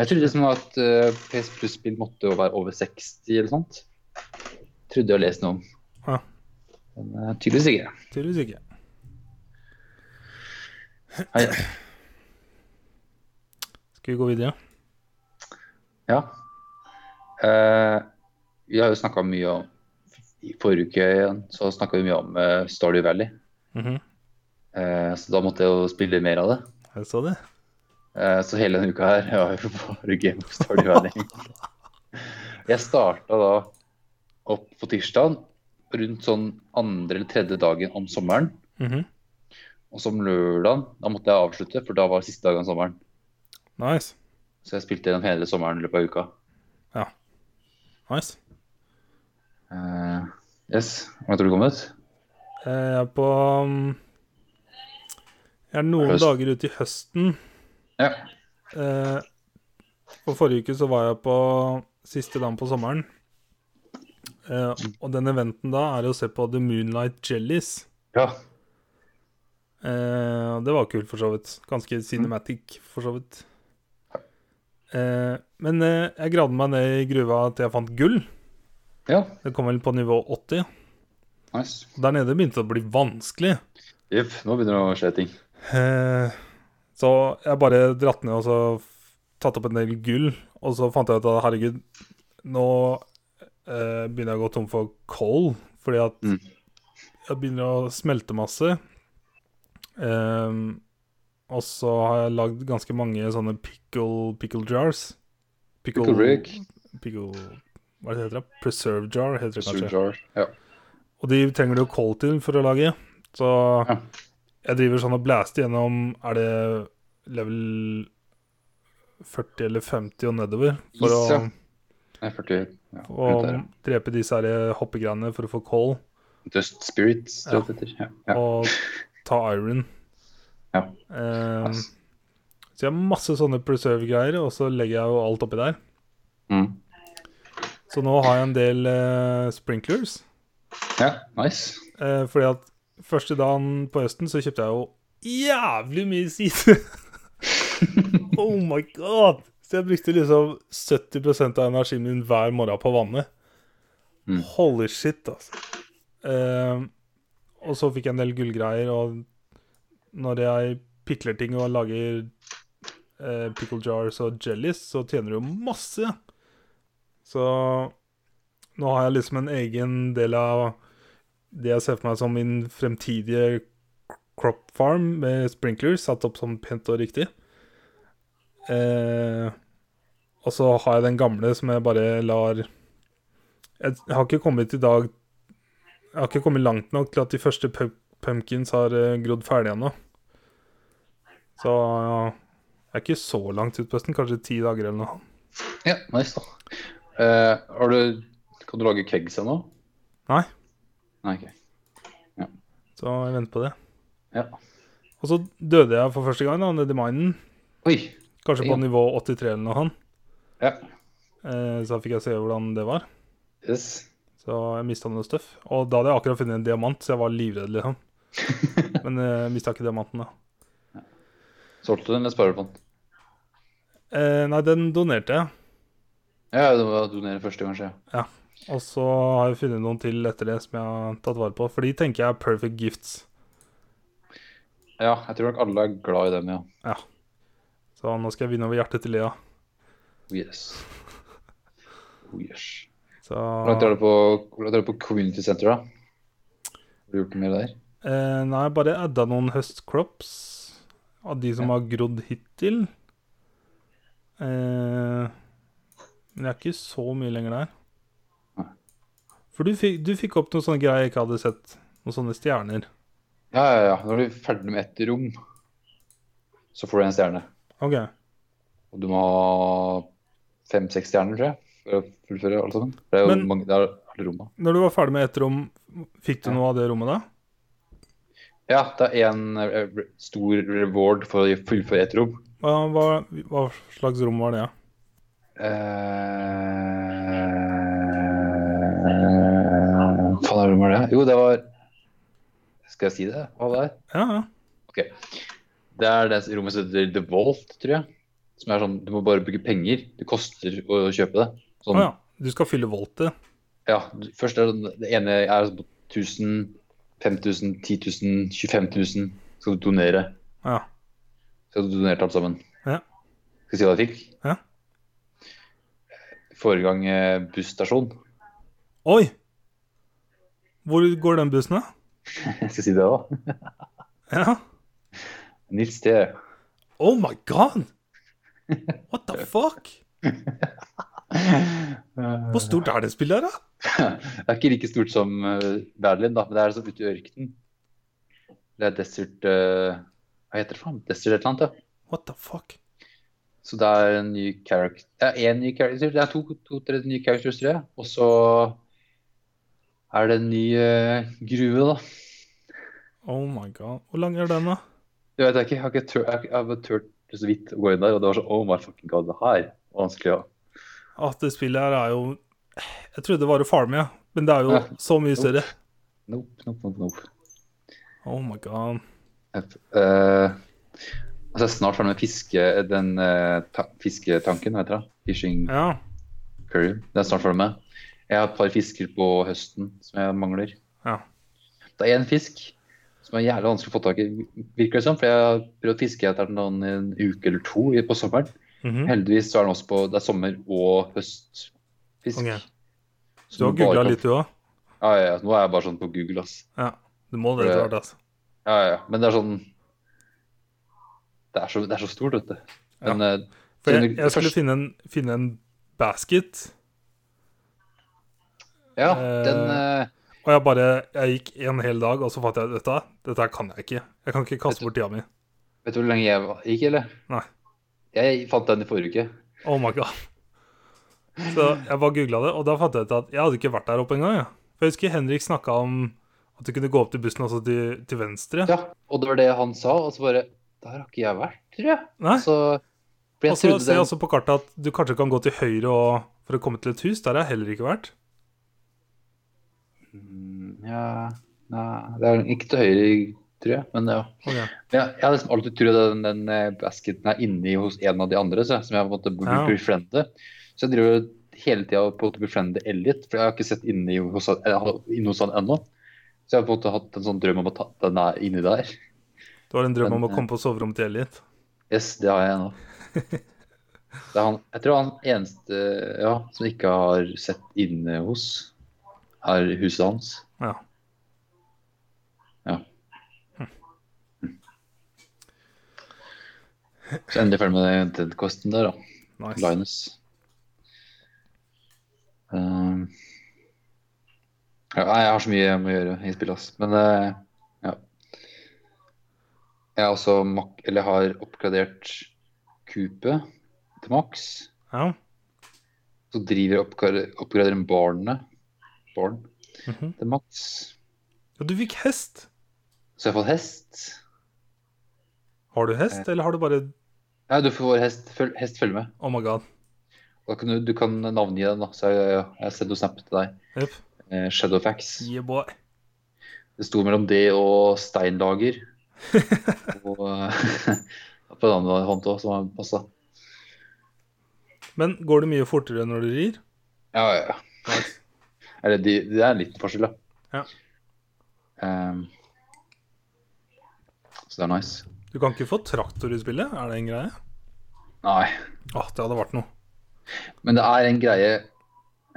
Speaker 2: Jeg trodde liksom at eh, PS Plus-spill måtte jo være over 60 eller sånt. Trodde jeg å lese noe om.
Speaker 1: Ja.
Speaker 2: Men eh, tydeligvis ikke.
Speaker 1: Tydeligvis ikke.
Speaker 2: Hei.
Speaker 1: Skal vi gå videre?
Speaker 2: Ja. Eh, vi har jo snakka mye om I forrige uke igjen så snakka vi mye om eh, Stardew Valley.
Speaker 1: Mhm.
Speaker 2: Eh, så da måtte jeg jo spille mer av det.
Speaker 1: Jeg så det.
Speaker 2: Eh, så hele denne uka her har jeg bare game of Stardew Valley. jeg starta da opp på tirsdag rundt sånn andre eller tredje dagen om sommeren.
Speaker 1: Mhm.
Speaker 2: Og som lørdag, da måtte jeg avslutte, for da var siste dagen om sommeren.
Speaker 1: Nice.
Speaker 2: Så jeg spilte gjennom hele sommeren i løpet av uka.
Speaker 1: Nice.
Speaker 2: Eh, yes, hva tror du kom ut?
Speaker 1: Eh, Jeg er på um, Jeg er noen
Speaker 2: Høst.
Speaker 1: dager ute i høsten.
Speaker 2: Ja.
Speaker 1: Eh, og forrige uke så var jeg på siste dagen på sommeren. Eh, og den eventen da er å se på The Moonlight Jellies.
Speaker 2: ja.
Speaker 1: Eh, og det var kult, for så vidt. Ganske cinematic, for så vidt. Eh, men eh, jeg gravde meg ned i gruva til jeg fant gull.
Speaker 2: Ja,
Speaker 1: Det kom vel på nivå 80.
Speaker 2: nice.
Speaker 1: Og Der nede begynte det å bli vanskelig.
Speaker 2: Jepp, nå begynner det å skje ting.
Speaker 1: Eh, så jeg bare dratt ned og så f- tatt opp en del gull. Og så fant jeg ut at herregud, nå eh, begynner jeg å gå tom for coal. Fordi at
Speaker 2: Mm.
Speaker 1: jeg begynner å smelte masse. Ehm, og så har jeg lagd ganske mange sånne pickle, pickle jars. Pickle,
Speaker 2: Pickle Rick,
Speaker 1: pickle Hva er det det heter? da? Preserve jar, heter det kanskje.
Speaker 2: Surjar. Ja.
Speaker 1: Og de trenger du jo coal til for å lage. Så
Speaker 2: Ja.
Speaker 1: jeg driver sånn og blaster gjennom Er det level 40 eller 50 og nedover? For
Speaker 2: Is, ja.
Speaker 1: å,
Speaker 2: Nei, 40. Ja.
Speaker 1: for
Speaker 2: rundt der,
Speaker 1: å drepe disse her hoppegreiene for å få coal
Speaker 2: ja. Dust Spirits,
Speaker 1: Ja.
Speaker 2: tror jeg det heter. Ja. Ja.
Speaker 1: og ta iron.
Speaker 2: Ja.
Speaker 1: Eh,
Speaker 2: Nice.
Speaker 1: så jeg har masse sånne preserve-greier, og så legger jeg jo alt oppi der.
Speaker 2: Mm.
Speaker 1: Så nå har jeg en del eh, sprinklers.
Speaker 2: ja, nice.
Speaker 1: Eh, fordi at første dagen på høsten så kjøpte jeg jo jævlig mye side. oh my god! Så jeg brukte liksom 70 av energien min hver morgen på vannet.
Speaker 2: Mm.
Speaker 1: Holy shit, altså. Eh, og så fikk jeg en del gullgreier, og når jeg pikler ting og lager eh, pickle jars og jellies, så tjener du jo masse. Så nå har jeg liksom en egen del av det jeg ser for meg som min fremtidige crop farm med sprinklers, satt opp sånn pent og riktig. Eh, og så har jeg den gamle som jeg bare lar Jeg har ikke kommet i dag Jeg har ikke kommet langt nok til at de første pu- pumpkins har eh, grodd ferdig ennå. Så ja, jeg er ikke så langt ut på høsten, kanskje ti dager eller noe.
Speaker 2: Ja, nice da. Eh, har du, kan du lage kegs ennå?
Speaker 1: Nei,
Speaker 2: Nei, ok.
Speaker 1: så jeg venter på det.
Speaker 2: Ja.
Speaker 1: Og så døde jeg for første gang da, nedi minen.
Speaker 2: Oi.
Speaker 1: Kanskje på
Speaker 2: Ja.
Speaker 1: nivå 83 eller noe sånt.
Speaker 2: Ja.
Speaker 1: Eh, Så da fikk jeg se hvordan det var.
Speaker 2: Yes.
Speaker 1: Så jeg mista noe støff. Og da hadde jeg akkurat funnet en diamant, så jeg var livredd, liksom. Men eh, jeg mista ikke diamanten, da.
Speaker 2: Solgte du den med sparepant?
Speaker 1: Eh, nei, den donerte jeg.
Speaker 2: Ja, det var å donere første, kanskje.
Speaker 1: Og så har jeg funnet noen til etter det som jeg har tatt vare på. For de tenker jeg er perfect gifts.
Speaker 2: Ja, jeg tror nok alle er glad i dem, ja.
Speaker 1: Ja. Så nå skal jeg vinne over hjertet til Lea.
Speaker 2: Oh, yes. Oh, yes.
Speaker 1: Så
Speaker 2: Hvor langt er det på, hvor langt er det på community center, da? Har du gjort noe mer der?
Speaker 1: eh, Nei, bare adda noen høstcrops av de som
Speaker 2: Ja.
Speaker 1: har grodd hittil. Eh, men jeg er ikke så mye lenger der.
Speaker 2: Nei.
Speaker 1: For du fikk, du fikk opp noen sånne greier jeg ikke hadde sett. Noen sånne stjerner.
Speaker 2: Ja, ja, ja. Når du er ferdig med ett rom, så får du en stjerne.
Speaker 1: OK.
Speaker 2: Og du må ha fem-seks stjerner, tror jeg, for å fullføre alt sammen. Det er jo
Speaker 1: Men-
Speaker 2: mange, det er alle rommene.
Speaker 1: Når du var ferdig med ett rom, fikk du
Speaker 2: Ja.
Speaker 1: noe av det rommet da?
Speaker 2: Ja, det er en eh, re- stor reward for å fullføre ett rom.
Speaker 1: Hva, hva, hva slags rom var det?
Speaker 2: Eh, Uh, faen, hva var det? Jo, det var Skal jeg si det? Hva det er?
Speaker 1: Ja, ja.
Speaker 2: Det er det rommet som heter The Vault, tror jeg. Som er sånn, Du må bare bruke penger. Det koster å kjøpe det.
Speaker 1: Å
Speaker 2: Sånn,
Speaker 1: ja. Du skal fylle voltet.
Speaker 2: ja. du- Først er det, det ene er sånn 1000, 5000, 10 000, 25 000 skal du donere.
Speaker 1: Ja.
Speaker 2: Skal du donere til alt sammen.
Speaker 1: Ja.
Speaker 2: Skal jeg si hva jeg fikk?
Speaker 1: Ja.
Speaker 2: Forrige gang eh, busstasjon.
Speaker 1: Oi! Hvor går den bussen, da?
Speaker 2: Jeg skal si det òg.
Speaker 1: Ja.
Speaker 2: Nils T.
Speaker 1: Oh my god! What the fuck? Hvor stort er det spillet her, da?
Speaker 2: Det er ikke like stort som eh, Berlin, da, men det er liksom ute i ørkenen. Det er desert eh, Hva heter det for noe? Desert et eller annet, ja.
Speaker 1: What the fuck?
Speaker 2: Så det er en ny character Det er én ny character, det er to-tre to, tre nye characters, tror jeg. Og så er det en ny eh, gruve, da.
Speaker 1: Oh my god. Hvor lang er den, da?
Speaker 2: Det vet jeg ikke. Jeg har ikke tør, jeg har ikke- jeg har bare turt så vidt å gå inn der, og det var så Oh my fucking god, det her var vanskelig å
Speaker 1: At det spillet her er jo Jeg trodde det var å farme, ja. Men det er jo
Speaker 2: Ja.
Speaker 1: så mye større.
Speaker 2: Nope, nope, nope. nope.
Speaker 1: Oh my god.
Speaker 2: Yep. Eh, altså jeg er snart ferdig med fiske, den eh, ta fisketanken, hva heter det? Fishing
Speaker 1: Ja.
Speaker 2: curry. Det er jeg snart ferdig med. Jeg har et par fisker på høsten som jeg mangler.
Speaker 1: Ja.
Speaker 2: Det er én fisk som er jævlig vanskelig å få tak i, virker det som. For jeg har prøvd å fiske etter den i en uke eller to i- på sommeren.
Speaker 1: Mhm.
Speaker 2: Heldigvis så er den også på Det er sommer- og høstfisk.
Speaker 1: Ok.
Speaker 2: Så
Speaker 1: Du har
Speaker 2: du bare
Speaker 1: googla
Speaker 2: kan-
Speaker 1: litt, du òg?
Speaker 2: Ja, ja, ja. Nå er jeg bare sånn på Google, ass.
Speaker 1: Ja. Du må det etter hvert, altså.
Speaker 2: Ja, ja, ja. Men det er sånn Det er så, det er så stort, vet du. Men eh,
Speaker 1: For jeg,
Speaker 2: siden du-
Speaker 1: jeg skulle
Speaker 2: først-
Speaker 1: finne en, finne en basket,
Speaker 2: Ja,
Speaker 1: eh,
Speaker 2: den eh,
Speaker 1: og jeg bare Jeg gikk en hel dag, og så fant jeg dette. Dette her kan jeg ikke. Jeg kan ikke kaste bort tida mi.
Speaker 2: Vet du hvor lenge jeg var- gikk, eller?
Speaker 1: Nei.
Speaker 2: Jeg fant den i forrige uke.
Speaker 1: Oh my god. Så jeg bare googla det, og da fant jeg ut at jeg hadde ikke vært der oppe engang. jeg. For jeg husker Henrik snakka om at du kunne gå opp til bussen også til, til venstre.
Speaker 2: Ja, og det var det han sa, og så bare Der har ikke jeg vært, tror jeg.
Speaker 1: Nei?
Speaker 2: Så for jeg
Speaker 1: Og så
Speaker 2: trodde
Speaker 1: ser jeg
Speaker 2: den
Speaker 1: også på kartet at du kanskje kan gå til høyre og, for å komme til et hus. Der har jeg heller ikke vært.
Speaker 2: Mm, Ja, nei, det er ikke til høyre, tror jeg. Men ja.
Speaker 1: Ok.
Speaker 2: Men jeg, jeg har liksom alltid trodd at den, den eh, basketen er inni hos en av de andre, så, som jeg måtte
Speaker 1: Ja.
Speaker 2: befriende. Så jeg driver hele tida på å befriende Elliot, for jeg har ikke sett inni hos han, eh, inne hos han ennå. Så jeg har på en måte hatt en sånn drøm om å ta den er inni der.
Speaker 1: Du har en drøm om å
Speaker 2: Men, eh,
Speaker 1: komme på soverommet til Elliot.
Speaker 2: Yes, det har jeg ennå. Det er han, jeg tror han eneste ja, som ikke har sett inne hos, er huset hans.
Speaker 1: Ja.
Speaker 2: Ja. Så endelig ferdig med den Ted-kosten der, da.
Speaker 1: Nice.
Speaker 2: Linus. Ehm, ja, nei, jeg har så mye jeg må gjøre i spillet, ass. Men eh, ja. Jeg har også mak eller jeg har oppgradert kupet til maks.
Speaker 1: Ja.
Speaker 2: Så driver jeg oppgra- oppgraderer barnet barn
Speaker 1: Mhm.
Speaker 2: til maks.
Speaker 1: Og du fikk hest.
Speaker 2: Så jeg har fått hest.
Speaker 1: Har du
Speaker 2: Eh.
Speaker 1: hest, eller har du bare
Speaker 2: Nei, du får hest. Følg, hest følger med.
Speaker 1: Oh my god.
Speaker 2: Da kan du, du kan navngi den, da. Så jeg, jeg, jeg sender snap til deg.
Speaker 1: Jepp.
Speaker 2: Eh, Shadowfax.
Speaker 1: Yeah, boy.
Speaker 2: Det sto mellom det og steinlager. og eh, på en annen hånd òg, som passa.
Speaker 1: Men går det mye fortere når du rir?
Speaker 2: Ja, ja, ja.
Speaker 1: Nice.
Speaker 2: Eller de, det er en liten forskjell, da.
Speaker 1: Ja.
Speaker 2: Ehm, så det er nice.
Speaker 1: Du kan ikke få traktor i spillet? Er det en greie?
Speaker 2: Nei,
Speaker 1: Åh, det hadde vært noe.
Speaker 2: men det er en greie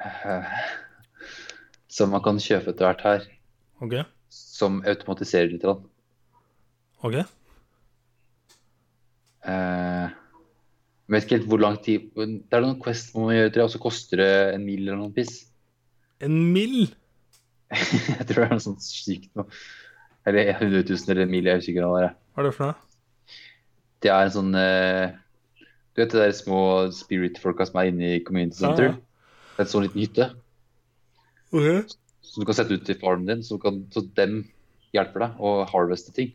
Speaker 2: eh, som man kan kjøpe etter hvert her,
Speaker 1: Ok.
Speaker 2: som automatiserer litt. grann.
Speaker 1: Ok.
Speaker 2: Eh, jeg vet ikke helt hvor lang tid Det er noen Quest man må gjøre, tror jeg, og så koster det en mil eller noen piss.
Speaker 1: En mill?
Speaker 2: Jeg tror det er noe sånt sykt noe. Eller 100 000 eller en mil, jeg er usikker på hva det er.
Speaker 1: Hva er det for noe?
Speaker 2: Det er en sånn eh, Du vet det der små spirit-folka som er inne i community
Speaker 1: Ja,
Speaker 2: center?
Speaker 1: ja.
Speaker 2: Det er en sånn liten hytte
Speaker 1: Ok.
Speaker 2: som du kan sette ut til farmen din, så, du kan, så dem hjelper deg å harveste ting.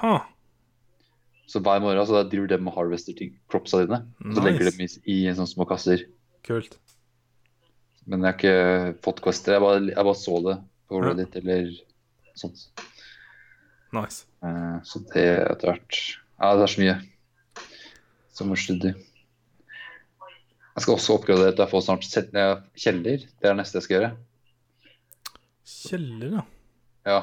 Speaker 1: Ha.
Speaker 2: Så hver morgen så driver de og harvester ting, cropsa dine. Så
Speaker 1: Nice.
Speaker 2: legger de dem i, i sånne små kasser.
Speaker 1: Kult.
Speaker 2: Men jeg har ikke fått quester. Jeg bare, jeg bare så det på
Speaker 1: Ja.
Speaker 2: Reddit eller sånt.
Speaker 1: Nice.
Speaker 2: Eh, Så det etter hvert Ja, det er så mye. Som må studie. Jeg skal også oppgradere til jeg får snart se- eh, kjeller. Det er det neste jeg skal gjøre.
Speaker 1: Kjeller, ja.
Speaker 2: Ja.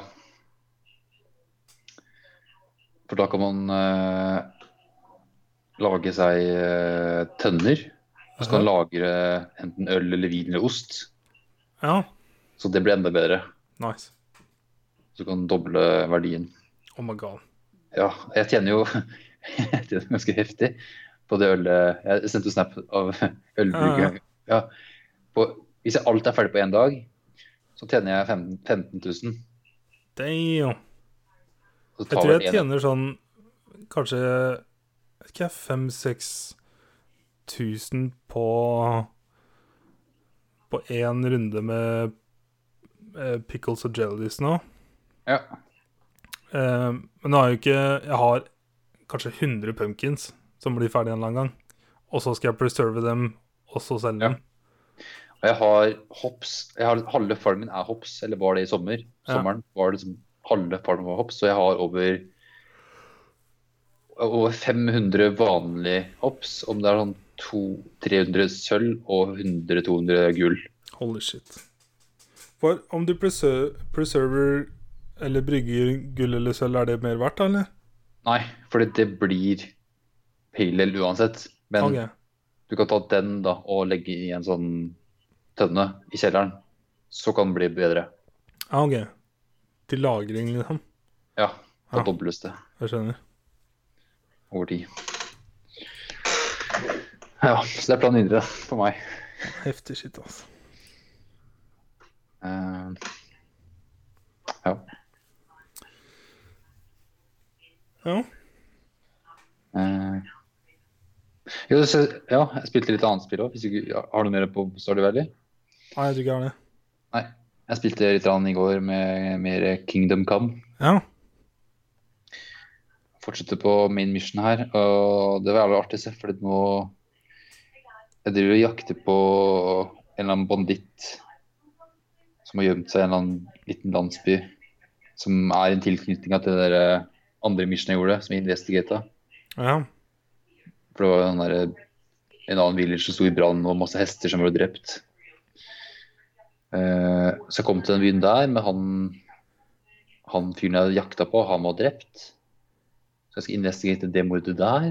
Speaker 2: For da kan man eh, lage seg eh, tønner. Og så kan man lagre enten øl eller vin eller ost.
Speaker 1: Ja,
Speaker 2: Så det blir enda bedre.
Speaker 1: nice.
Speaker 2: Så du kan doble verdien.
Speaker 1: Oh my god.
Speaker 2: Ja, jeg tjener jo jeg tjener ganske heftig på det ølet. Jeg sendte jo snap av
Speaker 1: Ja, Ah.
Speaker 2: ølbrukeren. Ja. På, hvis jeg alt er ferdig på én dag, så tjener jeg 15, 15 000.
Speaker 1: Damn. Jeg
Speaker 2: Så tar
Speaker 1: tror
Speaker 2: vel
Speaker 1: jeg
Speaker 2: en-
Speaker 1: tjener sånn kanskje jeg vet ikke, 5-6 tusen på på én runde med eh, pickles og jellies nå.
Speaker 2: Ja.
Speaker 1: Eh, men nå har jeg jo ikke Jeg har kanskje 100 pumpkins som blir ferdig en eller annen gang. Og så skal jeg preserve dem, og så selge
Speaker 2: Ja.
Speaker 1: dem.
Speaker 2: Og jeg har hops. Jeg har, halve farmen min er hops, eller var det i sommer?
Speaker 1: Ja.
Speaker 2: Sommeren var det som halve farmen var hops, så jeg har over over 500 vanlige hops, om det er sånn to- 300 sølv og 100-200 gull.
Speaker 1: Holy shit. For om du preser preserver eller brygger gull eller sølv, er det mer verdt, da, eller?
Speaker 2: Nei, fordi det blir pale ale uansett. Men
Speaker 1: Ok.
Speaker 2: du kan ta den da og legge i en sånn tønne i kjelleren. Så kan den bli bedre.
Speaker 1: Ja, ok. Til lagring, liksom.
Speaker 2: Ja, da
Speaker 1: Ja.
Speaker 2: dobles det
Speaker 1: Jeg skjønner.
Speaker 2: over tid. Ja, så det er planen videre for meg.
Speaker 1: Heftig shit, altså.
Speaker 2: Eh, ja.
Speaker 1: Ja.
Speaker 2: eh. jo, så, ja, jeg spilte litt annet spill òg. Har du mer på Stardew Valley?
Speaker 1: Nei, jeg tror ikke jeg har det.
Speaker 2: Nei. Jeg spilte litt annet i går med mer Kingdom Come.
Speaker 1: Ja.
Speaker 2: fortsette på main mission her. Og det var jævlig artig, se, fordi nå Jeg driver og jakter på en eller annen banditt som har gjemt seg i en eller annen liten landsby. Som er en tilknytning til det der eh, andre mission jeg gjorde, som jeg investigata.
Speaker 1: Ja.
Speaker 2: For det var jo den der, en annen village som sto i brann, og masse hester som ble drept. Eh, så jeg kom til den byen der, men han, han fyren jeg hadde jakta på, han var drept. Så jeg skal investigere det mordet der.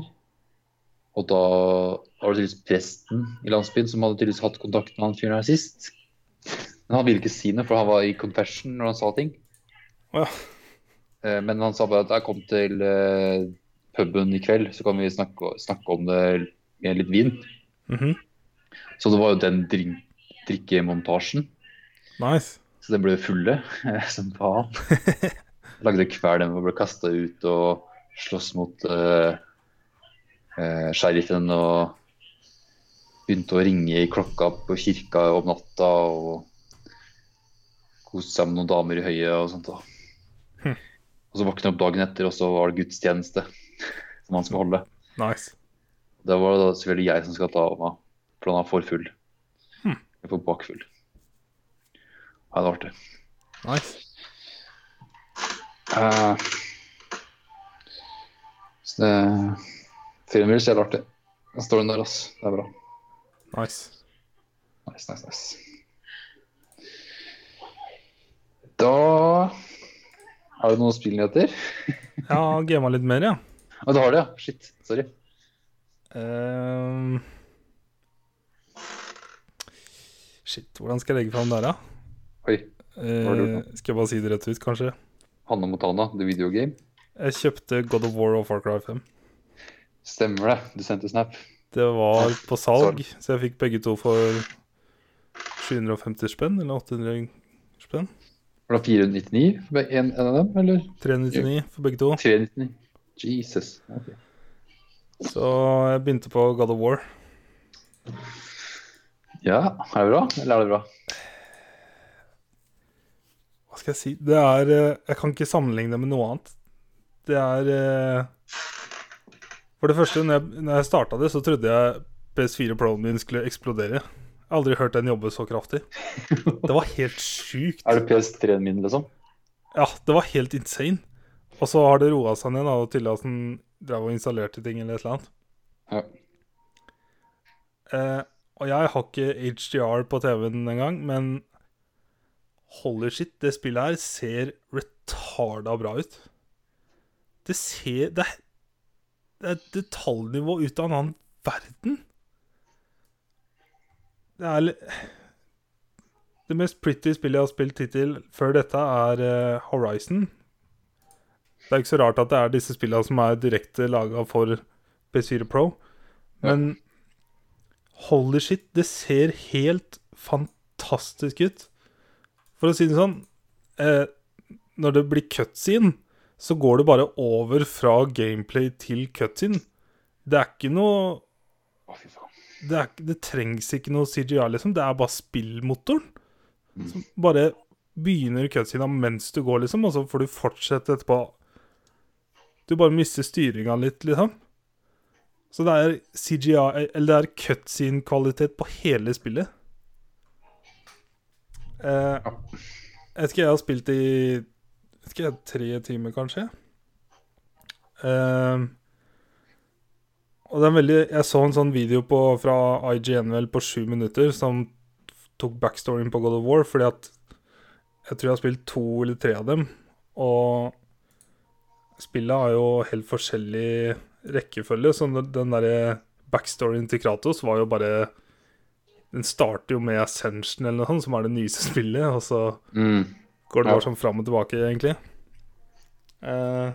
Speaker 2: Og da var det tydeligvis presten i landsbyen som hadde tydeligvis hatt kontakt med han fyren her sist. Men han ville ikke si noe, for han var i confession når han sa ting.
Speaker 1: Å ja.
Speaker 2: Eh, Men han sa bare at jeg kom til eh, puben i kveld, så kan vi snakke, snakke om det med litt vin.
Speaker 1: Mhm.
Speaker 2: Så det var jo den drink, drikkemontasjen.
Speaker 1: Nice.
Speaker 2: Så den ble jo fulle som faen. Lagde hver dem og ble kasta ut og sloss mot eh, eh, sheriffen og begynte å ringe i klokka på kirka om natta og koste seg med noen damer i høyet og sånt. da.
Speaker 1: Hm.
Speaker 2: Og så våkna jeg opp dagen etter, og så var det gudstjeneste som han skulle holde.
Speaker 1: Nice.
Speaker 2: Det var da selvfølgelig jeg som skal ta om meg, for han er for full.
Speaker 1: Hm.
Speaker 2: Jeg får bakfull. Ja, det var artig.
Speaker 1: Nice.
Speaker 2: Eh, Så det Filmen blir jævlig artig. Den står den der, ass. Det er bra.
Speaker 1: Nice.
Speaker 2: Nice, nice, nice. Da Er det noen spillnyheter?
Speaker 1: Jeg har gama litt mer, ja.
Speaker 2: Å, du har det, ja. Shit. Sorry.
Speaker 1: Ehm. Shit, hvordan skal jeg legge fram der, da?
Speaker 2: Oi. har du
Speaker 1: Eh,
Speaker 2: gjort
Speaker 1: skal jeg bare si det rett ut, kanskje?
Speaker 2: Hanne Montana, The Video Game.
Speaker 1: Jeg kjøpte God of War og Far Cry 5.
Speaker 2: Stemmer det. Du sendte snap.
Speaker 1: Det var på salg, så jeg fikk begge to for 750 spenn, eller 800 spenn.
Speaker 2: Var det 499 for en, en av dem, eller?
Speaker 1: 399 for begge to.
Speaker 2: 399. Jesus. Ok.
Speaker 1: Så jeg begynte på God of War.
Speaker 2: Ja, er det bra? Eller er det bra?
Speaker 1: Hva skal jeg si Det er eh, Jeg kan ikke sammenligne det med noe annet. Det er eh, For det første, når jeg, når jeg starta det, så trodde jeg PS4 Proen min skulle eksplodere. Jeg har aldri hørt den jobbe så kraftig. Det var helt sjukt.
Speaker 2: Er det PS3-en min, liksom?
Speaker 1: Ja, det var helt insane. Og så har det roa seg ned, da, og tydelig at den drev og installerte ting eller et eller annet.
Speaker 2: Ja.
Speaker 1: Eh, og jeg har ikke HDR på TV-en engang, men holy shit, det spillet her ser retarda bra ut. Det ser Det er, det er et detaljnivå ut av en annen verden. Det er li- Det mest pretty spillet jeg har spilt hittil før dette, er eh, Horizon. Det er ikke så rart at det er disse spillene som er direkte laga for PS4 Pro, men holy shit, det ser helt fantastisk ut. For å si det sånn eh, Når det blir cutscene, så går det bare over fra gameplay til cutscene. Det er ikke noe
Speaker 2: Å, fy faen.
Speaker 1: det, er, ikke- det trengs ikke noe CGI, liksom. Det er bare spillmotoren. Som bare begynner cutscena mens du går, liksom, og så får du fortsette etterpå. Du bare mister styringa litt, liksom. Så det er CGI Eller det er cutscene-kvalitet på hele spillet. Eh, jeg vet ikke, jeg har spilt i vet ikke, tre timer, kanskje. Eh, og det er en veldig, Jeg så en sånn video på, fra IGN vel på sju minutter som tok backstoryen på God of War, fordi at jeg tror jeg har spilt to eller tre av dem. Og spillet har jo helt forskjellig rekkefølge, så den- den derre backstoryen til Kratos var jo bare Den starter jo med Ascension eller noe sånt, som er det nyeste spillet, og så
Speaker 2: Mm.
Speaker 1: går det
Speaker 2: Ja.
Speaker 1: bare sånn fram og tilbake, egentlig. Eh,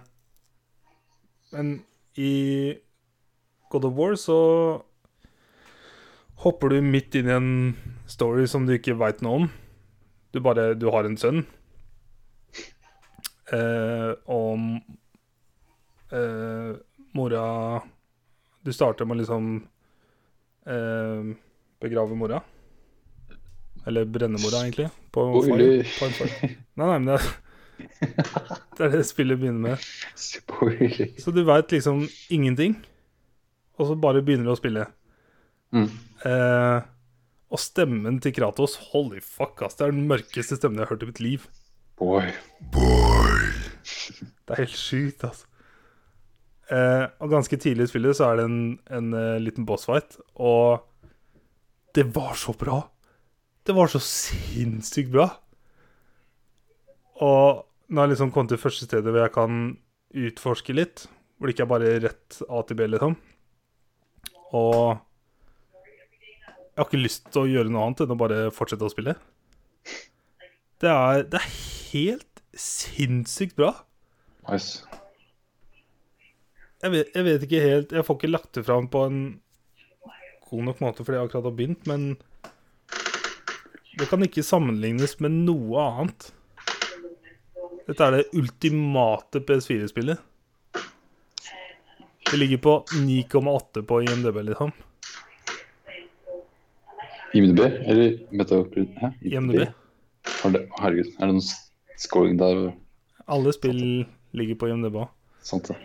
Speaker 1: men i God of War så hopper du midt inn i en story som du ikke veit noe om. Du bare Du har en sønn. Eh, om eh, mora Du starter med å liksom eh, begrave mora. Eller brenne mora, egentlig. På,
Speaker 2: Oi,
Speaker 1: fire-
Speaker 2: du.
Speaker 1: på en fire. Nei, nei, men det er, det er det spillet begynner med.
Speaker 2: Spoiler.
Speaker 1: Så du veit liksom ingenting, og så bare begynner du å spille.
Speaker 2: Mm.
Speaker 1: Eh, og stemmen til Kratos, holy fuck, ass, det er den mørkeste stemmen jeg har hørt i mitt liv.
Speaker 2: Boy.
Speaker 1: Det er helt sjukt, altså. Eh, og ganske tidlig i spillet så er det en, en eh, liten bossfight, og det var så bra. Det var så sinnssykt bra. Og nå har jeg liksom kommet til første stedet hvor jeg kan utforske litt, hvor det ikke er bare rett A til B, liksom. Og jeg har ikke lyst til å gjøre noe annet enn å bare fortsette å spille. Det er, det er helt sinnssykt bra.
Speaker 2: Nice.
Speaker 1: Jeg vet, jeg vet ikke helt Jeg får ikke lagt det fram på en god nok måte fordi jeg akkurat har begynt, men det kan ikke sammenlignes med noe annet. Dette er det ultimate PS4-spillet. Det ligger på 9,8 på IMDb, liksom.
Speaker 2: IMDb? Eller Metacrit? Hæ?
Speaker 1: IMDb.
Speaker 2: Har det- Herregud, er det noen s- scoring der?
Speaker 1: Alle spill ligger på IMDb. også.
Speaker 2: Sant det.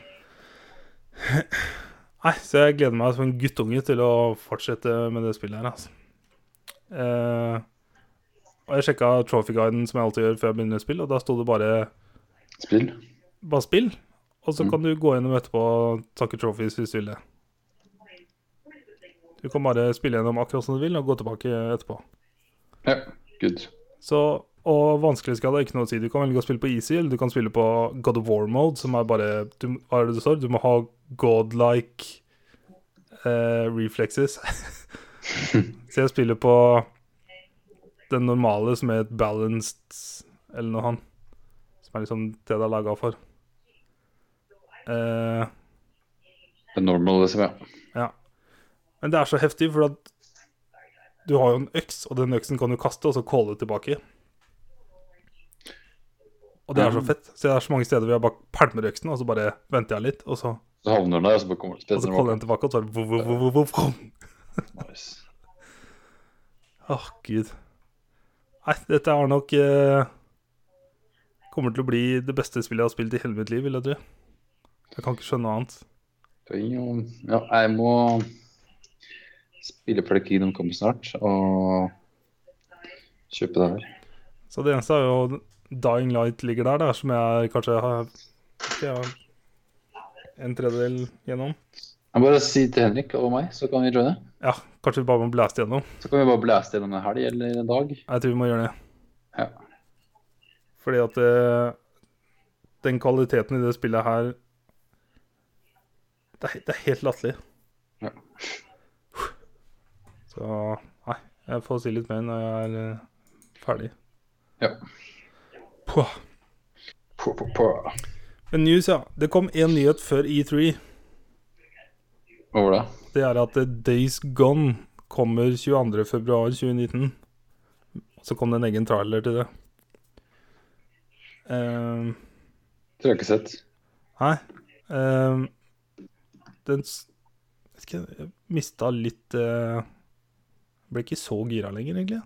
Speaker 1: Nei, så jeg gleder meg som en guttunge til å fortsette med det spillet her, altså. Eh, og jeg sjekka trophy-guiden, som jeg alltid gjør før jeg begynner å spille, og da sto det bare,
Speaker 2: Spill?
Speaker 1: bare 'spill', og så kan du gå gjennom etterpå og takke trophies hvis du vil det. Du kan bare spille gjennom akkurat som du vil, og gå tilbake etterpå.
Speaker 2: Ja, good.
Speaker 1: Så, og vanskelighetsgrad er ikke noe å si. Du kan velge å spille på easy, eller du kan spille på God of War-mode, som er bare du, Hva er det det står? Du må ha godlike eh, reflexes. Så jeg spiller på den normale, som er et balanced eller noe han. Som er liksom det det er laga for. Eh,
Speaker 2: Det er normal, liksom, ja.
Speaker 1: ja. Men det er så heftig, for at du har jo en øks, og den øksen kan du kaste, og så calle tilbake. Og det er så fett. Så det er så mange steder hvor jeg bare pælmer øksen, og så bare venter jeg litt, og så,
Speaker 2: Så havner den der, og så bare kommer den
Speaker 1: og så caller jeg den tilbake, og så er det vov, vov, vov, vov, vov.
Speaker 2: Nice.
Speaker 1: Åh, gud. Nei, dette er nok eh, Kommer til å bli det beste spillet jeg har spilt i hele mitt liv, vil jeg tro. Jeg kan ikke skjønne noe annet.
Speaker 2: Skal vi jo- Ja, jeg må spille for det Kingdom Come snart og kjøpe det her.
Speaker 1: Så det eneste er jo Dying Light ligger der, der som jeg kanskje har ikke jeg har en tredjedel gjennom.
Speaker 2: Jeg bare si til Henrik og meg, så kan vi joine.
Speaker 1: Ja, kanskje vi bare må blaste gjennom.
Speaker 2: Så kan vi bare blæste gjennom en helg eller en dag.
Speaker 1: Jeg tror vi må gjøre det.
Speaker 2: Ja.
Speaker 1: Fordi at eh, den kvaliteten i det spillet her Det er, he- det er helt latterlig.
Speaker 2: Ja.
Speaker 1: Så nei, jeg får si litt mer når jeg er eh, ferdig.
Speaker 2: Ja.
Speaker 1: Puh.
Speaker 2: På, på, på.
Speaker 1: Men news, ja. Det kom én nyhet før E E3.
Speaker 2: Hva var det?
Speaker 1: Det er at eh, Days Gone kommer 22.2.2019. Og så kom det en egen trailer til det. Eh,
Speaker 2: Tror jeg ikke sett.
Speaker 1: Nei. Ehm, den s- Vet ikke, jeg mista litt eh, Ble ikke så gira lenger, egentlig.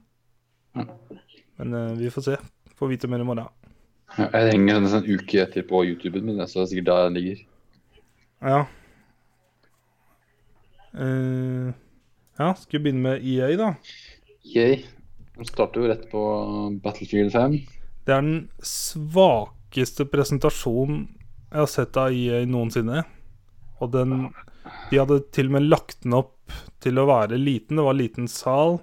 Speaker 1: Men eh, vi får se. Får vite mer i morgen.
Speaker 2: Ja, Jeg henger en sånn uke etter på YouTuben min, så det er sikkert der den ligger.
Speaker 1: Ja. Eh, ja, skal vi begynne med EA, da?
Speaker 2: Yay. De starter jo rett på Battlefield 5.
Speaker 1: Det er den svakeste presentasjonen jeg har sett av EA noensinne. Og den De hadde til og med lagt den opp til å være liten. Det var liten sal.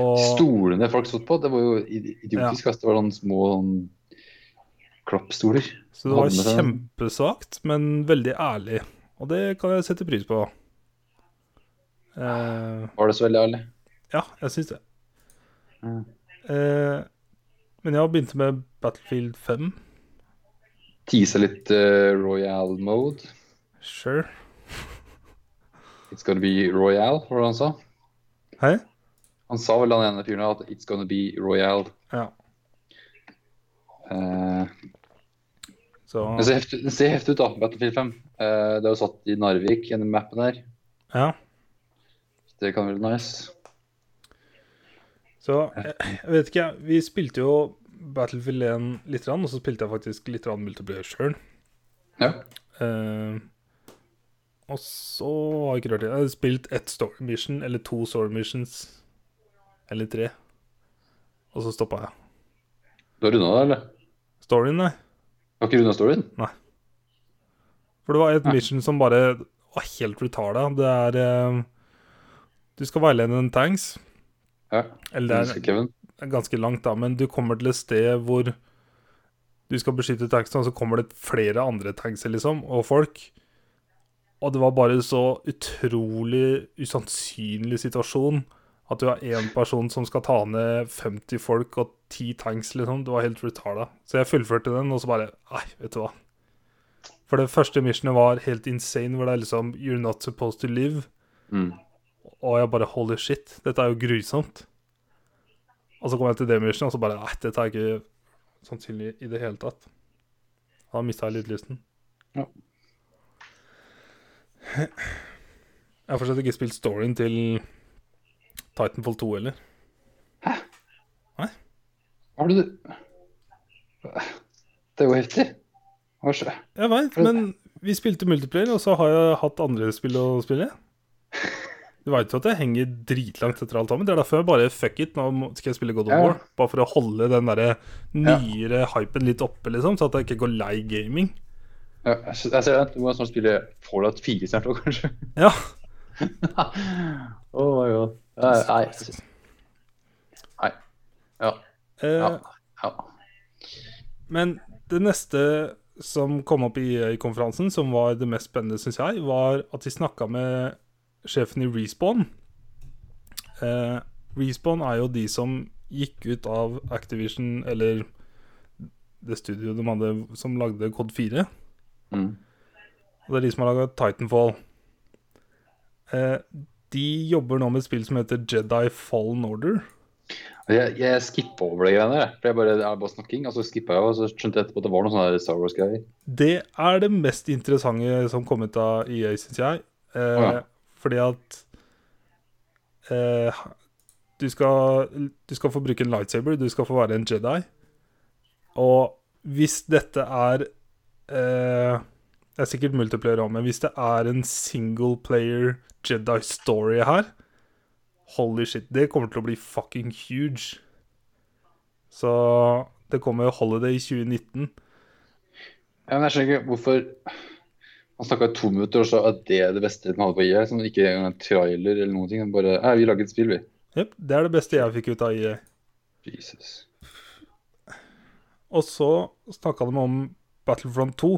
Speaker 1: Og
Speaker 2: Stolene folk satt på, det var jo i- idiotisk. ass. Det var sånne små sånn, klappstoler.
Speaker 1: Så det var
Speaker 2: Hadde det.
Speaker 1: kjempesvakt, men veldig ærlig. Og det kan jeg sette pris på. Eh,
Speaker 2: Var det så veldig ærlig?
Speaker 1: ja, jeg syns det.
Speaker 2: Mm.
Speaker 1: Eh, men jeg begynte med Battlefield 5.
Speaker 2: Teasa litt eh, royal mode.
Speaker 1: Sure.
Speaker 2: It's gonna be royal, var det han sa.
Speaker 1: Hei?
Speaker 2: Han sa vel han ene fyren her at it's gonna be royal.
Speaker 1: Ja.
Speaker 2: Eh,
Speaker 1: Så
Speaker 2: men se heftig- det ser heftig ut, da. Battlefield 5. Eh, det er jo satt i Narvik gjennom mappen her.
Speaker 1: ja.
Speaker 2: Det kan være nice.
Speaker 1: Så jeg, jeg vet ikke, jeg. Vi spilte jo Battlefield 1 litt, og så spilte jeg faktisk litt multiplayer sjøl.
Speaker 2: Ja.
Speaker 1: Eh, og så har jeg ikke rørt det. Jeg har spilt ett story mission, eller to story missions. Eller tre. Og så stoppa jeg.
Speaker 2: Du har runda det, eller?
Speaker 1: Storyen, nei.
Speaker 2: Har ikke runda storyen?
Speaker 1: For det var et
Speaker 2: Nei.
Speaker 1: mission som bare var helt retarda. Det er eh, Du skal veilede en tanks.
Speaker 2: Ja.
Speaker 1: Eller det
Speaker 2: Husker Kevin.
Speaker 1: er ganske langt, da, men du kommer til et sted hvor du skal beskytte tanksen, og så kommer det flere andre tankser, liksom, og folk. Og det var bare så utrolig usannsynlig situasjon at du har én person som skal ta ned 50 folk og 10 tanks, liksom. Det var helt retarda. Så jeg fullførte den, og så bare Nei, vet du hva. For det første missionet var helt insane, hvor det er liksom You're not supposed to live.
Speaker 2: Mm.
Speaker 1: Og jeg bare holy shit, dette er jo grusomt. Og så kom jeg til Demission, og så bare Nei, dette er ikke sannsynlig i det hele tatt. Da mista jeg litt lysten.
Speaker 2: Ja.
Speaker 1: Jeg har fortsatt ikke spilt storyen til Titanfall 2 heller.
Speaker 2: Har du Det er jo heftig. Hva skjer?
Speaker 1: Jeg veit, men vi spilte multiplayer, og så har jeg hatt andre spill å spille. Du veit jo at jeg henger dritlangt etter alt sammen. Det er derfor jeg bare fuck it, nå må- skal jeg spille God of
Speaker 2: Ja.
Speaker 1: War. Bare for å holde den derre nyere hypen litt oppe, liksom, så at jeg ikke går lei gaming.
Speaker 2: Ja, jeg ser jeg ser det. Du må snart spille Fallout 4 snart òg, kanskje.
Speaker 1: Ja.
Speaker 2: oh my god. Nei, Nei. Nei. Ja. Ja.
Speaker 1: Eh,
Speaker 2: ja.
Speaker 1: Men det neste som kom opp i EA-konferansen, som var det mest spennende, syns jeg, var at de snakka med sjefen i Respawn. Eh, Respawn er jo de som gikk ut av Activision, eller det studioet de hadde som lagde Cod 4.
Speaker 2: Mm.
Speaker 1: Og det er de som har laga Titanfall. Eh, de jobber nå med et spill som heter Jedi Fallen Order.
Speaker 2: Jeg, jeg skippa over de greiene der. jeg. For jeg bare, det er bare snakking. Og så skippa jeg, og så skjønte jeg etterpå at det var noen sånne der Star Wars-greier.
Speaker 1: Det er det mest interessante som kom ut av EA, syns jeg. Eh,
Speaker 2: Å ja.
Speaker 1: Fordi at eh, du, skal, du skal få bruke en lightsaber, du skal få være en Jedi. Og hvis dette er eh, Det er sikkert multiplayer òg, men hvis det er en single player Jedi story her Holy shit, det kommer til å bli fucking huge. Så det kommer Holiday 2019.
Speaker 2: Ja, men jeg skjønner ikke hvorfor han snakka i to minutter, og så er det det beste den hadde på IA. Som ikke engang en trailer eller noen ting. Den bare «Nei, vi lager et spill, vi.
Speaker 1: Jepp, det er det beste jeg fikk ut av E IE.
Speaker 2: Jesus.
Speaker 1: Og så snakka de om Battlefront 2,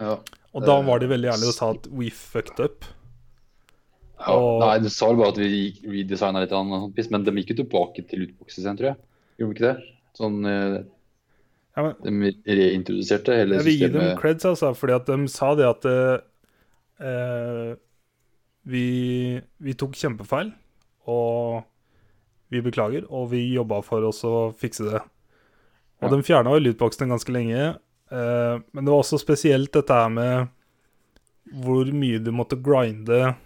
Speaker 2: Ja.
Speaker 1: og da var de veldig ærlige og sa at we fucked up.
Speaker 2: ja.
Speaker 1: Og-
Speaker 2: Nei, det sa vel bare at vi redesigna litt, eller annet sånt piss, men de gikk jo tilbake til lootboxes igjen, tror jeg. Gjorde de ikke det? Sånn eh,
Speaker 1: Ja, men
Speaker 2: De reintroduserte hele
Speaker 1: Jeg vil gi dem
Speaker 2: systemet.
Speaker 1: creds, altså, fordi at de sa det at eh, eh, vi, vi tok kjempefeil, og vi beklager, og vi jobba for oss å fikse det. Og
Speaker 2: Ja.
Speaker 1: de fjerna jo lydboksen ganske lenge, eh, men det var også spesielt dette her med hvor mye du måtte grinde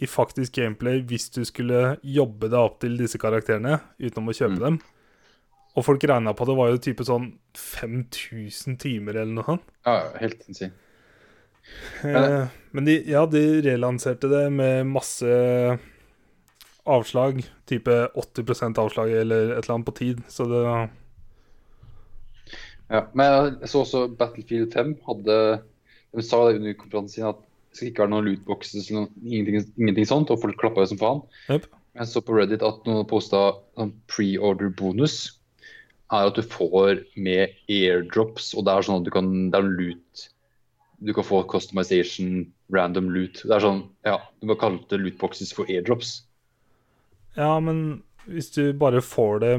Speaker 1: i faktisk gameplay hvis du skulle jobbe deg opp til disse karakterene utenom å kjøpe
Speaker 2: Mm.
Speaker 1: dem. Og folk regna på det var jo type sånn 5000 timer eller noe sånt.
Speaker 2: Ja, ja, helt insane.
Speaker 1: Eh, Men de, ja, de relanserte det med masse avslag. Type 80 avslag eller et eller annet på tid. Så det
Speaker 2: Ja, men jeg så også Battlefield 5 hadde De sa det under konferansen sin at det skal ikke være noen lootboxes eller noe, ingenting, ingenting sånt, og folk klappa jo som faen.
Speaker 1: Jep.
Speaker 2: Jeg så på Reddit at noen posta sånn pre-order bonus. Er at du får med airdrops, og det er sånn at du kan Det er loot. Du kan få customization, random loot. Det er sånn Ja, du bare kalte lootboxes for airdrops.
Speaker 1: Ja, men hvis du bare får det,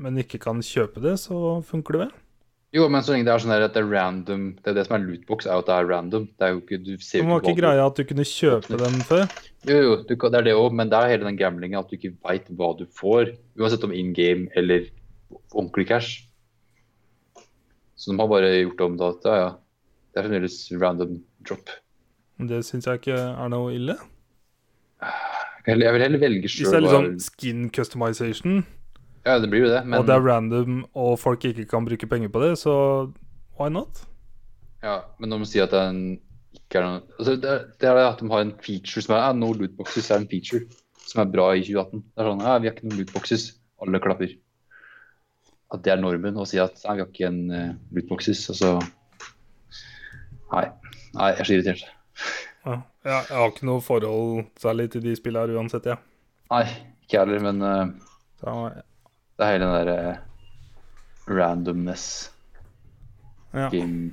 Speaker 1: men ikke kan kjøpe det, så funker det vel?
Speaker 2: Jo, men så lenge det er sånn her at det er random Det er det som er lootbox, er jo at det er random. Det er jo ikke, du
Speaker 1: Det
Speaker 2: ser jo
Speaker 1: var ikke
Speaker 2: hva du-
Speaker 1: greia at du kunne kjøpe dem før.
Speaker 2: Jo, jo, du, kan- det er det òg, men det er hele den gamblingen at du ikke veit hva du får. Uansett om in game eller ordentlig cash. Så de har bare gjort om det at ja, ja. Det er fremdeles random drop.
Speaker 1: Men Det syns jeg ikke er noe ille.
Speaker 2: Jeg vil- jeg vil heller velge
Speaker 1: Hvis det er
Speaker 2: sjøl.
Speaker 1: liksom
Speaker 2: hva-
Speaker 1: skin customization,
Speaker 2: Ja, det blir jo det, men
Speaker 1: og det er random, og folk ikke kan bruke penger på det, så why not?
Speaker 2: Ja, men når man sier at det er en, ikke er noe altså, det, er- det er det at de har en feature som er ja, No lootboxes er en feature som er bra i 2018. Det er sånn ja, vi har ikke noen lootboxes. Alle klapper. At det er normen å si at nei, vi har ikke en eh, lootboxes. Og så Nei. Nei, jeg er så irritert.
Speaker 1: Ja, jeg, jeg har ikke noe forhold særlig til de spillene her uansett, jeg. Ja.
Speaker 2: Nei, ikke jeg heller, men eh,
Speaker 1: Så,
Speaker 2: det er hele den derre randomness
Speaker 1: ja.
Speaker 2: game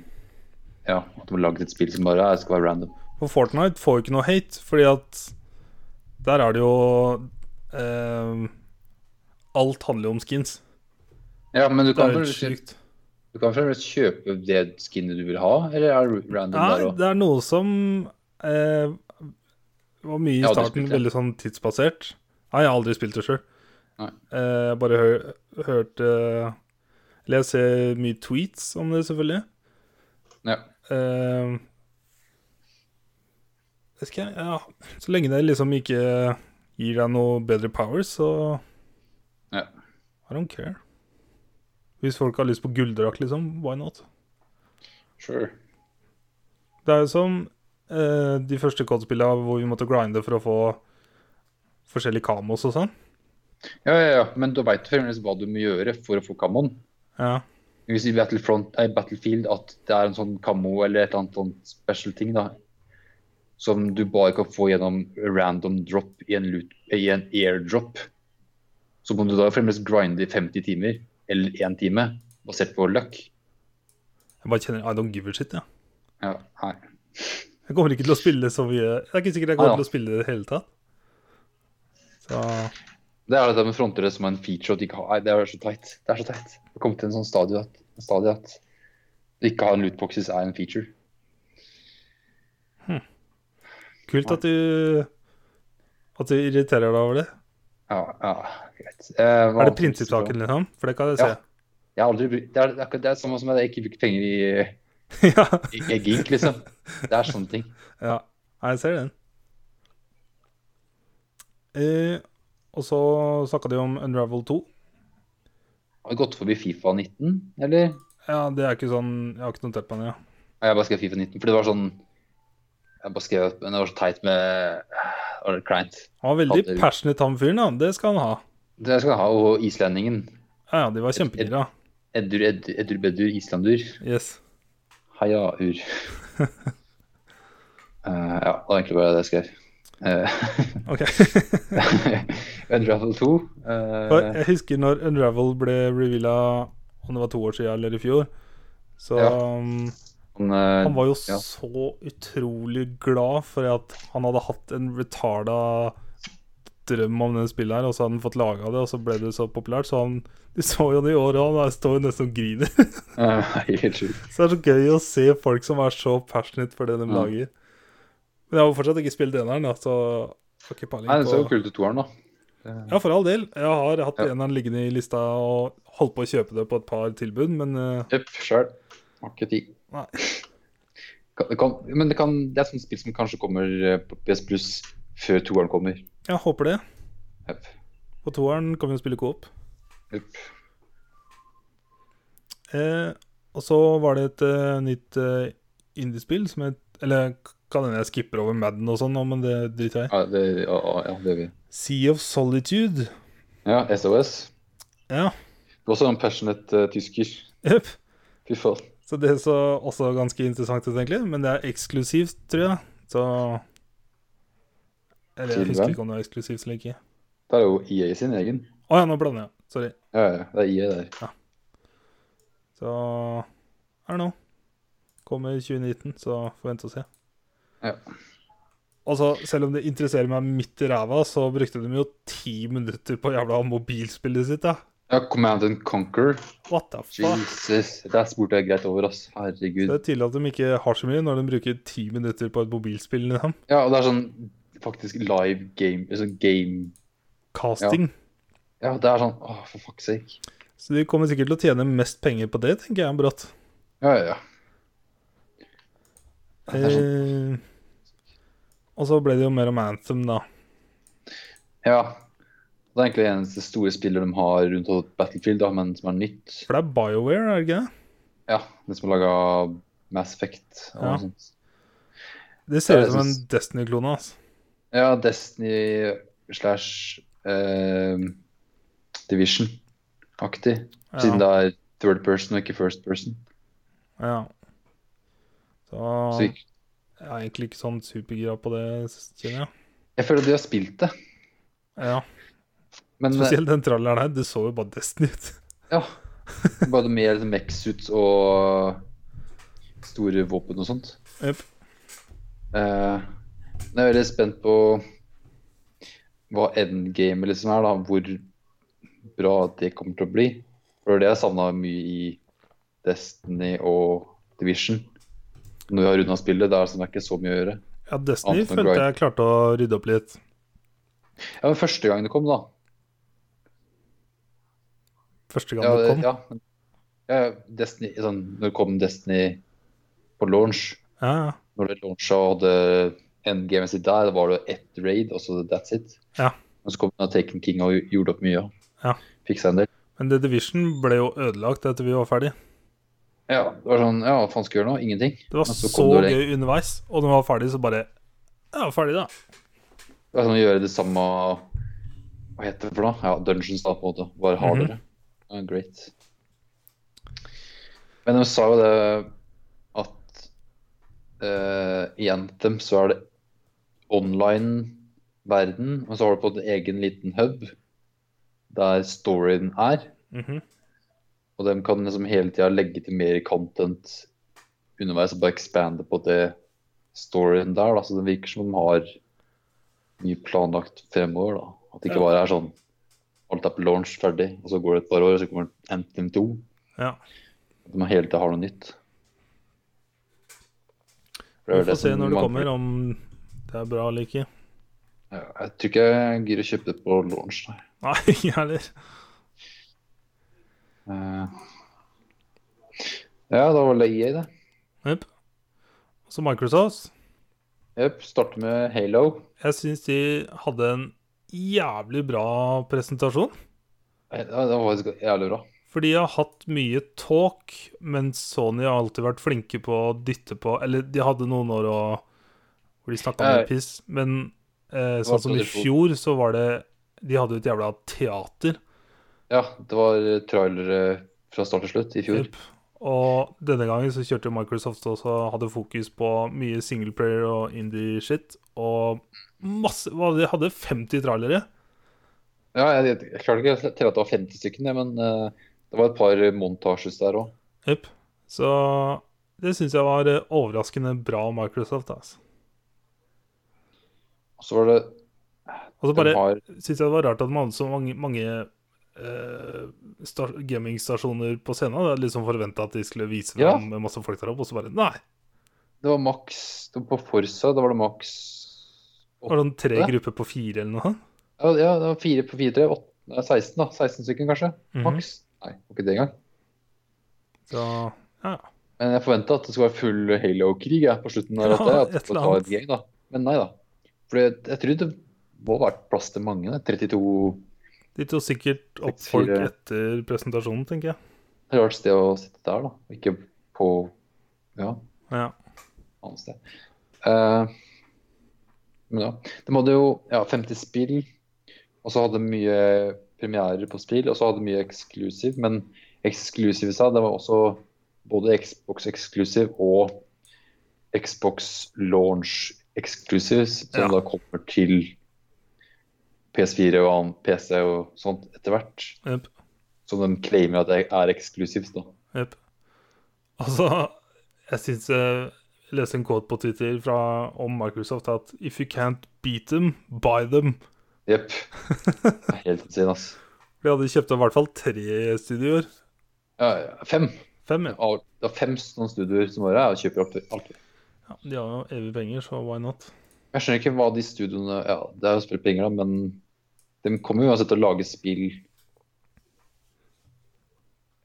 Speaker 2: Ja, at de har laget et spill som bare ja, det skal være random.
Speaker 1: For Fortnite får jo ikke noe hate, fordi at der er det jo eh, Alt handler jo om skins.
Speaker 2: Ja, men du
Speaker 1: Det
Speaker 2: kan
Speaker 1: er jo helt
Speaker 2: vel-
Speaker 1: sjukt.
Speaker 2: Du kan fremdeles kjøpe det skinnet du vil ha, eller er det random
Speaker 1: Ja,
Speaker 2: der òg?
Speaker 1: det er noe som eh, var mye i
Speaker 2: Ja, du
Speaker 1: starten
Speaker 2: spilte.
Speaker 1: veldig sånn tidsbasert. Nei, jeg har aldri spilt det sjøl.
Speaker 2: Nei.
Speaker 1: Eh, bare hør, hørt eh, Eller jeg ser mye tweets om det, selvfølgelig.
Speaker 2: Ja.
Speaker 1: Eh, vet ikke, jeg, ja. Så lenge det liksom ikke gir deg noe bedre powers, så
Speaker 2: Ja.
Speaker 1: I don't care. Hvis folk har lyst på gulldrakt, liksom, why not?
Speaker 2: Sure.
Speaker 1: Det er jo som eh, de første kodespillene hvor vi måtte grinde for å få forskjellige kamos og sånn.
Speaker 2: Ja, ja, ja, men du veit fremdeles hva du må gjøre for å få kammoen.
Speaker 1: Ja.
Speaker 2: Hvis i Battlefront, nei, Battlefield at det er en sånn kammo eller et annet sånt special ting, da, som du bare kan få gjennom random drop i en, loot, i en airdrop, så må du da fremdeles grinde i 50 timer, eller én time, basert på luck.
Speaker 1: Jeg bare kjenner I don't give a shit, jeg. Ja.
Speaker 2: Ja, nei.
Speaker 1: Jeg kommer ikke til å spille så mye Jeg er ikke sikkert jeg
Speaker 2: Nei
Speaker 1: kommer
Speaker 2: da.
Speaker 1: til å spille det i det hele tatt. Så
Speaker 2: Det er dette med frontere som er en feature at de ikke har Nei, det er så teit. Det er så teit. Det kommer til en sånn stadie at, stadie at det ikke å ha en lootboxes er en feature.
Speaker 1: kult at du At du irriterer deg over det.
Speaker 2: Ja, ja, greit. Eh, hva
Speaker 1: Er det
Speaker 2: annet?
Speaker 1: prinsippsaken, liksom? For det kan jeg se.
Speaker 2: Ja. Jeg har aldri brukt, det, er, det, er, akkurat- det er samme som at jeg ikke bruker penger i,
Speaker 1: Ja.
Speaker 2: i, i gink, liksom. Det er sånne ting.
Speaker 1: ja. Nei, jeg ser den. Eh, og så snakka de om Unravel 2.
Speaker 2: Har vi gått forbi Fifa 19, eller?
Speaker 1: Ja, det er ikke sånn Jeg har ikke notert meg det, ja.
Speaker 2: Nei, Jeg bare skrev Fifa 19, for det var sånn Jeg bare skrev Men det var så teit med Det var litt kleint.
Speaker 1: Han var veldig
Speaker 2: Hadde-
Speaker 1: passionate, han fyren. da, Det skal han ha.
Speaker 2: Det skal jeg ha. Og islendingen.
Speaker 1: Ja, ja, de var kjempegira.
Speaker 2: Eddur, eddur, eddur beddur, islandur.
Speaker 1: Yes.
Speaker 2: Hajaur. Eh, ja, det var egentlig bare det jeg skrev. Uh,
Speaker 1: Ok.
Speaker 2: Unravel 2. eh,
Speaker 1: For jeg husker når Unravel ble reveala om det var to år siden eller i fjor. Så
Speaker 2: Ja.
Speaker 1: um,
Speaker 2: han, eh,
Speaker 1: han var jo
Speaker 2: ja.
Speaker 1: så utrolig glad for at han hadde hatt en retarda drøm om det spillet her, og så hadde han fått laga det, og så ble det så populært. Så han Du så jo det i år, og han står jo nesten og griner.
Speaker 2: Eh, Helt sjukt.
Speaker 1: Så det er så gøy å se folk som er så passionate for det de
Speaker 2: Ja.
Speaker 1: lager. Men jeg har jo fortsatt ikke spilt eneren, da, så jeg har ikke peiling
Speaker 2: Nei, det så
Speaker 1: på-
Speaker 2: jo kult ut toeren, da.
Speaker 1: Ja, for all del. Jeg har hatt
Speaker 2: Ja.
Speaker 1: en av den liggende i lista og holdt på å kjøpe det på et par tilbud, men eh,
Speaker 2: Jepp, sjøl. Har ikke tid.
Speaker 1: Nei.
Speaker 2: Kan, det kan, men det, kan, det er et sånt spill som kanskje kommer eh, på PS Plus før toeren kommer.
Speaker 1: jeg håper det.
Speaker 2: Jepp.
Speaker 1: På toeren kan vi jo spille coop.
Speaker 2: Jepp.
Speaker 1: Eh, og så var det et eh, nytt eh, indiespill som het Eller kan hende jeg skipper over Madden og sånn, nå, men det driter jeg i.
Speaker 2: Ja, det, ja, ja, det gjør vi.
Speaker 1: Sea of Solitude.
Speaker 2: Ja, SOS.
Speaker 1: Ja,
Speaker 2: Det var også en passionate eh, tysker.
Speaker 1: jepp.
Speaker 2: Fy faen.
Speaker 1: Så det så også ganske interessant ut, egentlig. Men det er eksklusivt, tror jeg. Så Eller
Speaker 2: Til
Speaker 1: jeg husker
Speaker 2: hvem?
Speaker 1: ikke om det var eksklusivt eller ikke.
Speaker 2: Det er jo EA sin egen.
Speaker 1: Å ja, nå blander jeg. Sorry.
Speaker 2: Ja, ja, ja, det er EA der.
Speaker 1: Så I don't know. Kommer 2019, så får vi vente og se.
Speaker 2: Ja.
Speaker 1: Altså, selv om det interesserer meg midt i ræva, så brukte de jo ti minutter på jævla mobilspillet sitt, da.
Speaker 2: Ja, Command and Conquer.
Speaker 1: What the fuck?
Speaker 2: Jesus. Der spurte jeg greit over, ass.
Speaker 1: Det
Speaker 2: Herregud.
Speaker 1: er tydelig at de ikke har så mye når de bruker ti minutter på et mobilspill. Liksom.
Speaker 2: Ja, og det er sånn faktisk live game sånn game
Speaker 1: Casting.
Speaker 2: Ja, det er sånn Åh, for fuck's sake.
Speaker 1: Så de kommer sikkert til å tjene mest penger på det, tenker jeg brått.
Speaker 2: Ja, ja, ja. Det er sånn
Speaker 1: Eh, og så ble det jo mer om Anthem, da.
Speaker 2: Ja. Det er egentlig eneste store spiller de har rundt om Battlefield, da, men som er nytt.
Speaker 1: For det er BioWare, er det ikke det?
Speaker 2: Ja, den som har laga Mass Effect og
Speaker 1: Ja.
Speaker 2: noe sånt.
Speaker 1: Det ser
Speaker 2: Ja,
Speaker 1: ut
Speaker 2: jeg
Speaker 1: som en
Speaker 2: synes-
Speaker 1: Destiny-klone, altså.
Speaker 2: Ja, Destiny slash eh, Division-aktig. Siden det er third person og ikke first person.
Speaker 1: Ja.
Speaker 2: Så
Speaker 1: Så
Speaker 2: jeg,
Speaker 1: jeg er egentlig ikke sånn supergira på det, kjenner jeg.
Speaker 2: jeg føler at de har spilt det.
Speaker 1: Ja,
Speaker 2: Men eh,
Speaker 1: Spesielt den tralleren her. Det så jo bare Destiny ut.
Speaker 2: ja. Bare med liksom mech-suits og store våpen og sånt.
Speaker 1: Jep.
Speaker 2: Eh, men jeg er veldig spent på hva endgamet liksom er, da. Hvor bra det kommer til å bli. For det er det jeg savna mye i Destiny og Division. Når vi har runda spillet, det er sånn, det er ikke så mye å gjøre.
Speaker 1: Ja, Destiny
Speaker 2: Anthem
Speaker 1: følte
Speaker 2: Grind.
Speaker 1: jeg klarte å rydde opp litt.
Speaker 2: Ja, men første gang det kom, da.
Speaker 1: Første gang
Speaker 2: Ja,
Speaker 1: det kom. Ja.
Speaker 2: ja, men- ja, ja, Destiny, sånn, når det kom Destiny på launch,
Speaker 1: Ja,
Speaker 2: når det launchet og hadde endgamet sitt der, da var det jo ett raid, og så that's it.
Speaker 1: Ja.
Speaker 2: Men så kom da Taken King og gjorde opp mye.
Speaker 1: Ja.
Speaker 2: Fiksa en del.
Speaker 1: Men The Division ble jo ødelagt etter vi var ferdig.
Speaker 2: Ja, det var sånn, ja, hva faen skal jeg gjøre nå? Ingenting.
Speaker 1: Det var
Speaker 2: Men
Speaker 1: så,
Speaker 2: så kom det jo
Speaker 1: gøy underveis, og når vi var ferdig, så bare Ja, ferdig, da.
Speaker 2: Det var sånn å gjøre det samme Hva heter det for noe? Ja, Dungeons, da, på en måte. Bare hardere. ja, great. Men de sa jo det at eh, i Anthem så er det online-verden, og så har du på en måte egen liten hub der storyen er.
Speaker 1: Mhm.
Speaker 2: Og de kan liksom hele tida legge til mer content underveis og bare expande på det storyen der. Da. Så det virker som de har mye planlagt fremover. da. At det ikke
Speaker 1: Ja.
Speaker 2: bare er sånn alt er på launch ferdig, og så går det et par år, og så kommer Anthem 2.
Speaker 1: Ja.
Speaker 2: At de hele tida har noe nytt. For er
Speaker 1: Vi
Speaker 2: jo
Speaker 1: får se
Speaker 2: som
Speaker 1: når det
Speaker 2: mangler.
Speaker 1: kommer, om det er bra eller ikke.
Speaker 2: Ja, Jeg tror ikke jeg gidder å kjøpe det på launch, nei.
Speaker 1: Nei, ikke jeg heller.
Speaker 2: Eh, Ja, da var det EA, det.
Speaker 1: Jepp. Så Microsoft.
Speaker 2: Jepp. Starte med Halo.
Speaker 1: Jeg syns de hadde en jævlig bra presentasjon.
Speaker 2: Nei, Det var faktisk jævlig bra.
Speaker 1: Fordi jeg har hatt mye talk, men Sony har alltid vært flinke på å dytte på Eller de hadde noen år å- hvor de snakka
Speaker 2: Ja.
Speaker 1: mye piss, men eh,
Speaker 2: var
Speaker 1: sånn som i
Speaker 2: tradisjon.
Speaker 1: fjor, så var det De hadde jo et jævla teater.
Speaker 2: Ja, det var trailere fra start til slutt i fjor.
Speaker 1: Jep. Og denne gangen så kjørte jo Microsoft også hadde fokus på mye singleplayer og indie-shit. Og masse hva, De hadde 50 trailere.
Speaker 2: Ja, jeg, jeg klarte ikke å telle at det var 50 stykken, jeg, men eh, det var et par eh, montasjes der òg.
Speaker 1: Jep. Så det syns jeg var eh, overraskende bra av Microsoft. Altså.
Speaker 2: Og så var det
Speaker 1: Og så
Speaker 2: de
Speaker 1: bare
Speaker 2: har,
Speaker 1: syns jeg det var rart at man hadde så mange, mange eh, sta- gamingstasjoner på scenen. Jeg hadde liksom forventa at de skulle vise
Speaker 2: Ja.
Speaker 1: fram med masse folk der oppe, og så bare Nei!
Speaker 2: Det var maks det var På Forsa da var det maks
Speaker 1: Det var sånn tre
Speaker 2: Åtte?
Speaker 1: grupper på fire eller noe.
Speaker 2: Ja, ja, det var fire på fire, tre, åtte, nei, 16 da. 16 stykker kanskje.
Speaker 1: Mhm.
Speaker 2: Maks. Nei, det var ikke det engang.
Speaker 1: Så ja.
Speaker 2: Men jeg forventa at det skulle være full Halo-krig jeg, på slutten. av
Speaker 1: Ja,
Speaker 2: dette, at
Speaker 1: et
Speaker 2: det skulle
Speaker 1: eller
Speaker 2: ta
Speaker 1: annet.
Speaker 2: et game, da. Men nei da. For jeg, jeg tror det må ha vært plass til mange. da. 32
Speaker 1: De tok sikkert opp
Speaker 2: Seks,
Speaker 1: folk
Speaker 2: fire.
Speaker 1: etter presentasjonen, tenker jeg.
Speaker 2: Det er rart sted å sitte der, da. Ikke på ja,
Speaker 1: Ja.
Speaker 2: annet sted. Eh, men ja. De hadde jo ja, 50 spill, og så hadde de mye premierer på spill, og så hadde de mye exclusive. Men exclusive i seg, det var også både Xbox exclusive og Xbox launch exclusive, som
Speaker 1: Ja.
Speaker 2: da kommer til PS4 og annen PC og sånt etter hvert.
Speaker 1: Jep.
Speaker 2: Som de claimer at det er eksklusivt, da.
Speaker 1: Jep. Altså, jeg syns jeg leste en quote på Twitter fra, om Microsoft at If you can't beat them, buy them.
Speaker 2: Jepp. Det er Helt insane, ass.
Speaker 1: For de hadde kjøpt opp i hvert fall tre studioer.
Speaker 2: Ja, ja, fem.
Speaker 1: Fem, ja.
Speaker 2: av- Det er fem sånne studioer som bare ja, kjøper opp alt.
Speaker 1: ja. De har jo evig penger, så why not?
Speaker 2: Jeg skjønner ikke hva de studioene Ja, det er jo spilt penger, da, men de kommer jo uansett til å lage spill.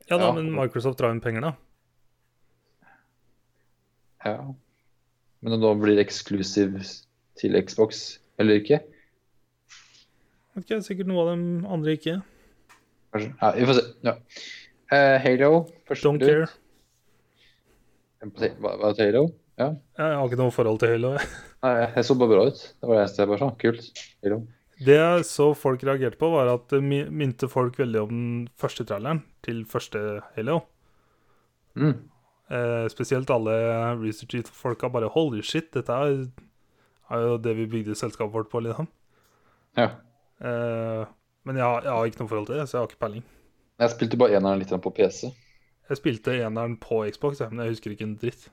Speaker 1: Ja da,
Speaker 2: Ja.
Speaker 1: men Microsoft drar inn penger, da.
Speaker 2: Ja. Men om det nå blir eksklusiv til Xbox eller ikke,
Speaker 1: Vet ikke, sikkert noe av dem andre ikke.
Speaker 2: kanskje Ja, vi får se. Ja. Eh, Halo først
Speaker 1: Don't
Speaker 2: ut.
Speaker 1: care.
Speaker 2: Hva, hva heter Halo? Ja.
Speaker 1: Jeg har ikke noe forhold til Halo. jeg.
Speaker 2: Nei, jeg så bare bra ut. Det var det eneste jeg bare sa. Kult. Halo.
Speaker 1: Det jeg så folk reagerte på, var at det mi- minte folk veldig om den første traileren til første Halo.
Speaker 2: Mm.
Speaker 1: Eh, spesielt alle Research Eat-folka bare Holy shit, dette er, er jo det vi bygde selskapet vårt på, liksom.
Speaker 2: Ja.
Speaker 1: Eh, men jeg, har- jeg har ikke noe forhold til det, så jeg har ikke peiling.
Speaker 2: Jeg spilte bare eneren litt på PC.
Speaker 1: Jeg spilte eneren på Xbox, jeg, men jeg husker ikke en dritt.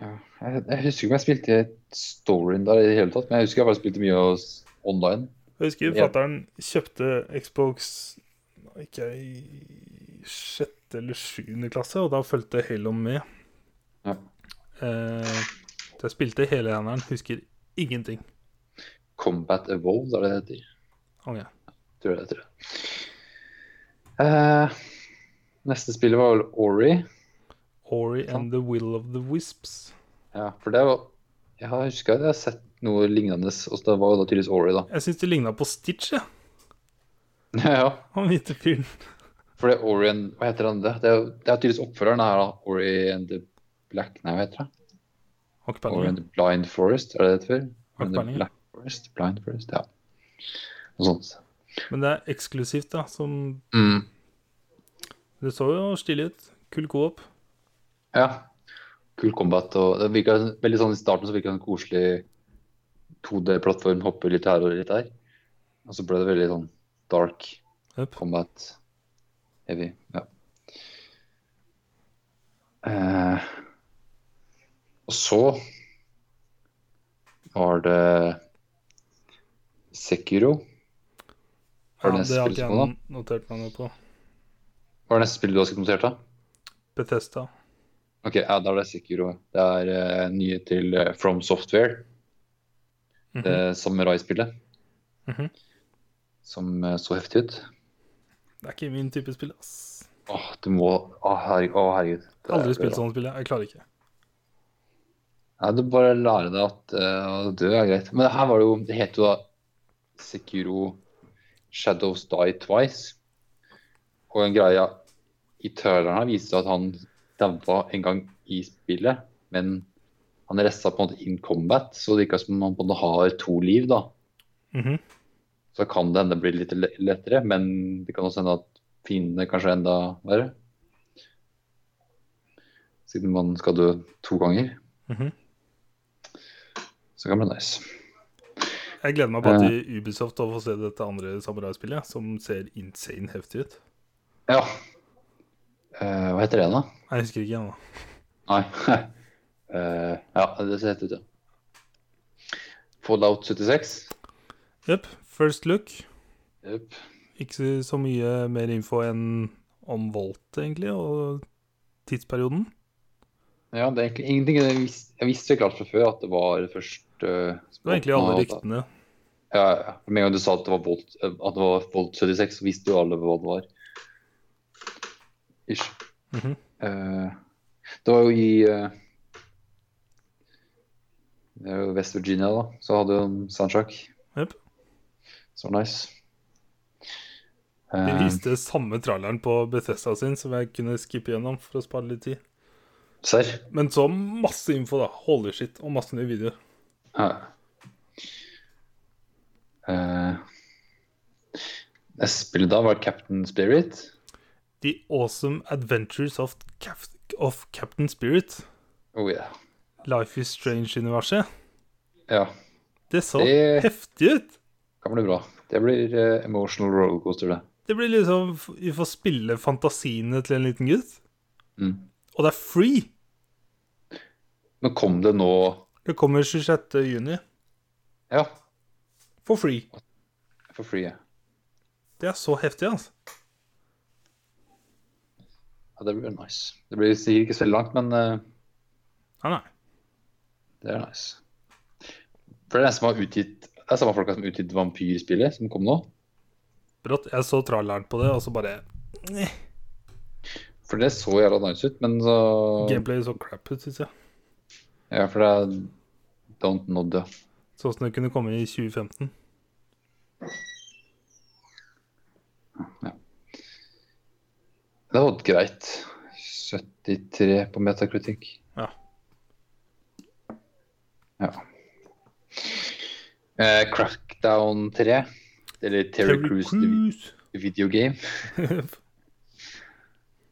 Speaker 2: Ja, Jeg, jeg husker ikke om jeg spilte storyen der i det hele tatt, men jeg husker jeg bare spilte mye av s- online.
Speaker 1: Jeg husker
Speaker 2: Ja.
Speaker 1: fatter'n kjøpte Xbox nå gikk jeg i sjette eller sjuende klasse, og da fulgte Halo med.
Speaker 2: Ja.
Speaker 1: Eh, så jeg spilte hele eneren, husker ingenting.
Speaker 2: Combat Evolved er det det heter.
Speaker 1: Ok.
Speaker 2: Tror jeg det heter. Eh, neste spillet var vel Ori.
Speaker 1: Ori and the Will of the Wisps.
Speaker 2: Ja, for det var Jeg har- husker jeg har sett noe lignende, og det var jo da tydeligvis Ori, da.
Speaker 1: Jeg syns det ligna på Stitch, jeg.
Speaker 2: ja,
Speaker 1: Han hvite fyren.
Speaker 2: for det er Ori and Hva heter han det? Det er, jo- det er tydeligvis oppfølgeren her, da. Ori and the Black Nei, hva heter det?
Speaker 1: Har ikke
Speaker 2: Ori and
Speaker 1: peiling.
Speaker 2: the Blind Forest, er det det heter?
Speaker 1: Har ikke
Speaker 2: Ori and the
Speaker 1: peiling.
Speaker 2: Black Forest, Blind Forest, ja. Noe sånt.
Speaker 1: Men det er eksklusivt, da. Som
Speaker 2: Mm.
Speaker 1: Det så jo stilig ut. Kul co-op.
Speaker 2: Ja. Kul combat. Og det virket veldig sånn I starten så virka det en koselig 2D-plattform, hoppe litt her og litt der. Og så ble det veldig sånn dark
Speaker 1: Jep.
Speaker 2: combat. Heavy. Ja. Eh, og så var det Sekiro.
Speaker 1: Ja,
Speaker 2: Har du
Speaker 1: det har
Speaker 2: neste
Speaker 1: ikke
Speaker 2: spill
Speaker 1: jeg
Speaker 2: da?
Speaker 1: notert meg noe på.
Speaker 2: Hva er det neste spillet du har skrevet notert, da?
Speaker 1: Bethesda.
Speaker 2: Ok, ja, da er det Sekiro. Det er eh, nye til eh, From Software. eh,
Speaker 1: Mhm.
Speaker 2: Det samurai-spillet.
Speaker 1: Mhm.
Speaker 2: Som eh, så heftig ut.
Speaker 1: Det er ikke min type spill, ass.
Speaker 2: Åh, du må Åh, herregud. Åh, herregud. Det er
Speaker 1: Aldri
Speaker 2: bra.
Speaker 1: spilt sånne spill, jeg. Jeg klarer ikke.
Speaker 2: Nei, du bare lærer deg at eh, å dø er greit. Men her var det jo Det het jo da Sekiro Shadows Die Twice. Og en greie i traileren her viser det at han daua en gang i spillet, men han resta på en måte in combat, så det virka som om han på en måte har to liv, da.
Speaker 1: Mhm.
Speaker 2: Så kan det hende bli litt le- lettere, men det kan også hende at fiendene kanskje er enda verre. Siden man skal dø to ganger.
Speaker 1: Mhm.
Speaker 2: Så det kan bli nice.
Speaker 1: Jeg gleder meg bare til Ubisoft og å få se dette andre samuraispillet, ja, som ser insane heftig ut.
Speaker 2: Ja. Eh, hva heter det igjen, da?
Speaker 1: Jeg husker ikke ennå.
Speaker 2: Nei. Eh, ja, det ser helt ut, ja. Fallout 76.
Speaker 1: Jepp. First look.
Speaker 2: Jep.
Speaker 1: Ikke så mye mer info enn om Volt, egentlig, og tidsperioden.
Speaker 2: Ja, det er egentlig ingenting jeg visste, jeg visste jo klart fra før at det var først eh,
Speaker 1: Det var egentlig alle ryktene.
Speaker 2: Ja, ja, ja. Med en gang du sa at det var Volt, eh, at det var Volt 76, så visste jo alle hva det var. Ish.
Speaker 1: Mhm.
Speaker 2: Eh, det var jo i eh, Det er jo West Virginia, da. Så hadde jo en soundtrack.
Speaker 1: Jep.
Speaker 2: Så nice.
Speaker 1: De
Speaker 2: Eh,
Speaker 1: viste samme traileren på Bethesda sin, som jeg kunne skippe gjennom for å spare litt tid.
Speaker 2: serr?
Speaker 1: Men så masse info, da. Holy shit, og masse nye videoer.
Speaker 2: Ja. Eh, Neste spill da var Captain Spirit.
Speaker 1: The Awesome Adventures of, Cap of Captain Spirit.
Speaker 2: Oh yeah.
Speaker 1: Life is Strange-universet.
Speaker 2: Ja,
Speaker 1: Det så
Speaker 2: Det-
Speaker 1: heftig ut!
Speaker 2: kan bli bra. Det blir eh, emotional rollercoaster, det.
Speaker 1: Det blir liksom Vi får spille fantasiene til en liten gutt.
Speaker 2: Mm.
Speaker 1: Og det er free!
Speaker 2: Nå kom det nå
Speaker 1: Det kommer 26. juni.
Speaker 2: Ja,
Speaker 1: For free.
Speaker 2: for free. Ja,
Speaker 1: Det er så heftig, altså.
Speaker 2: Ja, det blir nice. Det blir sikkert ikke så veldig langt, men eh,
Speaker 1: Nei, nei.
Speaker 2: det er nice. For det er den som har utgitt Det er samme folka som har utgitt Vampyrspillet, som kom nå.
Speaker 1: Brått. Jeg så tralleren på det, og så bare eh,
Speaker 2: For det så jævla nice ut, men så
Speaker 1: Gameplay så crap ut, syns jeg.
Speaker 2: Ja, for det er Don't Nod, ja.
Speaker 1: Sånn som det kunne komme i 2015.
Speaker 2: Det var greit. 73 på Metacritic.
Speaker 1: Ja.
Speaker 2: Ja. Eh, Crackdown 3, eller Terry Cruise the vi- the Video Game.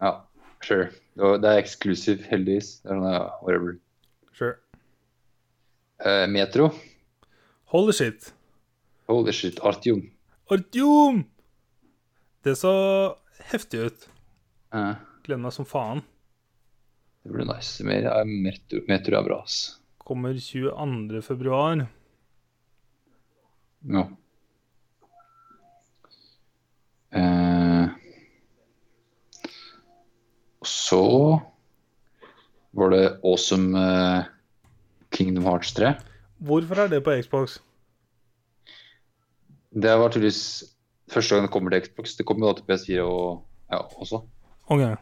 Speaker 2: Ja, sure. Det var- Det er eksklusiv, heldigvis. Det er sånn, ja, whatever.
Speaker 1: sure.
Speaker 2: Eh, Metro.
Speaker 1: Holy shit.
Speaker 2: Holy shit, Artium.
Speaker 1: Artyom! Det så heftig ut.
Speaker 2: Eh,
Speaker 1: Gleder meg som faen.
Speaker 2: det blir nice. Mer, ja, Metro, Metro er bra, ass.
Speaker 1: Kommer 22. februar.
Speaker 2: Ja. Eh, og så var det awesome eh, Kingdom Hearts 3.
Speaker 1: Hvorfor er det på Xbox?
Speaker 2: Det var tydeligvis første gang det kommer til Xbox. Det kommer jo da til PS4 og ja, også.
Speaker 1: OK.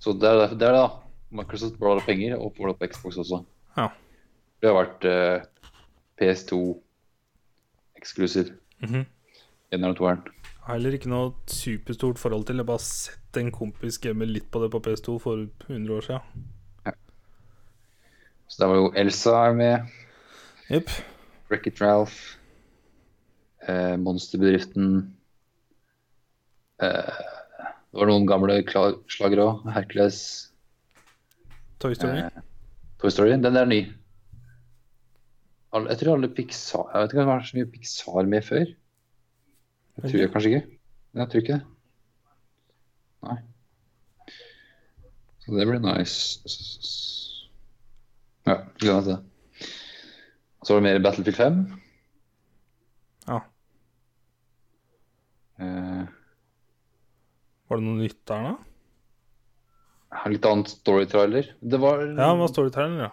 Speaker 2: Så det er derfor- det, er det da. Microsoft blar det penger og får det på Xbox også.
Speaker 1: Ja.
Speaker 2: Det har vært eh, PS2 eksklusiv.
Speaker 1: Mhm.
Speaker 2: En eller toeren.
Speaker 1: Jeg har heller ikke noe superstort forhold til. Jeg har bare sett en kompis game litt på det på PS2 for 100 år siden.
Speaker 2: Så der var jo Elsa er med.
Speaker 1: Jepp.
Speaker 2: Wreck-It Ralph, eh, Monsterbedriften eh, Det var noen gamle kla- slagere òg. Hercules,
Speaker 1: Toy Story.
Speaker 2: Eh. Toy Story. Den der er ny. Alle, jeg tror alle Pixar Jeg vet ikke om det var så mye Pixar med før. Jeg tror jeg kanskje ikke. Jeg tror ikke det. Nei. Så det blir nice. Ja, gleder meg til det. Så var det mer Battlefield 5.
Speaker 1: Ja.
Speaker 2: Eh,
Speaker 1: Var det noe nytt der, da?
Speaker 2: har litt annen storytrailer. Det var,
Speaker 1: Ja, hva står det her, da?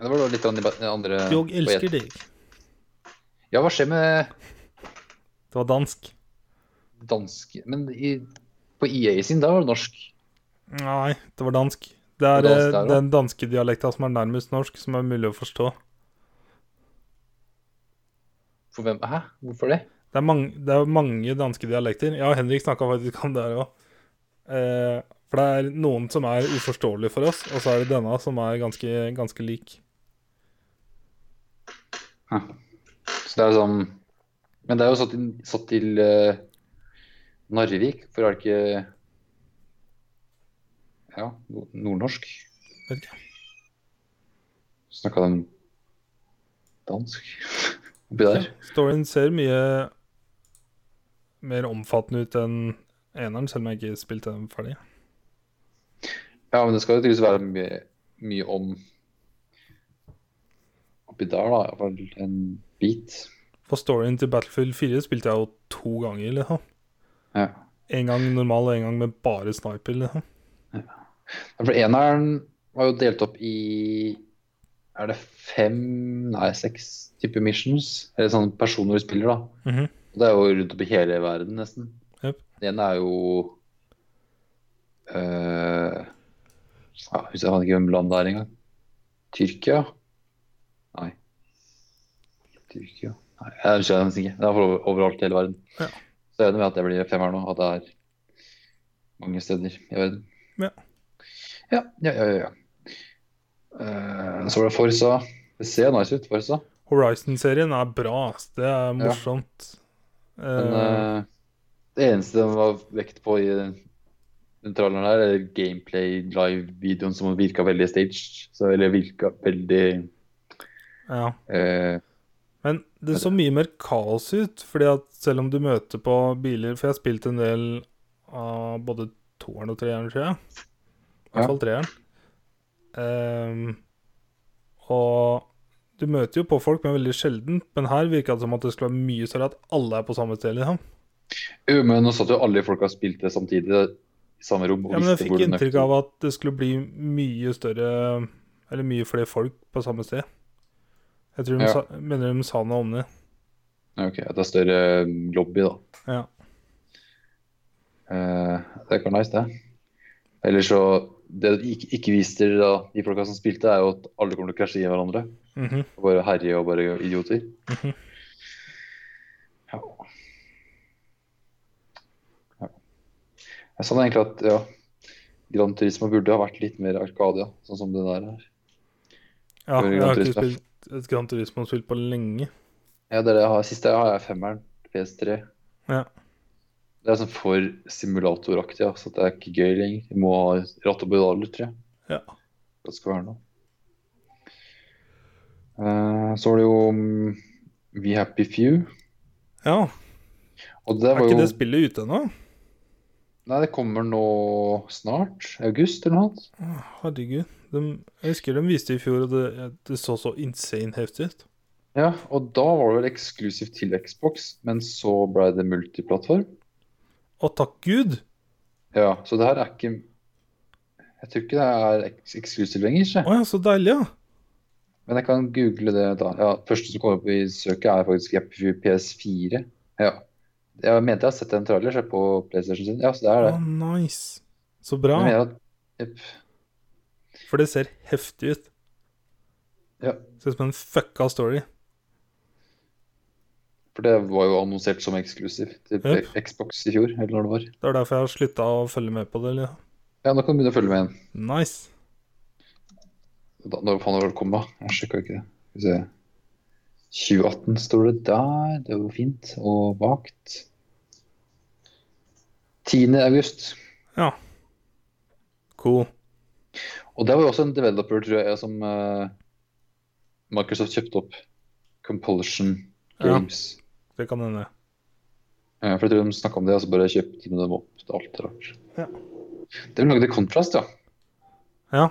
Speaker 2: det var da litt an- den andre
Speaker 1: Jeg elsker deg.
Speaker 2: Ja, hva skjer med
Speaker 1: Det var dansk.
Speaker 2: danske Men i, på EA sin, der var det norsk.
Speaker 1: Nei, det var dansk. Det er
Speaker 2: Det var dansk
Speaker 1: eh,
Speaker 2: der, da?
Speaker 1: den danske dialekta som er nærmest norsk, som er mulig å forstå.
Speaker 2: For hvem? Hæ? Hvorfor det?
Speaker 1: Det er mange, det er mange danske dialekter. Ja, Henrik snakka faktisk om det her òg. Eh, For det er noen som er uforståelige for oss, og så er det denne som er ganske, ganske lik.
Speaker 2: Ja. Så det er jo sånn Men det er jo satt, inn- satt til eh, Narvik, for er det ikke Ja, no- nordnorsk?
Speaker 1: Vet ikke.
Speaker 2: Snakka de dansk oppi der?
Speaker 1: Storyen ser mye mer omfattende ut enn eneren, selv om jeg ikke spilte den ferdig.
Speaker 2: Ja, men det skal jo tydeligvis være mye, mye om oppi der, da. Iallfall en bit.
Speaker 1: For storyen til Battlefield 4 spilte jeg jo to ganger. Liksom.
Speaker 2: Ja.
Speaker 1: En gang normal og en gang med bare sniper. Liksom.
Speaker 2: Ja, For eneren var jo delt opp i Er det fem, nei, seks type missions? Eller sånn personer du spiller, da.
Speaker 1: Mhm.
Speaker 2: Og det er jo rundt opp i hele verden, nesten.
Speaker 1: Jep.
Speaker 2: Den ene er jo øh, ja, Husker jeg faen ikke hvem land det er engang. Tyrkia? Nei. Tyrkia Nei, Jeg husker det nesten ikke. Det er for over- overalt i hele verden.
Speaker 1: Ja.
Speaker 2: Så jeg regner med at det blir fem her nå. At det er mange steder i verden.
Speaker 1: Ja.
Speaker 2: Ja, ja, ja. ja, ja. Eh, så var det Forsa. Det ser nice ut, Forsa.
Speaker 1: Horizon-serien er bra. ass. Det er morsomt.
Speaker 2: Men
Speaker 1: Eh,
Speaker 2: eh, det eneste den var vekt på i den tralleren her, er gameplay live-videoen som virka veldig staged. Så, eller virka veldig
Speaker 1: ja.
Speaker 2: eh,
Speaker 1: Men det så mye mer kaos ut, fordi at selv om du møter på biler For jeg har spilt en del av både toeren og treeren, tror jeg. I
Speaker 2: Ja.
Speaker 1: hvert fall treeren. Ehm, og du møter jo på folk, men veldig sjelden. Men her virka det som at det skulle være mye større at alle er på samme sted. liksom.
Speaker 2: Jo, men nå satt jo alle folka og spilte samtidig i samme rom. og
Speaker 1: Ja, men jeg
Speaker 2: visste hvor
Speaker 1: fikk
Speaker 2: den
Speaker 1: inntrykk
Speaker 2: nøkkelen-
Speaker 1: av at det skulle bli mye større Eller mye flere folk på samme sted. Jeg tror de
Speaker 2: Ja.
Speaker 1: sa, mener de sa noe om det.
Speaker 2: Ja, Ok, At det er større lobby, da.
Speaker 1: Ja.
Speaker 2: Eh, det kan være nice, det. Eller så Det de ikke, ikke viser da, de folka som spilte, er jo at alle kommer til å krasje i hverandre.
Speaker 1: Mhm.
Speaker 2: Og bare herje og bare idioter.
Speaker 1: Mhm.
Speaker 2: Ja. ja. Jeg sa egentlig at ja, Gran Turismo burde ha vært litt mer Arkadia, sånn som det der er.
Speaker 1: Ja, jeg
Speaker 2: Før
Speaker 1: har
Speaker 2: Gran
Speaker 1: ikke
Speaker 2: Turismo.
Speaker 1: spilt et Gran Turismo spilt på lenge.
Speaker 2: Ja, det er det jeg har. Siste jeg har, er femmeren. PS3.
Speaker 1: Ja.
Speaker 2: Det er sånn for simulatoraktig, ja, så det er ikke gøy lenger. Du må ha ratt og pedaler, tror jeg.
Speaker 1: Ja.
Speaker 2: Det skal være noe. Eh, så var det jo mm, We Happy Few.
Speaker 1: ja.
Speaker 2: Og det
Speaker 1: Er
Speaker 2: var jo
Speaker 1: ikke det spillet ute ennå?
Speaker 2: Nei, det kommer nå snart. August eller noe annet.
Speaker 1: Å, Herregud. De, jeg husker de viste i fjor, og det, det så så insane heftig ut.
Speaker 2: Ja, og da var det vel eksklusivt til Xbox, men så ble det multiplattform.
Speaker 1: Å, takk gud!
Speaker 2: Ja, så det her er ikke Jeg tror ikke det er eks eksklusivt lenger.
Speaker 1: Å
Speaker 2: Så.
Speaker 1: ja, så deilig, ja.
Speaker 2: Men jeg kan google det da. Ja, første som kommer opp i søket, er faktisk Happy Few PS4. Ja. Jeg mente jeg har sett en trailer så på PlayStation sin. Ja, så det er
Speaker 1: Å,
Speaker 2: det.
Speaker 1: nice. Så
Speaker 2: Jeg
Speaker 1: bra.
Speaker 2: mener at, Jep.
Speaker 1: For det ser heftig ut.
Speaker 2: Ja.
Speaker 1: Ser ut som en fucka story.
Speaker 2: For det var jo annonsert som eksklusiv til
Speaker 1: Jep.
Speaker 2: Xbox i fjor, eller når det var.
Speaker 1: Det er derfor jeg har slutta å følge med på det. eller?
Speaker 2: Ja, nå kan du begynne å følge med igjen.
Speaker 1: Nice.
Speaker 2: Da, når faen var det kom, da? Jeg sjekka ikke det. Skal vi se. 2018 står det der. Det var jo fint. Og vagt. 10. august.
Speaker 1: Ja. Cool.
Speaker 2: Og det var jo også en developer, tror jeg, som eh, Microsoft kjøpte opp. Compulsion
Speaker 1: Ja.
Speaker 2: Games.
Speaker 1: Det kan hende.
Speaker 2: Eh, for jeg tror de snakka om det, og så bare kjøpte de dem opp til alt rart.
Speaker 1: Ja.
Speaker 2: De lagde Contrast, ja.
Speaker 1: Ja.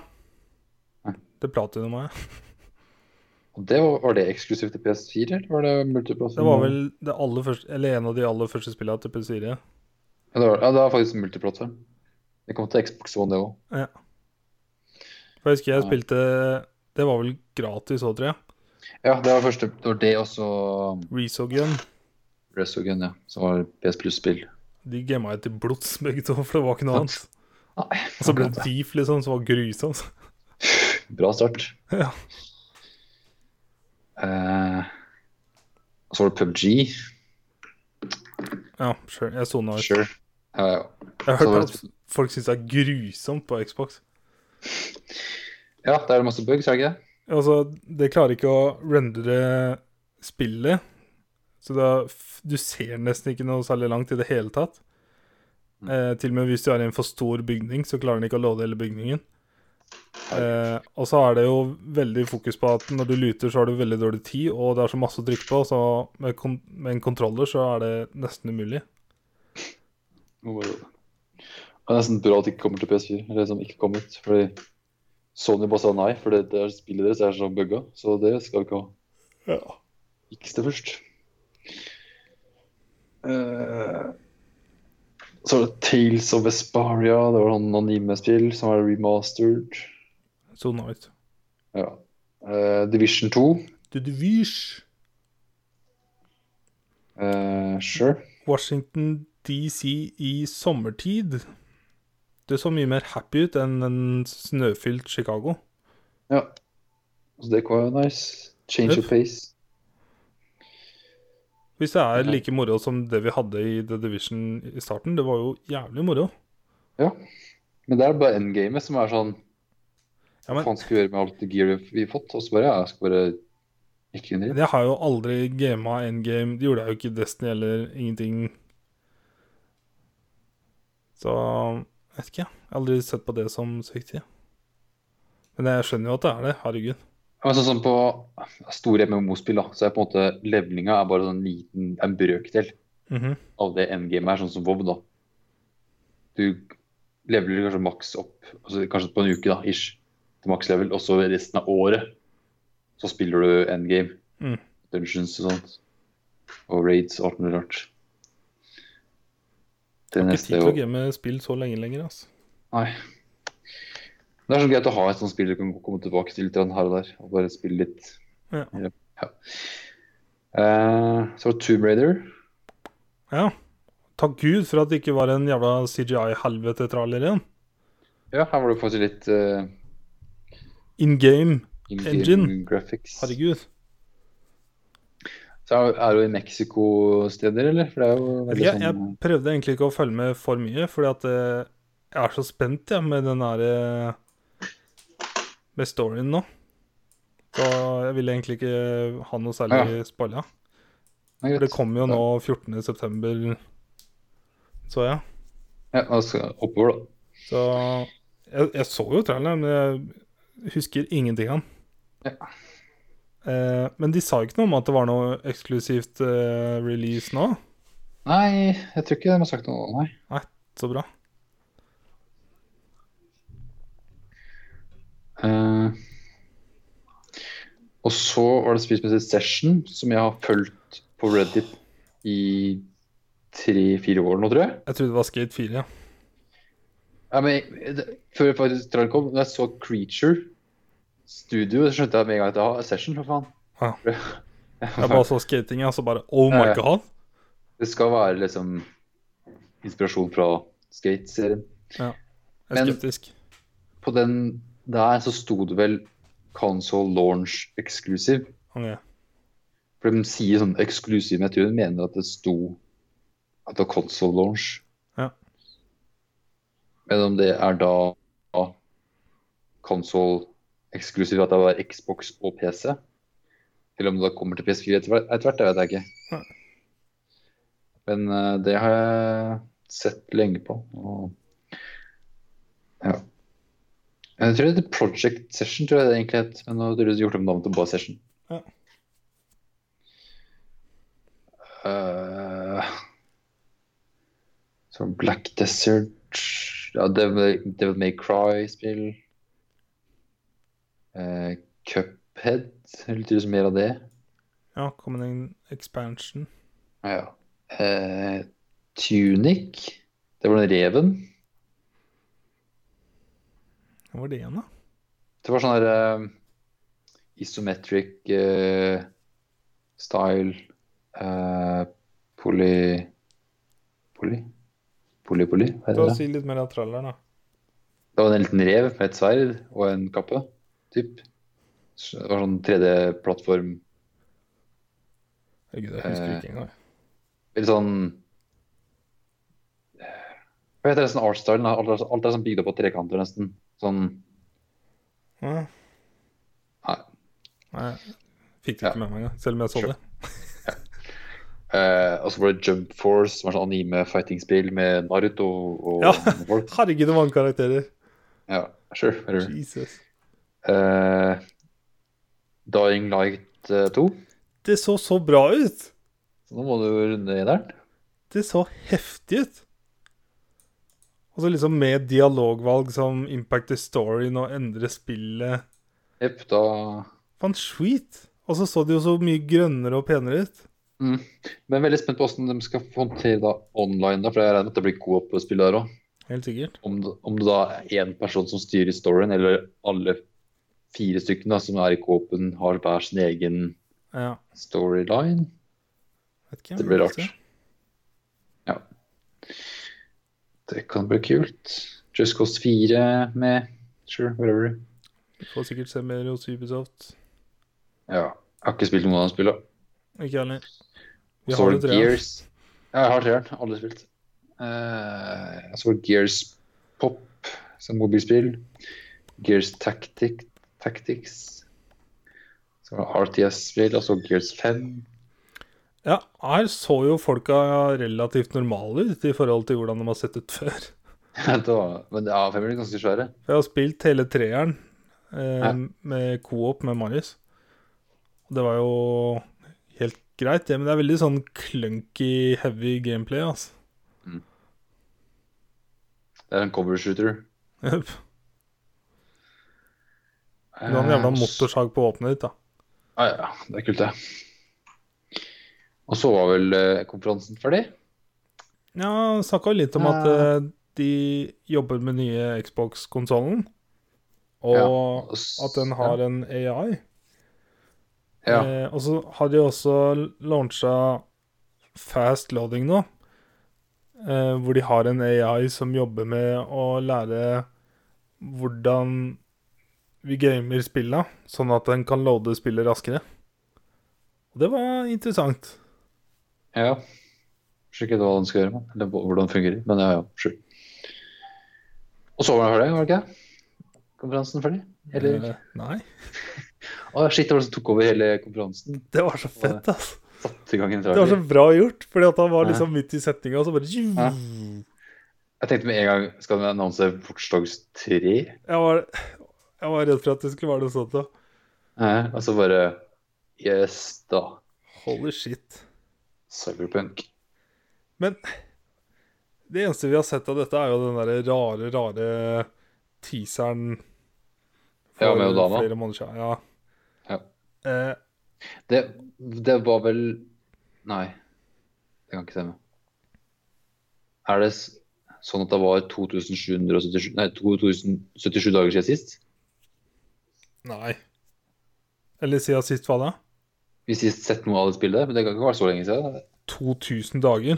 Speaker 2: Ja.
Speaker 1: Det platinumet. ja.
Speaker 2: Og det var, var det eksklusivt til PS4, eller var det multiplattform?
Speaker 1: Det var vel det aller første, eller en av de aller første spillene til PS4.
Speaker 2: Ja, det var, ja, det var faktisk multiplattform. Det kom til Xbox One, det òg.
Speaker 1: For jeg husker jeg
Speaker 2: Ja.
Speaker 1: spilte Det var vel gratis òg, tror jeg.
Speaker 2: Ja, det var første. Det var det og så um,
Speaker 1: Resogun.
Speaker 2: Resogun, ja. Som var PS Plus-spill.
Speaker 1: De gamma jeg til blods, begge to, for det var ikke noe annet.
Speaker 2: Nei,
Speaker 1: Og så ble det Thief, liksom, som var grusomt.
Speaker 2: Bra start.
Speaker 1: Ja.
Speaker 2: Eh, og så var det PubG.
Speaker 1: Ja, sure. Jeg sona ut.
Speaker 2: Sure. Ja, ja.
Speaker 1: Jeg
Speaker 2: Så var
Speaker 1: hørte
Speaker 2: det
Speaker 1: abs- folk syns er grusomt på Xbox.
Speaker 2: Ja, der er det masse bugs, er det ikke det?
Speaker 1: Altså, det klarer ikke å rendere spillet. Så da, f- du ser nesten ikke noe særlig langt i det hele tatt. Eh, til og med hvis du er i en for stor bygning, så klarer den ikke å låde hele bygningen. Eh, og så er det jo veldig fokus på at når du luter, så har du veldig dårlig tid, og det er så masse å trykke på, så med, kon med en kontroller så er det nesten umulig.
Speaker 2: Må bare jobbe. Det er nesten bra at det ikke kommer til PS4, eller som ikke kom ut. Fordi Sony bare sa nei, for det, det er- spillet deres er så bugga. Så det skal vi ikke ha. Ikke det først. Eh, så er det Tales of Vesparia. Det var sånn anime-spill som er remastered.
Speaker 1: Sona ut.
Speaker 2: Ja. Eh, Division 2.
Speaker 1: The Divish.
Speaker 2: eh, sure.
Speaker 1: Washington DC i sommertid. Det så mye mer happy ut enn en snøfylt Chicago.
Speaker 2: Ja. Så det var jo nice. Change of
Speaker 1: Yep.
Speaker 2: pace.
Speaker 1: Hvis det er
Speaker 2: Ja.
Speaker 1: like moro som det vi hadde i The Division i starten, det var jo jævlig moro.
Speaker 2: Men det er bare endgamet som er sånn
Speaker 1: Ja,
Speaker 2: Hva
Speaker 1: men
Speaker 2: faen skal vi gjøre med alt det gear vi har fått? Og så bare ja, jeg skal bare ikke inn i det.
Speaker 1: jeg har jo aldri gama endgame. Det gjorde jeg jo ikke i Destiny eller ingenting. Så jeg vet ikke, jeg. Jeg har aldri sett på det som så viktig. Men jeg skjønner jo at det er det. Herregud.
Speaker 2: Men sånn som på store MMO-spill, da, så er på en måte levelinga er bare sånn liten, en brøkdel
Speaker 1: Mhm.
Speaker 2: av det endgamet er, sånn som WoW, da. Du leveler kanskje maks opp, altså kanskje på en uke, da, ish, til maks level, og så resten av året så spiller du endgame.
Speaker 1: Mm.
Speaker 2: Dungeons og sånt. Og raids og alt mulig rart. Det
Speaker 1: Ikke
Speaker 2: neste
Speaker 1: tid til å
Speaker 2: år.
Speaker 1: game spill så lenge lenger, altså.
Speaker 2: Nei. Men Det er så greit å ha et sånt spill du kan komme tilbake til litt grann her og der. Og bare spille litt.
Speaker 1: Ja.
Speaker 2: Ja. Eh, så var det Tomb Raider.
Speaker 1: Ja. Takk Gud for at det ikke var en jævla CGI-helvete-traller igjen.
Speaker 2: Ja, her var det faktisk litt eh,
Speaker 1: In game.
Speaker 2: in-game
Speaker 1: Engine.
Speaker 2: graphics.
Speaker 1: Herregud.
Speaker 2: Så er, er du i Mexico-steder, eller? For det er jo
Speaker 1: Vet ikke,
Speaker 2: veldig
Speaker 1: jeg,
Speaker 2: sånn
Speaker 1: jeg prøvde egentlig ikke å følge med for mye, fordi at eh, jeg er så spent jeg, med den der eh, med storyen nå. Så jeg ville egentlig ikke ha noe særlig
Speaker 2: Ja.
Speaker 1: spoila.
Speaker 2: Nei, greit.
Speaker 1: For det kommer jo nå 14.9., så jeg.
Speaker 2: Ja, da skal jeg oppover, da.
Speaker 1: Så jeg, jeg så jo traileren, men jeg husker ingenting av den.
Speaker 2: Ja.
Speaker 1: Eh, men de sa jo ikke noe om at det var noe eksklusivt eh, release nå.
Speaker 2: Nei, jeg tror ikke de har sagt noe. Nei.
Speaker 1: Så bra.
Speaker 2: Eh, og så var det spillmessig session, som jeg har fulgt på Reddit i tre-fire år nå, tror jeg.
Speaker 1: Jeg trodde det var Skate 4. Ja.
Speaker 2: Ja, men jeg- det- Før jeg faktisk traileren kom, da jeg så Creature Studio, så skjønte jeg med en gang at det var session, for faen.
Speaker 1: Ja.
Speaker 2: Jeg
Speaker 1: Jeg bare så skating, og så bare Oh my
Speaker 2: Ja, ja.
Speaker 1: god!
Speaker 2: Det skal være liksom inspirasjon fra skate-serien.
Speaker 1: Jeg er
Speaker 2: Men-
Speaker 1: skeptisk.
Speaker 2: På den der så sto det vel console launch exclusive.
Speaker 1: Ok.
Speaker 2: For de sier sånn eksklusiv, men jeg tror de mener at det sto at det var console launch.
Speaker 1: Ja.
Speaker 2: Men om det er da console eksklusiv, at det var Xbox og PC, eller om det da kommer til PS4 etter hvert, etter hvert, det vet jeg ikke.
Speaker 1: Nei.
Speaker 2: Men eh, det har jeg sett lenge på. Og... Ja. Jeg tror det heter Project Session, tror jeg det egentlig het. Men nå har de gjort om navnet til bare Session. Eh, Så Black Desert ja, Devil, Devil May Cry-spill. Eh, Cuphead. Det Lytter liksom mer av det.
Speaker 1: Ja, kom det en expansion.
Speaker 2: Ja. Eh, Tunic. Det var den reven.
Speaker 1: Hva var det igjen, da?
Speaker 2: Det var sånn her eh, isometric eh, style eh, Poly... Poly? Poly-poly? Hva heter
Speaker 1: Ta
Speaker 2: det?
Speaker 1: og Si litt mer av tralleren, da.
Speaker 2: Det var en liten rev med et sverd og en kappe. Typ. Så Det var sånn 3D-plattform.
Speaker 1: Herregud, jeg husker
Speaker 2: Eh,
Speaker 1: ikke engang.
Speaker 2: Litt sånn eh, Hva heter nesten artstylen? Alt, er- alt er sånn bygd opp på trekanter, nesten. Sånn
Speaker 1: Nei.
Speaker 2: Nei.
Speaker 1: Nei. Fikk det ikke
Speaker 2: Ja.
Speaker 1: med meg engang, selv om jeg så
Speaker 2: Sure.
Speaker 1: det.
Speaker 2: Eh, og så var det Jump Force, som er sånn anime-fighting-spill med Naruto og
Speaker 1: Ja.
Speaker 2: folk.
Speaker 1: Herregud, det mange karakterer.
Speaker 2: Ja, sure. whatever.
Speaker 1: Jesus.
Speaker 2: Eh, Dying Light eh, 2.
Speaker 1: Det så så bra ut!
Speaker 2: Så nå må du runde eneren.
Speaker 1: Det så heftig ut! Og så liksom med dialogvalg som impacter storyen og endrer spillet.
Speaker 2: Jepp, da
Speaker 1: Fan, sweet! Og så så det jo så mye grønnere og penere ut.
Speaker 2: mm. Men veldig spent på hvordan de skal håndtere da online, da, for jeg regner med at det blir god på å spille der òg.
Speaker 1: Helt sikkert.
Speaker 2: Om, det- om det da er én person som styrer storyen, eller alle fire stykkene da, som er i Copen, har hver sin egen
Speaker 1: Ja.
Speaker 2: storyline.
Speaker 1: Vet ikke,
Speaker 2: Det
Speaker 1: vi
Speaker 2: blir
Speaker 1: får
Speaker 2: rart. Ja. Det kan bli kult. Just Cause 4 med Sure, whatever.
Speaker 1: se. Vi Får sikkert se mer hos Ubisoft.
Speaker 2: Ja. Jeg har ikke spilt noen av de spillene.
Speaker 1: Ikke ærlig. Vi
Speaker 2: Så
Speaker 1: har
Speaker 2: var
Speaker 1: jo
Speaker 2: det
Speaker 1: tre.
Speaker 2: Gears. Ja, jeg har treeren. Aldri spilt. Eh, så var det Gears Pop som mobilspill. Gears Tactic, Tactics. Så var det RTS-spill, og så Gears 5.
Speaker 1: Ja, her så jo folka relativt normale ut i forhold til hvordan de har sett ut før.
Speaker 2: det var, men ja, fem er ganske svære.
Speaker 1: For jeg har spilt hele treeren eh,
Speaker 2: Ja.
Speaker 1: med co-op med Marius. Og det var jo helt greit, det. Men det er veldig sånn clunky, heavy gameplay, altså.
Speaker 2: Det er en cover shooter.
Speaker 1: Jep. Du har en
Speaker 2: Eh,
Speaker 1: jævla motorsag på våpenet ditt, da.
Speaker 2: Ja, ja, det er kult, det. Og så var vel eh, konferansen ferdig?
Speaker 1: Ja, snakka jo litt om at
Speaker 2: Ja.
Speaker 1: eh, de jobber med nye Xbox-konsollen. Og
Speaker 2: Ja.
Speaker 1: at den har en AI.
Speaker 2: Ja.
Speaker 1: Eh, og så har de også launcha fast loading nå. Eh, hvor de har en AI som jobber med å lære hvordan vi gamer spilla, sånn at den kan loade spillet raskere. Og det var interessant.
Speaker 2: ja. Skjønner ikke hva den skal gjøre, men- eller hva- hvordan den fungerer. Men ja, ja, sure. Og så var den ferdig, var det ikke? Konferansen ferdig? Eller Å,
Speaker 1: Eh, nei.
Speaker 2: shit, det var det som tok over hele konferansen.
Speaker 1: Det var så fett, altså.
Speaker 2: Satte i gang en
Speaker 1: Det var så
Speaker 2: trailer.
Speaker 1: bra gjort, fordi at han var
Speaker 2: Ja.
Speaker 1: liksom midt i setninga, og så bare
Speaker 2: Ja. Jeg tenkte med en gang Skal vi annonse Watchdogs 3?
Speaker 1: jeg var, jeg var redd for at det skulle være noe sånt. da.
Speaker 2: Eh, og så bare Yes, da.
Speaker 1: Holy shit.
Speaker 2: Cyberpunk.
Speaker 1: Men det eneste vi har sett av dette, er jo den derre rare, rare teaseren
Speaker 2: Ja, med Odama.
Speaker 1: flere måneder siden. Ja.
Speaker 2: Ja.
Speaker 1: Eh,
Speaker 2: Det, det var vel Nei, det kan ikke stemme. Er det s- sånn at det var 2777, nei, 2077 dager siden sist?
Speaker 1: nei. Eller siden sist, hva da?
Speaker 2: Vi har sist sett noe av det spillet, men det kan ikke være så lenge siden.
Speaker 1: 2000 dager.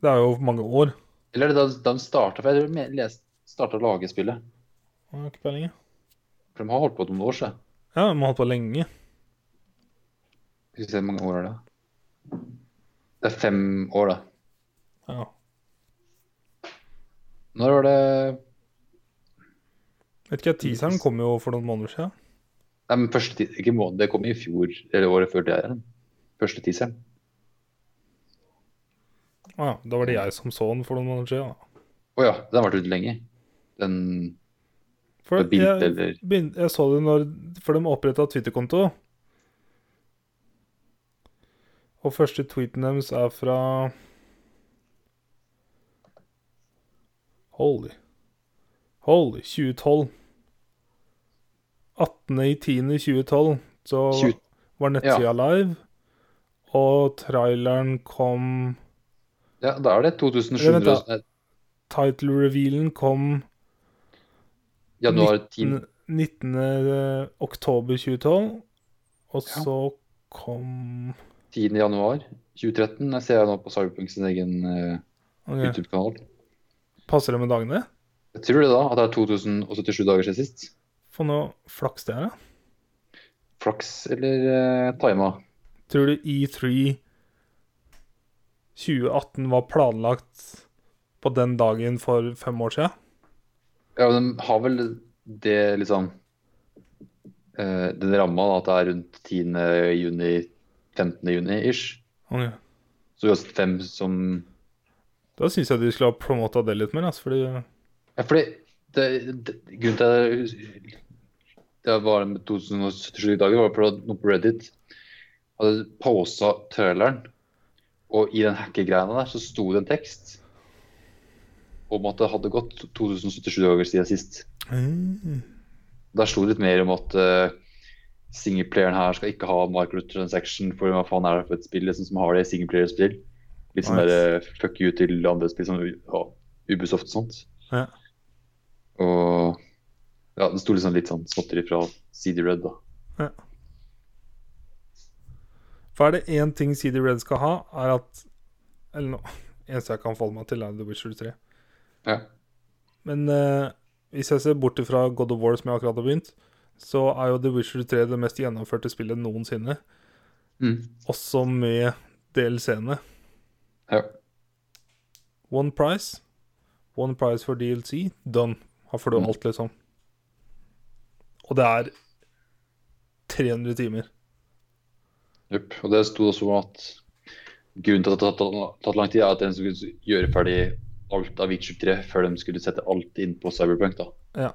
Speaker 1: Det er jo mange år.
Speaker 2: Eller er det da da de starta For jeg tror de les- startet å lage spillet.
Speaker 1: Jeg har ikke peiling. jeg.
Speaker 2: For de har holdt på noen år siden.
Speaker 1: Ja, vi har holdt på lenge.
Speaker 2: Skal vi se hvor mange år er det Det er fem år, da.
Speaker 1: Ja.
Speaker 2: Når var det
Speaker 1: Vet ikke, teaseren kom jo for noen måneder siden.
Speaker 2: Nei, men første ti- ikke måned, det kom i fjor, eller året før det igjen. Første teaseren.
Speaker 1: Å ja, da var det jeg som så den for noen måneder siden. da.
Speaker 2: Å ja, den har vært ute lenge. Den
Speaker 1: For
Speaker 2: Med bilde,
Speaker 1: jeg,
Speaker 2: eller?
Speaker 1: begyn- jeg så det når For de oppretta Twitter-konto. Og første tweeten deres er fra Holy. Holy 2012. 18.10.2012 så
Speaker 2: 20
Speaker 1: var nettsida live, og traileren kom
Speaker 2: Ja, da er
Speaker 1: Eller
Speaker 2: det
Speaker 1: vent
Speaker 2: 2700
Speaker 1: da.
Speaker 2: nei,
Speaker 1: Title-revealen kom
Speaker 2: Januar 10
Speaker 1: 19. 19. eh, oktober 2012, og
Speaker 2: Ja.
Speaker 1: så kom
Speaker 2: 10. januar 2013. Jeg ser jeg nå på Cyberpunk sin egen eh,
Speaker 1: Ok,
Speaker 2: YouTube-kanal.
Speaker 1: Passer det med dagene?
Speaker 2: Jeg tror det da at det er 2077 dager siden sist.
Speaker 1: For nå flaks det er, da.
Speaker 2: Flaks eller eh, tima.
Speaker 1: E Tror du E3 2018 var planlagt på den dagen for fem år siden.
Speaker 2: Ja, men de har vel det liksom eh, Den ramma da, at det er rundt 10. juni, 15. juni ish.
Speaker 1: Ok.
Speaker 2: Så uansett hvem som
Speaker 1: Da syns jeg de skulle ha promota det litt mer, altså, fordi
Speaker 2: Ja, fordi det, det, grunnen til at jeg- det var med 2077 dager, var fordi at noen på Reddit hadde posta traileren, og i den hackegreiene der så sto det en tekst om at det hadde gått 2077 dager siden sist. Der sto det litt mer om at eh, singleplayeren her skal ikke ha microtransaction, for hva faen er det for et spill liksom, som har det i singleplayerspill? Litt sånn
Speaker 1: Nice.
Speaker 2: der eh, fuck you til andre spill som U- ja, Ubisoft og sånt.
Speaker 1: Ja.
Speaker 2: Og ja, det sto liksom litt sånn småtteri fra CD Red, da.
Speaker 1: For er det én ting CD Red skal ha, er at Eller nå eneste jeg kan forholde meg til, er The Witcher 3.
Speaker 2: Ja.
Speaker 1: Men eh, hvis jeg ser bort ifra God of War, som jeg akkurat har begynt, så er jo The Witcher 3 det mest gjennomførte spillet noensinne.
Speaker 2: Mm.
Speaker 1: Også med DLC-ene.
Speaker 2: ja.
Speaker 1: One price. One price for DLC. Done. Her får du
Speaker 2: Mm.
Speaker 1: alt, liksom. Og det er 300 timer.
Speaker 2: Jupp. Og det sto også at grunnen til at det har tatt, tatt lang tid, er at de skulle gjøre ferdig alt av Witcher 3 før de skulle sette alt inn på Cyberpunk. da.
Speaker 1: Ja.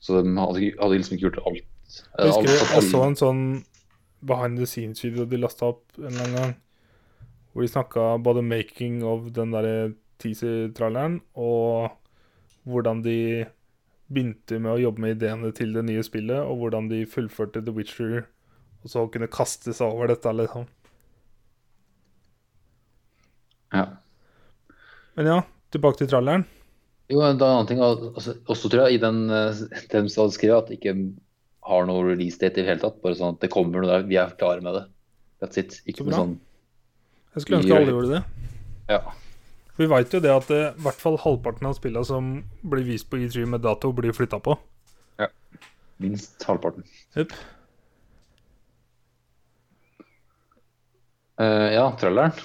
Speaker 2: Så de hadde, ikke- hadde liksom ikke gjort alt. eh,
Speaker 1: Jeg
Speaker 2: alt-
Speaker 1: husker jeg så
Speaker 2: alt-
Speaker 1: en sånn behind the scenes-video de lasta opp en eller annen gang, hvor de snakka både making of den derre teaser-tralleren, og hvordan de begynte med å jobbe med ideene til det nye spillet, og hvordan de fullførte The Witcher, og så kunne kaste seg over dette, liksom.
Speaker 2: Ja.
Speaker 1: Men ja, tilbake til tralleren.
Speaker 2: Jo, men det er en annen ting. al- Altså, også tror jeg i den eh, dem som hadde skrevet at de ikke har noe release date i det hele tatt. Bare sånn at det kommer noe der. Vi er klare med det. That's it.
Speaker 1: Så
Speaker 2: Ikke noe
Speaker 1: bra.
Speaker 2: sånn
Speaker 1: Jeg skulle ønske
Speaker 2: Gjør
Speaker 1: alle
Speaker 2: det.
Speaker 1: gjorde det.
Speaker 2: Ja.
Speaker 1: Vi veit jo det at eh, i hvert fall halvparten av spillene som blir vist på E3 med dato, blir flytta på.
Speaker 2: Minst halvparten.
Speaker 1: Yep.
Speaker 2: Eh, ja, tralleren.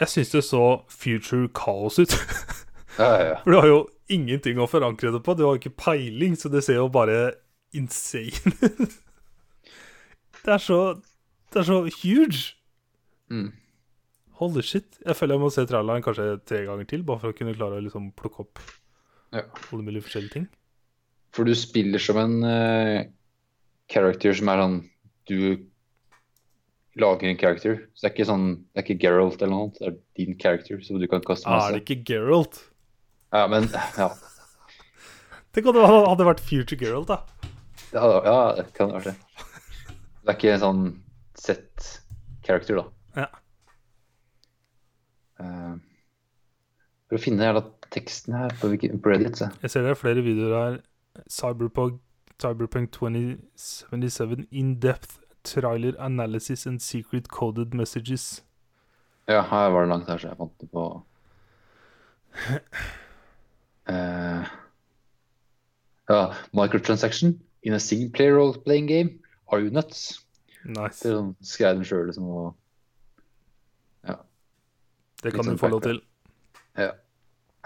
Speaker 1: Jeg syns det så future kaos ut.
Speaker 2: Ja, ja, ja.
Speaker 1: For du har jo ingenting å forankre det på. Du har ikke peiling, så det ser jo bare insane ut. det er så Det er så huge.
Speaker 2: Mm.
Speaker 1: Holy shit. Jeg føler jeg må se traileren kanskje tre ganger til, bare for å kunne klare å liksom plukke opp
Speaker 2: Ja.
Speaker 1: alle mulige forskjellige ting.
Speaker 2: For du spiller som en eh, character som er sånn Du lager en character. Så det er ikke sånn Det er ikke Geralt eller noe annet. Det er din character, så du kan
Speaker 1: Er
Speaker 2: kaste
Speaker 1: Ah, det
Speaker 2: masse.
Speaker 1: ikke Geralt?
Speaker 2: Ja, men Ja,
Speaker 1: Tenk om det hadde vært future Geralt, da.
Speaker 2: ja, da- ja det kan være det. Det er ikke en sånn sett character, da.
Speaker 1: Ja.
Speaker 2: Eh, for å finne jævla teksten her på, Wiki- på Reddit, se.
Speaker 1: Jeg ser det er flere videoer her. Cyberpunk, Cyberpunk 2077 in-depth trailer analysis and secret coded messages.
Speaker 2: Ja, her var det langt her, så jeg fant det på Eh, Ja, microtransaction in a single player role-playing game. Are you nuts? Det
Speaker 1: Nice.
Speaker 2: er sånn, skrev den sjøl, liksom. Og...
Speaker 1: Det
Speaker 2: litt
Speaker 1: kan du
Speaker 2: sånn
Speaker 1: få lov
Speaker 2: fakta.
Speaker 1: til.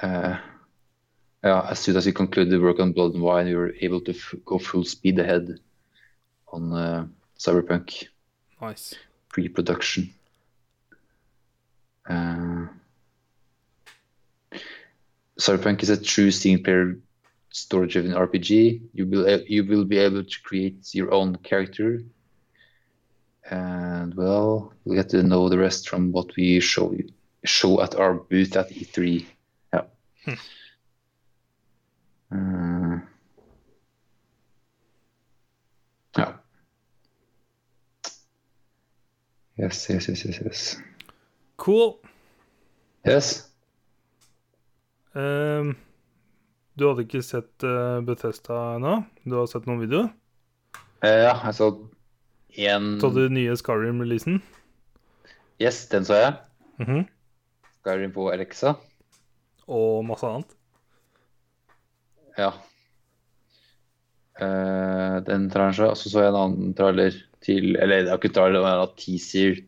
Speaker 2: eh, ja, as soon as you conclude the work on Blood and Wine, you were able to f go full speed ahead on eh, Cyberpunk
Speaker 1: Nice.
Speaker 2: pre-production. Uh, Cyberpunk is a true single-player story-driven RPG. You will uh, you will be able to create your own character, and well, you'll get to know the rest from what we show you show at our booth at E3. Yeah. Uh, yeah. Yes, yes, yes, yes, yes.
Speaker 1: Cool.
Speaker 2: Yes.
Speaker 1: Ehm, du hadde ikke sett eh, Bethesda ennå? Du har sett noen videoer?
Speaker 2: Eh, ja, jeg så én
Speaker 1: Så du nye Skyrim-releasen?
Speaker 2: Yes, den så jeg.
Speaker 1: Mhm.
Speaker 2: Skyrim på Alexa.
Speaker 1: Og masse annet?
Speaker 2: Ja. Eh, den traileren så jeg. Og så så jeg en annen trailer til Eller det er ikke en trailer, det er en teaser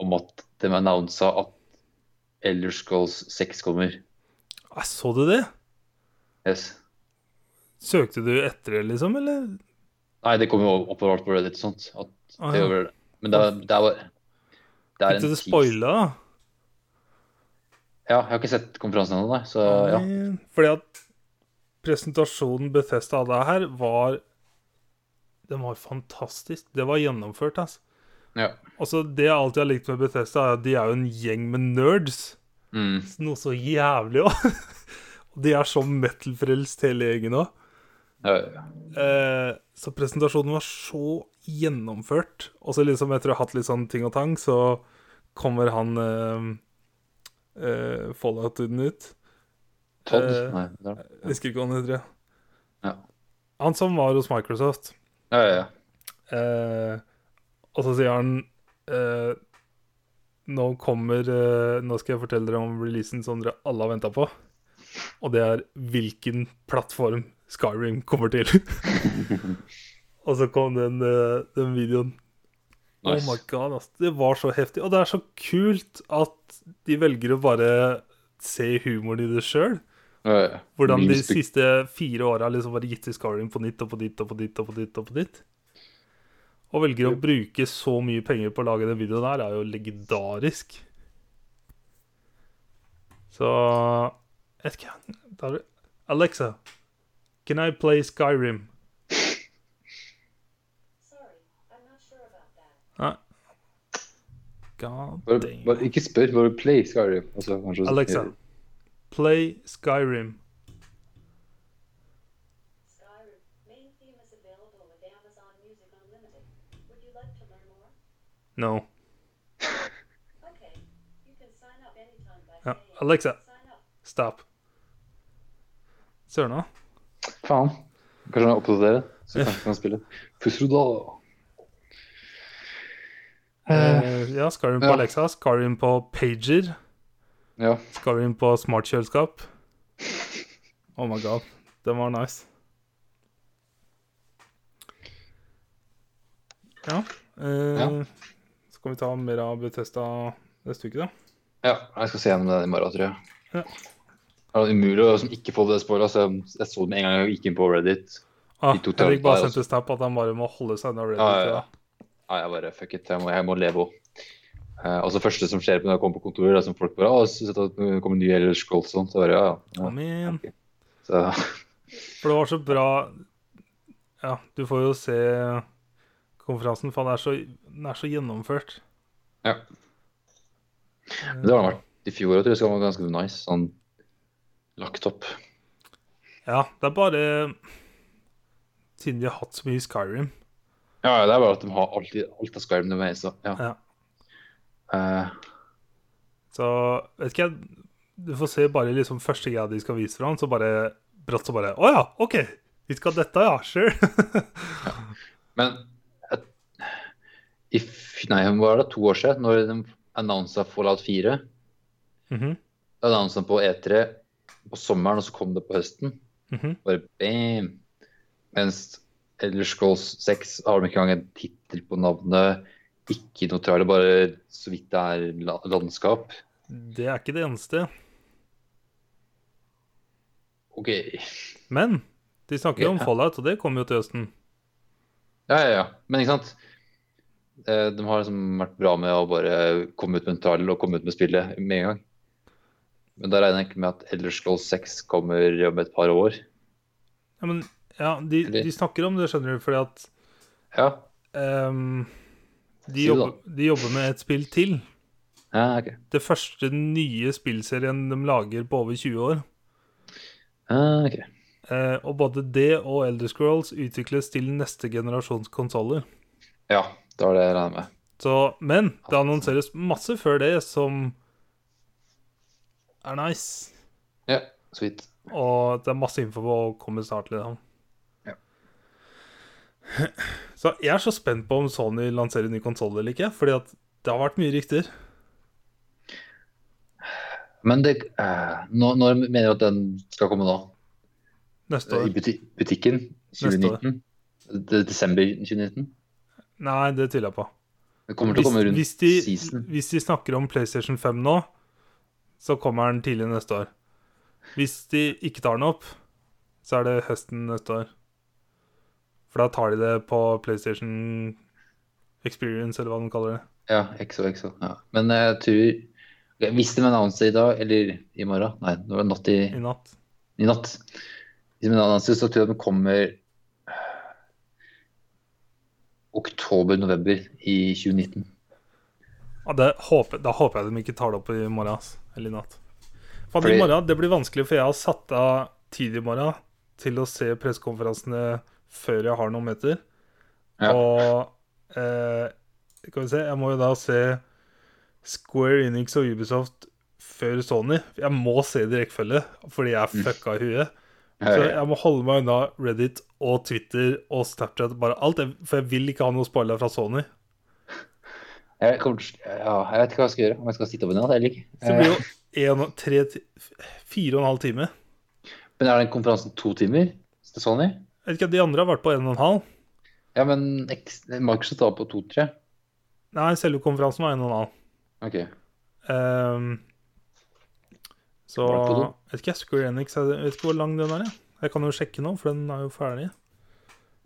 Speaker 2: om at de annonsa at Elder Scrolls 6 kommer.
Speaker 1: Nei, Så du det?
Speaker 2: Yes.
Speaker 1: Søkte du etter det, liksom, eller?
Speaker 2: Nei, det kommer jo oppover på Reddit og sånt. At
Speaker 1: Ah,
Speaker 2: det
Speaker 1: ja.
Speaker 2: gjør det. Men det er, det er bare Det
Speaker 1: Fikk
Speaker 2: er en
Speaker 1: du det
Speaker 2: tease.
Speaker 1: spoila? da?
Speaker 2: Ja, jeg har ikke sett konferansen ennå, nei. Så ja.
Speaker 1: Nei, Fordi at presentasjonen Bethesda hadde her, var Den var fantastisk. Det var gjennomført, altså.
Speaker 2: ja.
Speaker 1: Altså, det jeg alltid har likt med Bethesda, er at de er jo en gjeng med nerds.
Speaker 2: Mm.
Speaker 1: Noe så jævlig òg. Og de er så metal-frelst, hele gjengen òg.
Speaker 2: Ja, ja, ja.
Speaker 1: Eh, så presentasjonen var så gjennomført. Og så liksom etter å ha hatt litt sånn ting og tang, så kommer han eh, eh, Fallout-duden ut.
Speaker 2: Todd?
Speaker 1: Eh,
Speaker 2: nei. det er det.
Speaker 1: Jeg husker ikke hva han heter. jeg.
Speaker 2: Ja.
Speaker 1: Han som var hos Microsoft.
Speaker 2: Ja, ja, ja.
Speaker 1: Eh, og så sier han eh, Nå kommer eh, Nå skal jeg fortelle dere om releasen som dere alle har venta på. Og det er hvilken plattform Skyrim kommer til. og så kom den, eh, den videoen.
Speaker 2: Nice.
Speaker 1: Oh my god, ass. Det var så heftig. Og det er så kult at de velger å bare se humoren i det sjøl.
Speaker 2: ja, ja.
Speaker 1: Hvordan de
Speaker 2: Memes du-
Speaker 1: siste fire åra liksom bare gitt til Skyrim på nytt og på nytt og på nytt og på nytt. Og på nytt Og velger å bruke så mye penger på å lage den videoen der, er jo legendarisk. Så jeg vet ikke da er det- Alexa, can I play Skyrim?
Speaker 4: Sorry, I'm not sure about that.
Speaker 1: Nei. God
Speaker 2: Bare,
Speaker 1: damn.
Speaker 2: bare, ikke spør, bare play Skyrim. og så kanskje-
Speaker 1: Alexa, play Skyrim.
Speaker 4: Skyrim main theme is available with Amazon Music Unlimited. Would you like to learn more?
Speaker 1: No.
Speaker 4: Okay. You can sign up anytime by
Speaker 1: Ja.
Speaker 4: saying
Speaker 1: Alexa,
Speaker 4: sign up.
Speaker 1: stop. Søren òg.
Speaker 2: Faen. Kanskje han er oppdatert, så kanskje han kan spille. Pusser du da?
Speaker 1: Eh, ja, Skyrim på
Speaker 2: ja.
Speaker 1: Alexa, Skyrim på pager,
Speaker 2: Ja.
Speaker 1: Skyrim på smartkjøleskap. Oh my god, den var nice. Ja, eh,
Speaker 2: Ja.
Speaker 1: Så kan vi ta mer av Bethesda neste uke, da.
Speaker 2: ja. Jeg skal se gjennom den i morgen, tror jeg.
Speaker 1: Ja.
Speaker 2: Det er umulig å liksom, ikke få det sporet. Så jeg, jeg så det med en gang jeg gikk inn på Reddit.
Speaker 1: Ah,
Speaker 2: De to
Speaker 1: Henrik bare
Speaker 2: tørnene der
Speaker 1: sendte snap at han bare må holde seg unna Reddit.
Speaker 2: Ja, ja,
Speaker 1: ja.
Speaker 2: ja. Nei, jeg bare fuck it, jeg må, jeg må leve òg. Eh, altså, det første som skjer når jeg kommer på kontoret, er som folk bare Å, så sett at det kommer nye eller scrolls og sånt. Så jeg bare, ja, ja.
Speaker 1: Amen.
Speaker 2: Så,
Speaker 1: For det var så bra Ja, du får jo se konferansen, for den er så, den er så gjennomført.
Speaker 2: ja. Det har det vært i fjor, jeg tror jeg skal være ganske nice. Sånn lagt opp.
Speaker 1: Ja, det er bare Siden de har hatt så mye Skyrim.
Speaker 2: Ja, ja, det er bare at de har alltid alt av Skyrim med meg, så ja.
Speaker 1: Ja.
Speaker 2: Eh,
Speaker 1: Så vet ikke jeg Du får se bare liksom første greia de skal vise fram, så bare brått så bare Å ja, OK! Vi skal ha dette, ja. Sure.
Speaker 2: men jeg, i, f- Nei, hva er det, to år siden, når de annonsa Fallout 4
Speaker 1: Mhm,
Speaker 2: Da annonsa de på E3 på sommeren, og så kom det på høsten.
Speaker 1: mhm.
Speaker 2: Bare bam! Mens Elder Scrolls 6 har de ikke engang en tittel på navnet. Ikke noe trailer, bare så vidt det er la- landskap.
Speaker 1: Det er ikke det eneste.
Speaker 2: OK.
Speaker 1: Men de snakker jo om
Speaker 2: Ja.
Speaker 1: Fallout, og det kommer jo til høsten.
Speaker 2: Ja, ja, ja. Men ikke sant? Eh, De har liksom vært bra med å bare komme ut med en trailer og komme ut med spillet med en gang. Men da regner jeg ikke med at Elder Scrolls 6 kommer om et par år.
Speaker 1: Ja, men ja, de, de snakker om det, skjønner du, fordi at
Speaker 2: Ja,
Speaker 1: ehm, de,
Speaker 2: Si det da.
Speaker 1: jobber, de jobber med et spill til.
Speaker 2: ja ok.
Speaker 1: Det første nye spillserien de lager på over 20 år.
Speaker 2: Ja, ok.
Speaker 1: Eh, og både det og Elder Scrolls utvikles til neste generasjons konsoller.
Speaker 2: ja da er det jeg regner med.
Speaker 1: Så, men det annonseres masse før det som er nice.
Speaker 2: Ja, så vidt.
Speaker 1: Og det er masse info på å komme snart liksom. til dem.
Speaker 2: Ja.
Speaker 1: Så jeg er så spent på om Sony lanserer ny konsoll eller ikke. Fordi at det har vært mye rykter.
Speaker 2: Men det, eh, nå, når mener du at den skal komme nå?
Speaker 1: Neste
Speaker 2: I
Speaker 1: år.
Speaker 2: buti butikken?
Speaker 1: Neste år.
Speaker 2: 2019? Det er Desember 2019?
Speaker 1: Nei, det tviler jeg på.
Speaker 2: Det kommer til å
Speaker 1: Hvis,
Speaker 2: komme rundt
Speaker 1: hvis, de,
Speaker 2: season.
Speaker 1: hvis de snakker om PlayStation 5 nå, så kommer den tidlig neste år. Hvis de ikke tar den opp, så er det høsten neste år. For da tar de det på PlayStation Experience, eller hva de kaller det.
Speaker 2: Ja, XOXO. Ja. Men eh, jeg tror Ok, Hvis de annonser i dag, eller i morgen Nei, det var natt i,
Speaker 1: I natt.
Speaker 2: i natt. Hvis de annonser, så tror jeg de kommer øh, oktober-november i 2019.
Speaker 1: Ja, det håper, da håper jeg de ikke tar det opp i morgen. Ass. Eller i natt. Faen,
Speaker 2: Fordi-
Speaker 1: i morgen, Det blir vanskelig, for jeg har satt av tid i morgen til å se pressekonferansene før jeg har noen meter.
Speaker 2: Ja.
Speaker 1: Og eh, skal vi se Jeg må jo da se Square Enix og Ubisoft før Sony. Jeg må se det i rekkefølge, fordi jeg
Speaker 2: Mm.
Speaker 1: er fucka i huet. Så jeg må holde meg unna Reddit og Twitter og Snapchat, bare alt. jeg- For jeg vil ikke ha noe spoila fra Sony.
Speaker 2: Jeg, kommer, til- ja, jeg vet ikke hva jeg skal gjøre. Om jeg skal sitte opp i natt eller ikke.
Speaker 1: Så det blir jo en, tre, ti- fire og en halv time.
Speaker 2: Eh, Men er den konferansen to timer? til Sony?
Speaker 1: Jeg vet ikke, De andre har vært på en og en halv.
Speaker 2: Ja, men X- Microsoft var på to-tre.
Speaker 1: Nei, selve konferansen var en og en halv.
Speaker 2: Ok.
Speaker 1: Ehm, så
Speaker 2: Var det på do?
Speaker 1: jeg vet ikke, Square Enix Jeg vet ikke hvor lang den er. Jeg, jeg kan jo sjekke nå, for den er jo ferdig.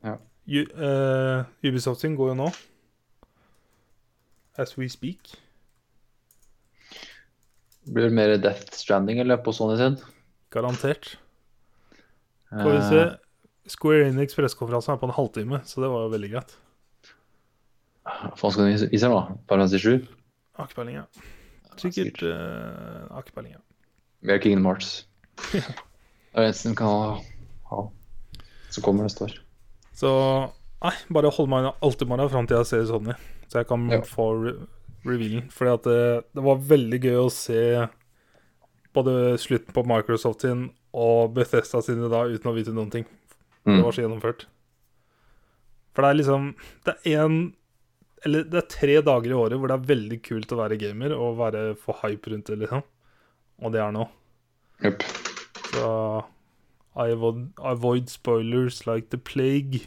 Speaker 2: Ja.
Speaker 1: Ju, eh, Ubisoft sin går jo nå. As we speak.
Speaker 2: Blir det mer Death Stranding eller på Sony sin?
Speaker 1: Garantert. Skal vi
Speaker 2: Eh.
Speaker 1: se. Square Enix pressekonferansen er på en halvtime, så det var jo veldig greit.
Speaker 2: Eh, Hva faen skal de vise nå? Parnas i sju?
Speaker 1: Har ikke peiling, jeg. Sikkert eh, Har ikke peiling, jeg.
Speaker 2: Vi er King of Mars. Det er det eneste de kan ha. ha. Så kommer neste år.
Speaker 1: Så nei, bare hold meg unna alt i morgen fram til jeg ser Sony, så jeg kan
Speaker 2: Ja.
Speaker 1: få re revealen. Fordi at det, det var veldig gøy å se både slutten på Microsoft sin og Bethesda sine da uten å vite noen ting.
Speaker 2: Mm.
Speaker 1: Det var så gjennomført. For det er liksom Det er én Eller det er tre dager i året hvor det er veldig kult å være gamer og være for hype rundt det, liksom. Og det er nå.
Speaker 2: Jep.
Speaker 1: Så I avoid, avoid spoilers like the plague.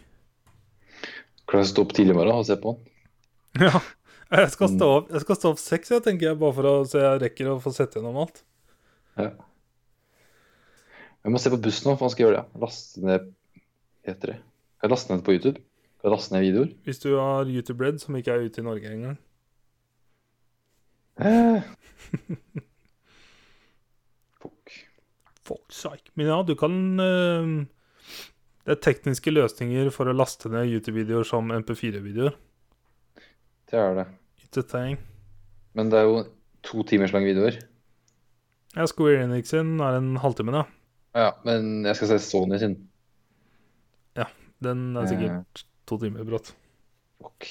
Speaker 2: Klarer å stå opp tidlig i morgen og se på den.
Speaker 1: Ja. Jeg skal stå opp, jeg skal stå opp seks, jeg, tenker jeg, bare for å, så jeg rekker å få sett gjennom alt.
Speaker 2: Ja. Jeg må se på bussen nå, for han skal gjøre det. Laste ned Hva heter det? Kan jeg laste ned det på YouTube? Kan jeg laste ned videoer?
Speaker 1: Hvis du har YouTube Red, som ikke er ute i Norge engang.
Speaker 2: Eh. Fuck.
Speaker 1: Fuck sake. Men ja, du kan eh, Det er tekniske løsninger for å laste ned YouTube-videoer som MP4-videoer.
Speaker 2: Det er det.
Speaker 1: It's a thing.
Speaker 2: Men det er jo to timers lange videoer.
Speaker 1: Ja, Square Enix sin er en halvtime, da.
Speaker 2: Ja, men jeg skal se Sony sin.
Speaker 1: Den er sikkert to timer brått.
Speaker 2: Fuck.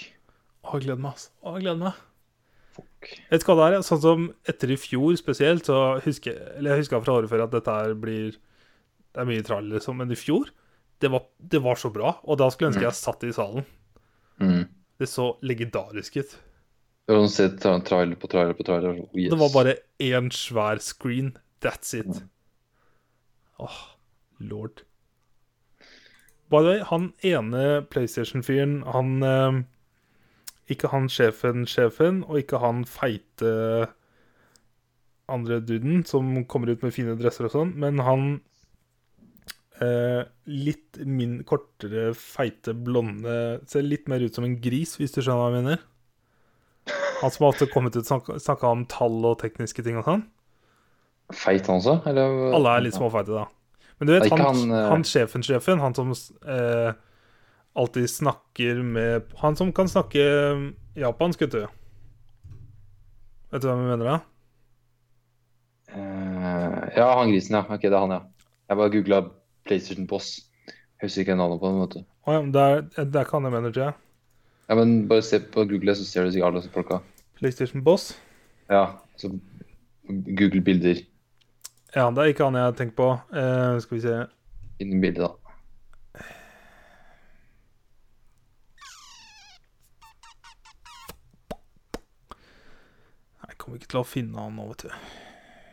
Speaker 1: Å, jeg gleder meg, ass. Å, jeg gleder meg.
Speaker 2: Fuck.
Speaker 1: Jeg vet ikke hva det er, sånn som etter i fjor spesielt, så husker eller jeg husker fra året før at dette her blir Det er mye trall, liksom, men i fjor det var, det var så bra, og da skulle jeg ønske jeg satt i salen.
Speaker 2: Mm.
Speaker 1: Det så legendarisk ut.
Speaker 2: Det var sånn tra trailer på trailer på trailer. Oh, yes.
Speaker 1: Det var bare én svær screen. That's it. Åh, lord. By the way, han ene PlayStation-fyren, han eh, Ikke han sjefen-sjefen, og ikke han feite andre duden som kommer ut med fine dresser og sånn, men han eh, litt min kortere, feite, blonde Ser litt mer ut som en gris, hvis du skjønner hva jeg mener. Han som har ofte kommet ut og snakka om tall og tekniske ting og sånn.
Speaker 2: Feit han også? Eller?
Speaker 1: Alle er litt småfeite, da. Men du vet,
Speaker 2: Det er
Speaker 1: han,
Speaker 2: ikke
Speaker 1: han,
Speaker 2: han, eh,
Speaker 1: sjefen-sjefen, han som eh, alltid snakker med Han som kan snakke eh, japansk, vet du. Vet du hvem jeg mener da?
Speaker 2: Eh, ja, han grisen, ja. Ok, det er han, ja. Jeg bare googla PlayStation Boss. Jeg husker ikke navnet på den. vet du.
Speaker 1: Å ja, men det er, det er ikke han jeg mener, tror jeg.
Speaker 2: Ja, men Bare se på Google, så ser du sikkert alle disse folka.
Speaker 1: PlayStation Boss.
Speaker 2: Ja, så Google bilder
Speaker 1: Ja, det er ikke han jeg tenker på. Eh, skal vi se
Speaker 2: innen bildet, da.
Speaker 1: Jeg kommer ikke til å finne han nå, vet du.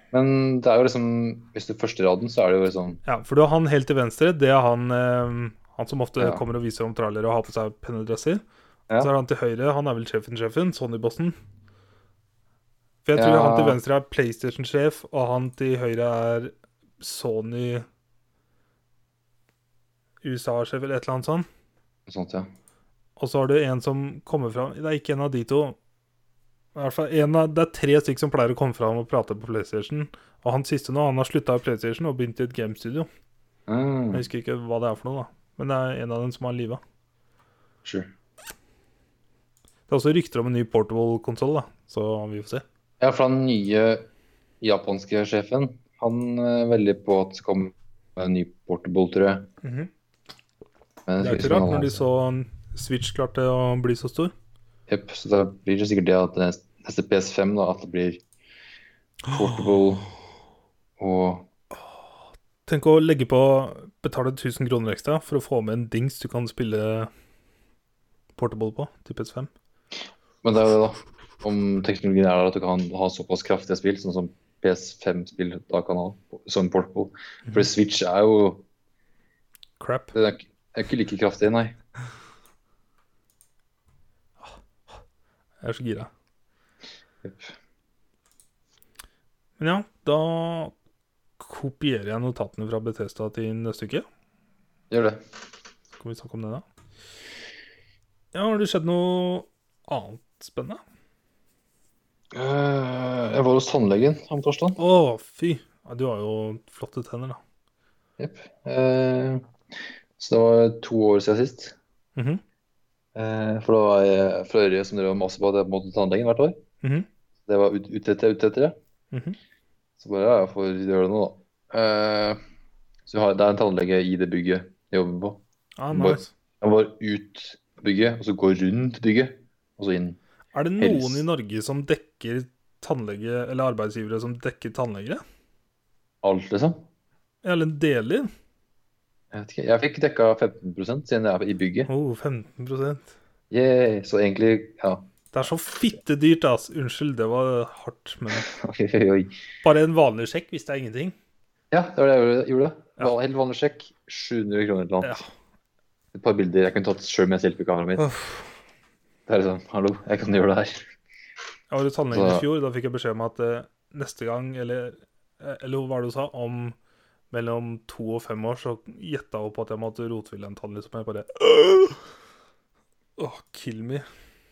Speaker 2: Men det er jo liksom Hvis du er første raden, så er det jo liksom
Speaker 1: Ja, for du har han helt til venstre. Det er han, eh, han som ofte
Speaker 2: Ja.
Speaker 1: kommer og viser om trailere og har på seg pennedresser.
Speaker 2: Ja.
Speaker 1: Så er han til høyre, han er vel sjefen-sjefen, Sony-bossen. For jeg tror
Speaker 2: Ja.
Speaker 1: han til venstre er PlayStation-sjef, og han til høyre er Sony USA-sjef eller et eller annet sånt.
Speaker 2: Sånt, ja.
Speaker 1: Og så har du en som kommer fram Det er ikke en av de to. I hvert fall en av, det er tre stykker som pleier å komme fram og prate på PlayStation. Og han siste nå, han har slutta i PlayStation og begynt i et gamestudio.
Speaker 2: Mm,
Speaker 1: Jeg husker ikke hva det er for noe, da. Men det er en av dem som har liva.
Speaker 2: sure.
Speaker 1: Det er også rykter om en ny portable-konsoll, da. Så vi får se.
Speaker 2: Ja, for den nye japanske sjefen, han er veldig på at det skal komme en ny portable, tror jeg.
Speaker 1: Mhm.
Speaker 2: Men
Speaker 1: Det er ikke rart når de så Switch klarte å bli så stor.
Speaker 2: Jep, så da blir det sikkert det at det neste PS5 da, at det blir portable og
Speaker 1: Tenk å legge på betale 1000 kroner ekstra for å få med en dings du kan spille portable på, til PS5.
Speaker 2: Men det er jo det, da. Om teknologien er der at du kan ha såpass kraftige spill, sånn som PS5-spill da kan ha, som portable. For Switch er jo
Speaker 1: Crap.
Speaker 2: Den er ikke, er ikke like kraftig, nei.
Speaker 1: Jeg er så gira.
Speaker 2: Jep.
Speaker 1: Men ja, da kopierer jeg notatene fra Bethesda til neste uke.
Speaker 2: Gjør det.
Speaker 1: Kan vi snakke om det da? Ja, har det skjedd noe annet spennende?
Speaker 2: Eh, jeg var hos tannlegen om torsdagen.
Speaker 1: Å, fy! Ja, du har jo flotte tenner, da.
Speaker 2: Jep. Eh, så det var to år siden sist.
Speaker 1: Mhm,
Speaker 2: Eh, for da var jeg fra Ørje som drev og maste på at jeg måtte til tannlegen hvert år.
Speaker 1: mhm,
Speaker 2: Det var ut- ute etter, ute etter det.
Speaker 1: mhm.
Speaker 2: Så bare ja, jeg får gjøre det nå, da. Eh, så jeg har, det er en tannlege i det bygget jeg jobber på.
Speaker 1: Ah, nice.
Speaker 2: Jeg var ut av bygget, og så gå rundt bygget, og så inn.
Speaker 1: Er det noen
Speaker 2: Helse.
Speaker 1: i Norge som dekker tannlege, eller arbeidsgivere som dekker tannlegere?
Speaker 2: Alt, liksom.
Speaker 1: Eller deler?
Speaker 2: Jeg, vet ikke, jeg fikk dekka 15 siden jeg er i bygget.
Speaker 1: Oh, 15 Det
Speaker 2: Yeah, så egentlig ja.
Speaker 1: er så fittedyrt, ass. Unnskyld, det var hardt, men
Speaker 2: Oi, oi, oi.
Speaker 1: Bare en vanlig sjekk hvis det er ingenting.
Speaker 2: Ja, det var det jeg gjorde- gjorde.
Speaker 1: Ja.
Speaker 2: Van- Helt vanlig sjekk. 700 kroner eller noe.
Speaker 1: Ja.
Speaker 2: Et par bilder jeg kunne tatt sjøl med selfiekameraet mitt. Det er liksom, hallo, jeg kan gjøre det her.
Speaker 1: Jeg var hos tannlegen i
Speaker 2: Så-
Speaker 1: fjor, da fikk jeg beskjed om at eh, neste gang, eller, eh, eller hva var det du sa, om mellom to og fem år, så gjetta hun på at jeg måtte rotville en tann, liksom. Jeg bare Åh, kill me.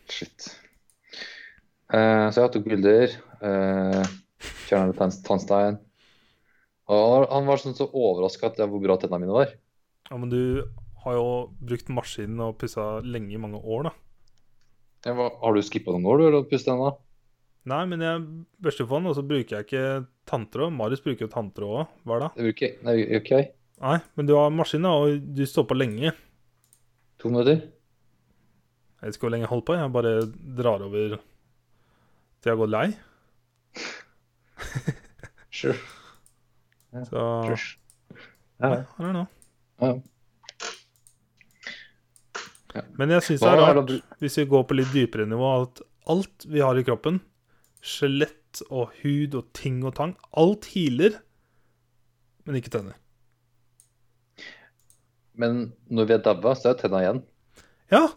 Speaker 2: Shit. Eh, så jeg tok bilder. Uh, Fjerna litt tann- tannstein. Og han, var- han var sånn så overraska over hvor bra tennene mine var.
Speaker 1: Ja, men du har jo brukt maskinen og pussa lenge i mange år, da.
Speaker 2: Jeg var, har du skippa noen år, du, eller å pusse tennene?
Speaker 1: Nei, men jeg børster på den, og så bruker jeg ikke tanntråd. Marius bruker jo tanntråd òg, hver dag.
Speaker 2: Det bruker jeg. Nei, gjør ikke jeg.
Speaker 1: Nei, men du har maskin, da, og du står på lenge.
Speaker 2: To minutter.
Speaker 1: Jeg vet ikke hvor lenge jeg holder på, jeg bare drar over til jeg går lei.
Speaker 2: Sure.
Speaker 1: Så
Speaker 2: Sure.
Speaker 1: Nei,
Speaker 2: Ja.
Speaker 1: I don't know.
Speaker 2: Ja.
Speaker 1: Men jeg syns det
Speaker 2: Hva
Speaker 1: er
Speaker 2: er
Speaker 1: rart,
Speaker 2: det
Speaker 1: hvis vi går på litt dypere nivå, at alt vi har i kroppen, skjelett og hud og ting og tang, alt healer, men ikke tenner.
Speaker 2: Men når vi er daua, så er tenna igjen.
Speaker 1: Ja!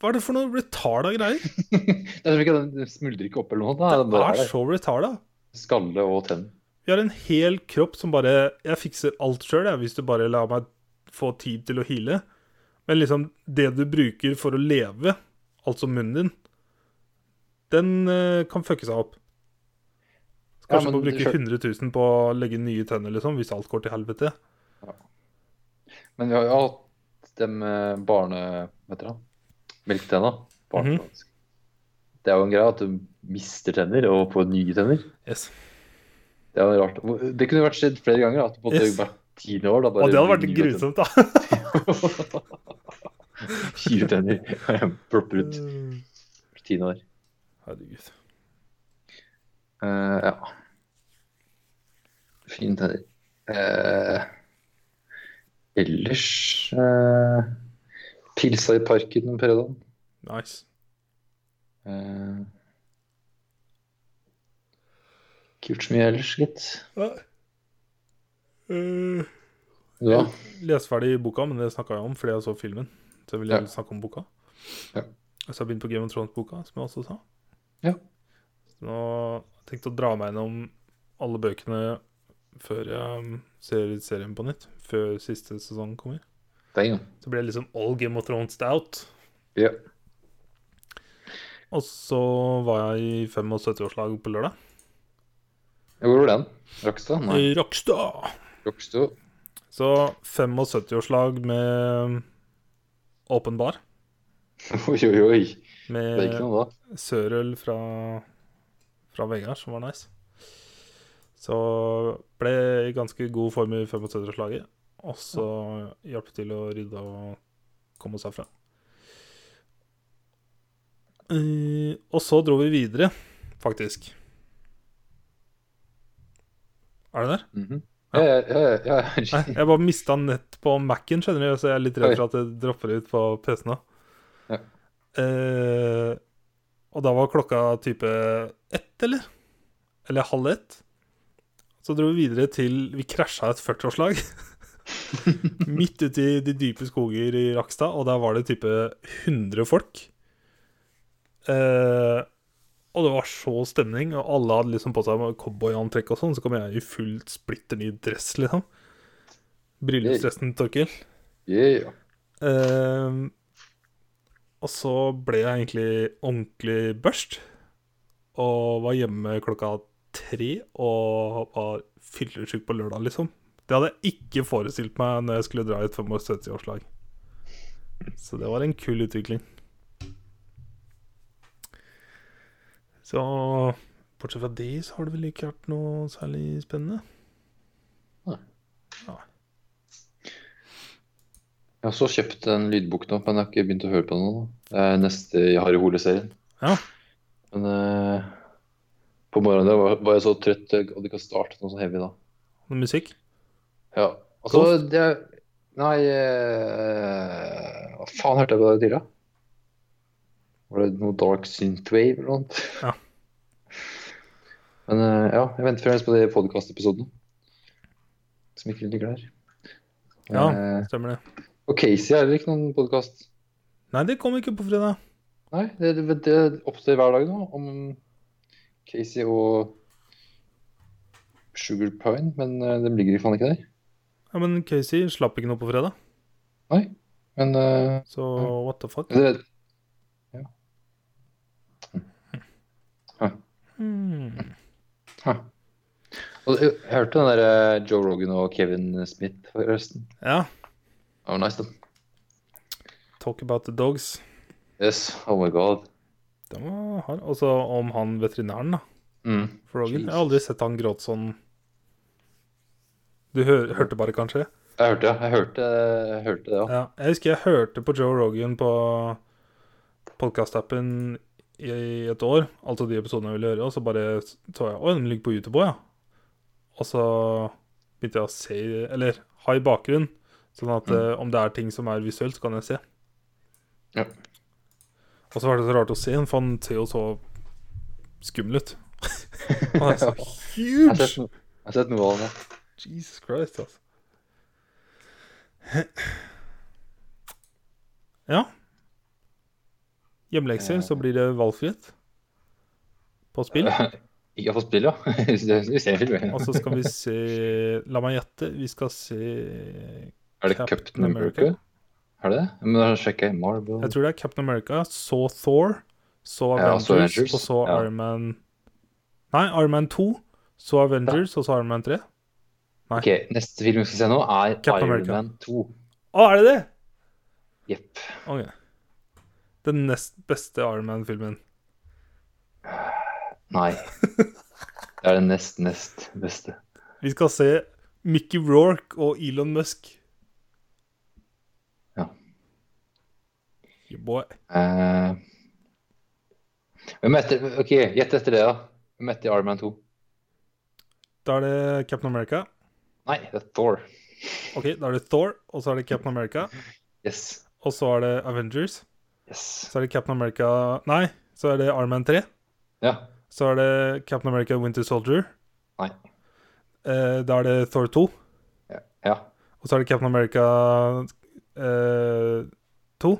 Speaker 1: Hva er det for noe retarda greier?
Speaker 2: Det er som ikke, den smuldrer ikke opp eller noe. Nei, den
Speaker 1: Det er
Speaker 2: bare er der.
Speaker 1: så retarda.
Speaker 2: Skalle og tenn.
Speaker 1: Vi har en hel kropp som bare Jeg fikser alt sjøl, jeg, hvis du bare lar meg få tid til å heale. Men liksom, det du bruker for å leve, altså munnen din, den eh, kan fucke seg opp. Så
Speaker 2: Ja,
Speaker 1: Kanskje
Speaker 2: men
Speaker 1: må
Speaker 2: du
Speaker 1: bruke
Speaker 2: skjøn-
Speaker 1: 100 000 på å legge nye tenner, liksom, hvis alt går til helvete.
Speaker 2: Men vi har jo hatt dem eh, barne... Vet dere, melketenna. Barne,
Speaker 1: Mhm.
Speaker 2: Det er jo en greie at du mister tenner og får nye tenner.
Speaker 1: Yes.
Speaker 2: Det er jo rart. Hvor- Det kunne vært skjedd flere ganger. At på
Speaker 1: Yes.
Speaker 2: hvert tiende år da,
Speaker 1: Og
Speaker 2: bare
Speaker 1: det hadde vært
Speaker 2: nye
Speaker 1: grusomt, da.
Speaker 2: tenner. Fire tenner plopper ut
Speaker 1: Herregud.
Speaker 2: hvert tiende år. Eh, ja. Fine tenner. Eh, ellers eh, Pilsa i parken om fredagen.
Speaker 1: Nice.
Speaker 2: Eh, ikke gjort så mye ellers, gitt.
Speaker 1: Uh,
Speaker 2: Ja.
Speaker 1: lese ferdig boka, men det snakka jeg om fordi jeg så filmen. Så jeg ville
Speaker 2: Ja.
Speaker 1: snakke om boka.
Speaker 2: Ja.
Speaker 1: Og så har jeg begynt på Game of Thrones-boka, som jeg også sa.
Speaker 2: Ja.
Speaker 1: Så nå har jeg tenkt å dra meg gjennom alle bøkene før jeg um, ser serien på nytt. Før siste sesong kommer.
Speaker 2: Damn.
Speaker 1: Så blir det liksom all Game of Thrones out.
Speaker 2: Ja.
Speaker 1: Og så var jeg i 75-årslag på lørdag.
Speaker 2: Hvor var den? Rakstad? Nei.
Speaker 1: I Rockstad!
Speaker 2: Rokstad.
Speaker 1: Så 75-årslag med um, åpen bar.
Speaker 2: Oi, oi, oi. Det er
Speaker 1: Med
Speaker 2: ikke noe da.
Speaker 1: Sørøl fra, fra Vegard, som var nice. Så ble i ganske god form i 75-slaget. Og så hjalp det til å rydde og komme oss herfra. Eh, og så dro vi videre, faktisk. Er du der?
Speaker 2: Mhm. Ja, ja, ja, ja,
Speaker 1: Nei,
Speaker 2: ja.
Speaker 1: jeg bare mista nett på Mac-en, skjønner du, så jeg er litt redd for at det dropper ut på PC-en òg.
Speaker 2: Ja.
Speaker 1: Eh, og da var klokka type ett, eller? Eller halv ett. Så dro vi videre til vi krasja et 40-årslag. Midt ute i de dype skoger i Rakstad, og der var det type 100 folk. Eh, og det var så stemning, og alle hadde liksom på seg cowboyantrekk og sånn. Så kom jeg i fullt splitter ny dress, liksom. Bryllupsdressen, Torkil.
Speaker 2: Yeah.
Speaker 1: Eh, og så ble jeg egentlig ordentlig børst. Og var hjemme klokka tre og var fyllesyk på lørdag, liksom. Det hadde jeg ikke forestilt meg når jeg skulle dra i et 75-årslag. Så det var en kul utvikling. Så bortsett fra det, så har det vel ikke vært noe særlig spennende.
Speaker 2: Jeg har også kjøpt en lydbok nå, men jeg har ikke begynt å høre på den nå. Det er neste i Harry Hole-serien.
Speaker 1: Ja.
Speaker 2: Men eh, på morgenen der var, var jeg så trøtt jeg hadde ikke startet noe så heavy da.
Speaker 1: Musikk?
Speaker 2: Ja. Altså, det Nei eh, Hva faen hørte jeg på deg tidligere? Var det noe Dark Synthwave eller noe? annet?
Speaker 1: Ja.
Speaker 2: Men eh, ja, jeg venter fremdeles på de podkast-episodene som ikke ligger der.
Speaker 1: Ja.
Speaker 2: Eh,
Speaker 1: Stemmer det.
Speaker 2: og Casey er heller ikke noen podkast.
Speaker 1: Nei, det kom ikke på fredag.
Speaker 2: Nei, det, det, det oppstår hver dag nå om Casey og Sugar Pine, men eh, de ligger faen ikke der.
Speaker 1: Ja, Men Casey slapp ikke noe på fredag,
Speaker 2: Nei, men eh,
Speaker 1: så what the fuck?
Speaker 2: det,
Speaker 1: Hmm.
Speaker 2: Hæ. Og jeg jeg hørte den der eh, Joe Rogan og Kevin Smith forresten.
Speaker 1: Ja.
Speaker 2: Det var nice, den.
Speaker 1: Talk about the dogs.
Speaker 2: Yes, oh my god.
Speaker 1: Den var hard. Og så om han veterinæren, da.
Speaker 2: Mm.
Speaker 1: For Rogan. Jeg
Speaker 2: Jesus.
Speaker 1: har aldri sett han gråte sånn Du hø hørte bare, kanskje?
Speaker 2: Jeg hørte, ja. jeg hørte, jeg hørte det, ja.
Speaker 1: Ja. Jeg husker jeg hørte på Joe Rogan på podkast-appen i et år, altså de episodene jeg ville høre, og så bare så jeg Å, den ligger på YouTube òg, ja. Og så begynte jeg å se Eller ha i bakgrunnen, sånn
Speaker 2: Mm.
Speaker 1: at eh, om det er ting som er visuelt, så kan jeg se.
Speaker 2: Ja.
Speaker 1: Og så var det så rart å se den, for han ser jo så skummel ut. han er så
Speaker 2: Jeg har sett,
Speaker 1: huge!
Speaker 2: no- jeg har sett noe av det.
Speaker 1: Jesus Christ, altså. Ja.
Speaker 2: Eh.
Speaker 1: Hjemmelekser, så blir det valgfrihet på spill.
Speaker 2: Ikke fått spill, ja. Det- Vi ser film.
Speaker 1: Og
Speaker 2: ja.
Speaker 1: så skal vi se La meg gjette, vi skal se
Speaker 2: Er det Captain America? Er det det? Men da sjekker jeg Marvel.
Speaker 1: Jeg tror det er Captain America, så Thor, så
Speaker 2: Ja,
Speaker 1: Avengers,
Speaker 2: så Avengers,
Speaker 1: og så
Speaker 2: ja.
Speaker 1: Iron Man Nei, Iron Man 2, så Avengers, og så Iron Man 3.
Speaker 2: Ok, neste film vi skal se nå er
Speaker 1: Captain
Speaker 2: Iron
Speaker 1: America.
Speaker 2: Man 2.
Speaker 1: Å, er det det?!
Speaker 2: Jepp.
Speaker 1: Ok. Den nest beste Iron Man-filmen.
Speaker 2: Nei. Det er det nest, nest beste.
Speaker 1: Vi skal se Mickey Rourke og Elon Musk.
Speaker 2: Ja.
Speaker 1: Yeah, boy.
Speaker 2: Eh, Hvem etter, ok, Gjett etter det, da. Hvem etter Iron Man 2?
Speaker 1: Da er det Captain America.
Speaker 2: Nei, det er Thor.
Speaker 1: Ok, Da er det Thor, og så er det Captain America.
Speaker 2: Yes.
Speaker 1: Og så er det Avengers.
Speaker 2: yes.
Speaker 1: Så er det Captain America Nei, så er det Iron Man 3.
Speaker 2: Ja.
Speaker 1: Så er det Captain America Winter Soldier.
Speaker 2: Nei.
Speaker 1: Eh, da er det Thor 2. Og
Speaker 2: Ja.
Speaker 1: så er det Captain America eh, 2,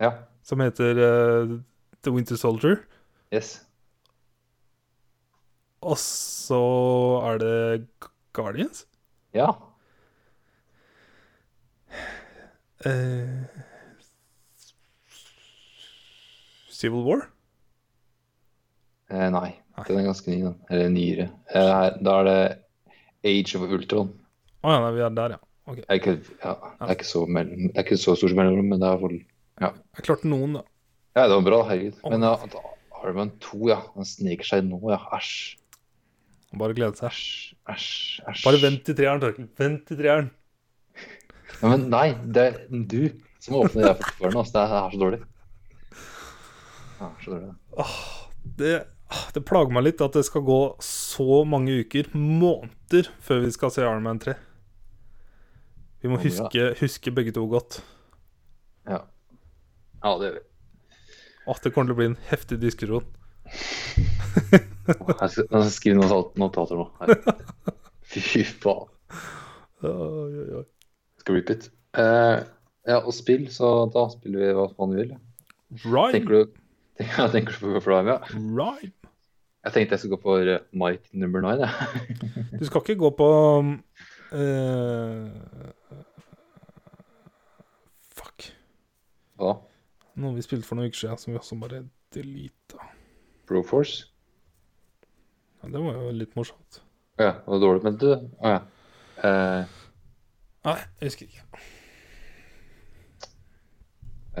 Speaker 2: Ja.
Speaker 1: som heter eh, The Winter Soldier.
Speaker 2: Yes.
Speaker 1: Og så er det Guardians?
Speaker 2: Ja.
Speaker 1: Eh, Civil War?
Speaker 2: Eh, nei.
Speaker 1: Nei.
Speaker 2: Den er ganske ny, den. Eller nyere. Eh, her- da er det Age of Ultron.
Speaker 1: Å ja, nei, vi er der, ja. Ok.
Speaker 2: Det er ikke, ja, det er ikke så, mellom, det er ikke så stort mellom, men det er vel
Speaker 1: Jeg klarte noen, da.
Speaker 2: Ja, det var bra, herregud. Men ja, da har man to, ja. Han sniker seg nå, ja. Æsj.
Speaker 1: Bare glede seg.
Speaker 2: Æsj. Æsj. æsj.
Speaker 1: Bare vent til treeren, Torkel. Vent til treeren.
Speaker 2: Ja, men nei, det er du som åpner det for døren. Altså. Det er- det er så dårlig. Ja, det er så dårlig.
Speaker 1: Det, ah, det plager meg litt at det skal gå så mange uker, måneder, før vi skal se Iron Man 3. Vi må
Speaker 2: Ja, det
Speaker 1: huske, huske begge to godt.
Speaker 2: Ja. ja, det gjør vi.
Speaker 1: At det kommer til å bli en heftig diskusjon.
Speaker 2: Åh, Jeg skal, jeg skal skrive noen sal- notater nå. Her. Fy faen.
Speaker 1: Oi, oi, oi.
Speaker 2: Skal reap it. Eh, ja, og spill, så da spiller vi hva faen vi vil. ja. Tenker
Speaker 1: Rhyme,
Speaker 2: du, ja, tenker du på Prime, ja?
Speaker 1: rhyme.
Speaker 2: Jeg tenkte jeg skulle gå for eh, Might number nine, jeg.
Speaker 1: Du skal ikke gå på um, eh, Fuck.
Speaker 2: Hva?
Speaker 1: Noe vi spilte for noen uker siden, som vi også bare deleta.
Speaker 2: Broforce?
Speaker 1: Ja, det var jo litt morsomt.
Speaker 2: Å ja, det var dårlig, men du Å ja. Eh,
Speaker 1: Nei, jeg husker ikke.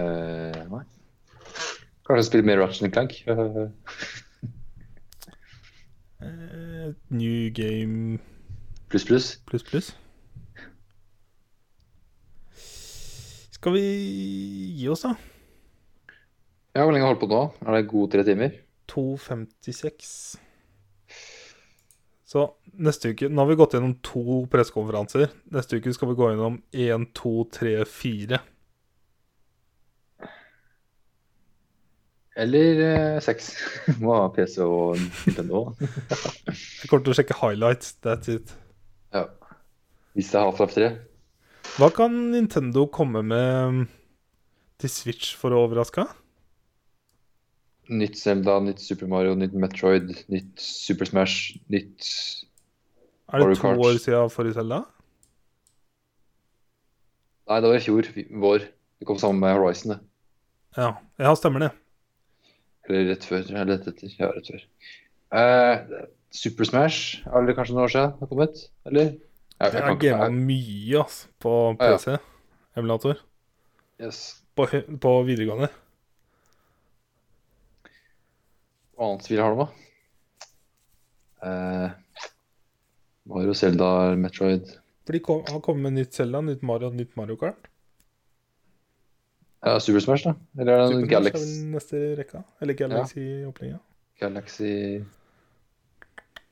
Speaker 2: eh, nei. Kanskje spille mer Ratchet and Clank? Eh,
Speaker 1: Eh, new game
Speaker 2: pluss, pluss.
Speaker 1: pluss, pluss. Skal vi gi oss, da?
Speaker 2: Ja, hvor lenge har du holdt på nå? Er det gode tre timer?
Speaker 1: 2.56. Så neste uke Nå har vi gått gjennom to pressekonferanser. Neste uke skal vi gå gjennom én, to, tre, fire.
Speaker 2: Eller eh, seks? Må ha PC og Nintendo.
Speaker 1: Jeg kommer til å sjekke highlights. That's it.
Speaker 2: ja. Hvis det er Half-Life 3.
Speaker 1: Hva kan Nintendo komme med um, til Switch for å overraske?
Speaker 2: Nytt Zelda, nytt Super Mario, nytt Metroid, nytt Super Smash, nytt
Speaker 1: Er det
Speaker 2: Mario
Speaker 1: to
Speaker 2: Kart.
Speaker 1: år siden forrige Zelda?
Speaker 2: Nei, det var i fjor. vi- Vår. Det kom sammen med Horizon, det.
Speaker 1: Ja. ja, stemmer det.
Speaker 2: Eller rett før. Eller rett etter. Ja, rett før. Eh, Super Smash er det kanskje noen år siden det har kommet? Eller? Jeg,
Speaker 1: Jeg har
Speaker 2: jeg kan ikke-
Speaker 1: gama mye ass, på
Speaker 2: Ja, ja.
Speaker 1: PC. Emulator.
Speaker 2: jeg- Yes.
Speaker 1: På, hø- på videregående.
Speaker 2: Hva annet spill har de, da? Eh, Mario, Zelda, Metroid
Speaker 1: For de kom, har kommet med nytt Zelda, nytt Mario, nytt Mario Kart.
Speaker 2: ja, Super Smash, da? Eller er det
Speaker 1: Super
Speaker 2: en
Speaker 1: Smash er vel
Speaker 2: Galaxy?
Speaker 1: neste i rekka. Eller Galaxy-opplegget.
Speaker 2: Galaxy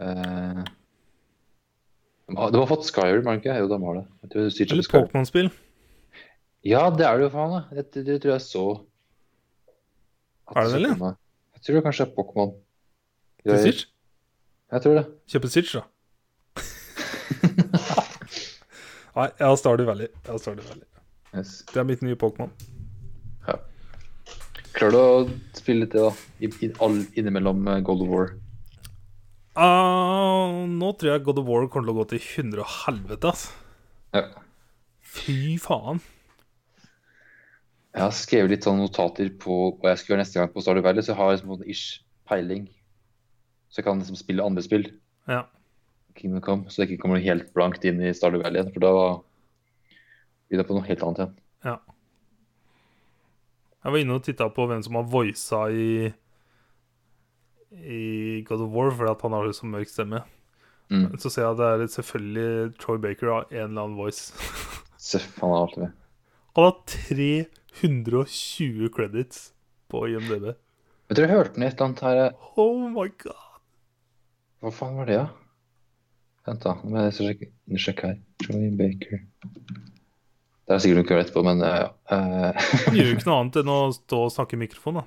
Speaker 2: eh, de har- De har fått Skyrim, har de ikke? Jo, de har det. Jeg tror det er Siege of
Speaker 1: Eller
Speaker 2: Skyrim.
Speaker 1: Pokémon-spill.
Speaker 2: Ja, det er det jo, faen. da. Det, det tror jeg så at
Speaker 1: Er det det, eller?
Speaker 2: kom, da. Jeg tror det kanskje er Pokémon.
Speaker 1: Til
Speaker 2: Jeg-
Speaker 1: Switch.
Speaker 2: Jeg tror det.
Speaker 1: Kjøpe Switch, da. Nei, jeg har Stardew Valley. Jeg har Stardew Valley.
Speaker 2: Yes.
Speaker 1: Det er mitt nye Pokémon.
Speaker 2: Klarer du å spille litt det, da? I, i, all, innimellom eh, Gold of War.
Speaker 1: Ah, nå tror jeg God of War kommer til å gå til 100 og helvete, ass.
Speaker 2: Ja.
Speaker 1: Fy faen.
Speaker 2: Jeg har skrevet litt sånn notater på hva jeg skal gjøre neste gang på Stardew Valley, så jeg har liksom en ish peiling. Så jeg kan liksom spille andre spill,
Speaker 1: Ja.
Speaker 2: Kingdom Come, så jeg ikke kommer helt blankt inn i Stardew Valley igjen, for da blir det på noe helt annet igjen.
Speaker 1: Ja. Jeg var inne og titta på hvem som har voisa i I God of War, fordi at han har jo så mørk stemme.
Speaker 2: Mm.
Speaker 1: Så ser jeg at det er selvfølgelig Troy Baker har en eller annen voice.
Speaker 2: Søff, han er alltid med.
Speaker 1: Han har 320 credits på IMDb.
Speaker 2: Jeg tror jeg hørte den i et eller annet her eh,
Speaker 1: Oh my god.
Speaker 2: Hva faen var det, da? Vent, da. Nå må jeg sjekke, sjekke her. Troy Baker Det er sikkert noe rett på, men eh, ja. Eh,
Speaker 1: Han gjør jo ikke noe annet enn å stå og snakke i mikrofon, da.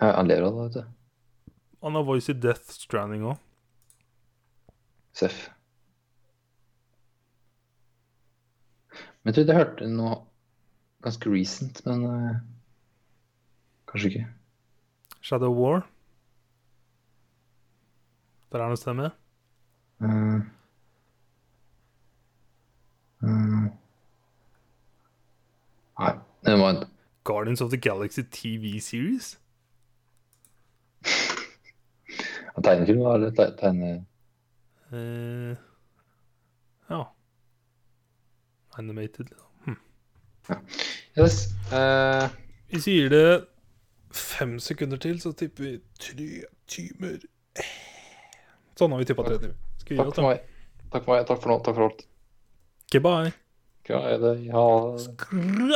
Speaker 2: Han ler av det, vet du.
Speaker 1: Han har voice i Death Stranding òg.
Speaker 2: Seff. Men jeg trodde jeg hørte noe ganske recent, men eh, kanskje ikke.
Speaker 1: Shadow War. Der er han en stemme.
Speaker 2: Eh, Mm. Nei, never mind.
Speaker 1: Guardians of the Galaxy TV Series?
Speaker 2: Tegnefilm, eller te tegne...
Speaker 1: Eh, ja. Animated. liksom.
Speaker 2: Yes. eh,
Speaker 1: Vi sier det fem sekunder til, så tipper vi tre timer. Sånn har vi tippa tre timer. Skal vi gi
Speaker 2: takk
Speaker 1: oss,
Speaker 2: for
Speaker 1: da?
Speaker 2: meg. Takk for meg. Takk for nå. Takk for alt.
Speaker 1: Goodbye.
Speaker 2: Ja, er det, ja.
Speaker 1: Skra!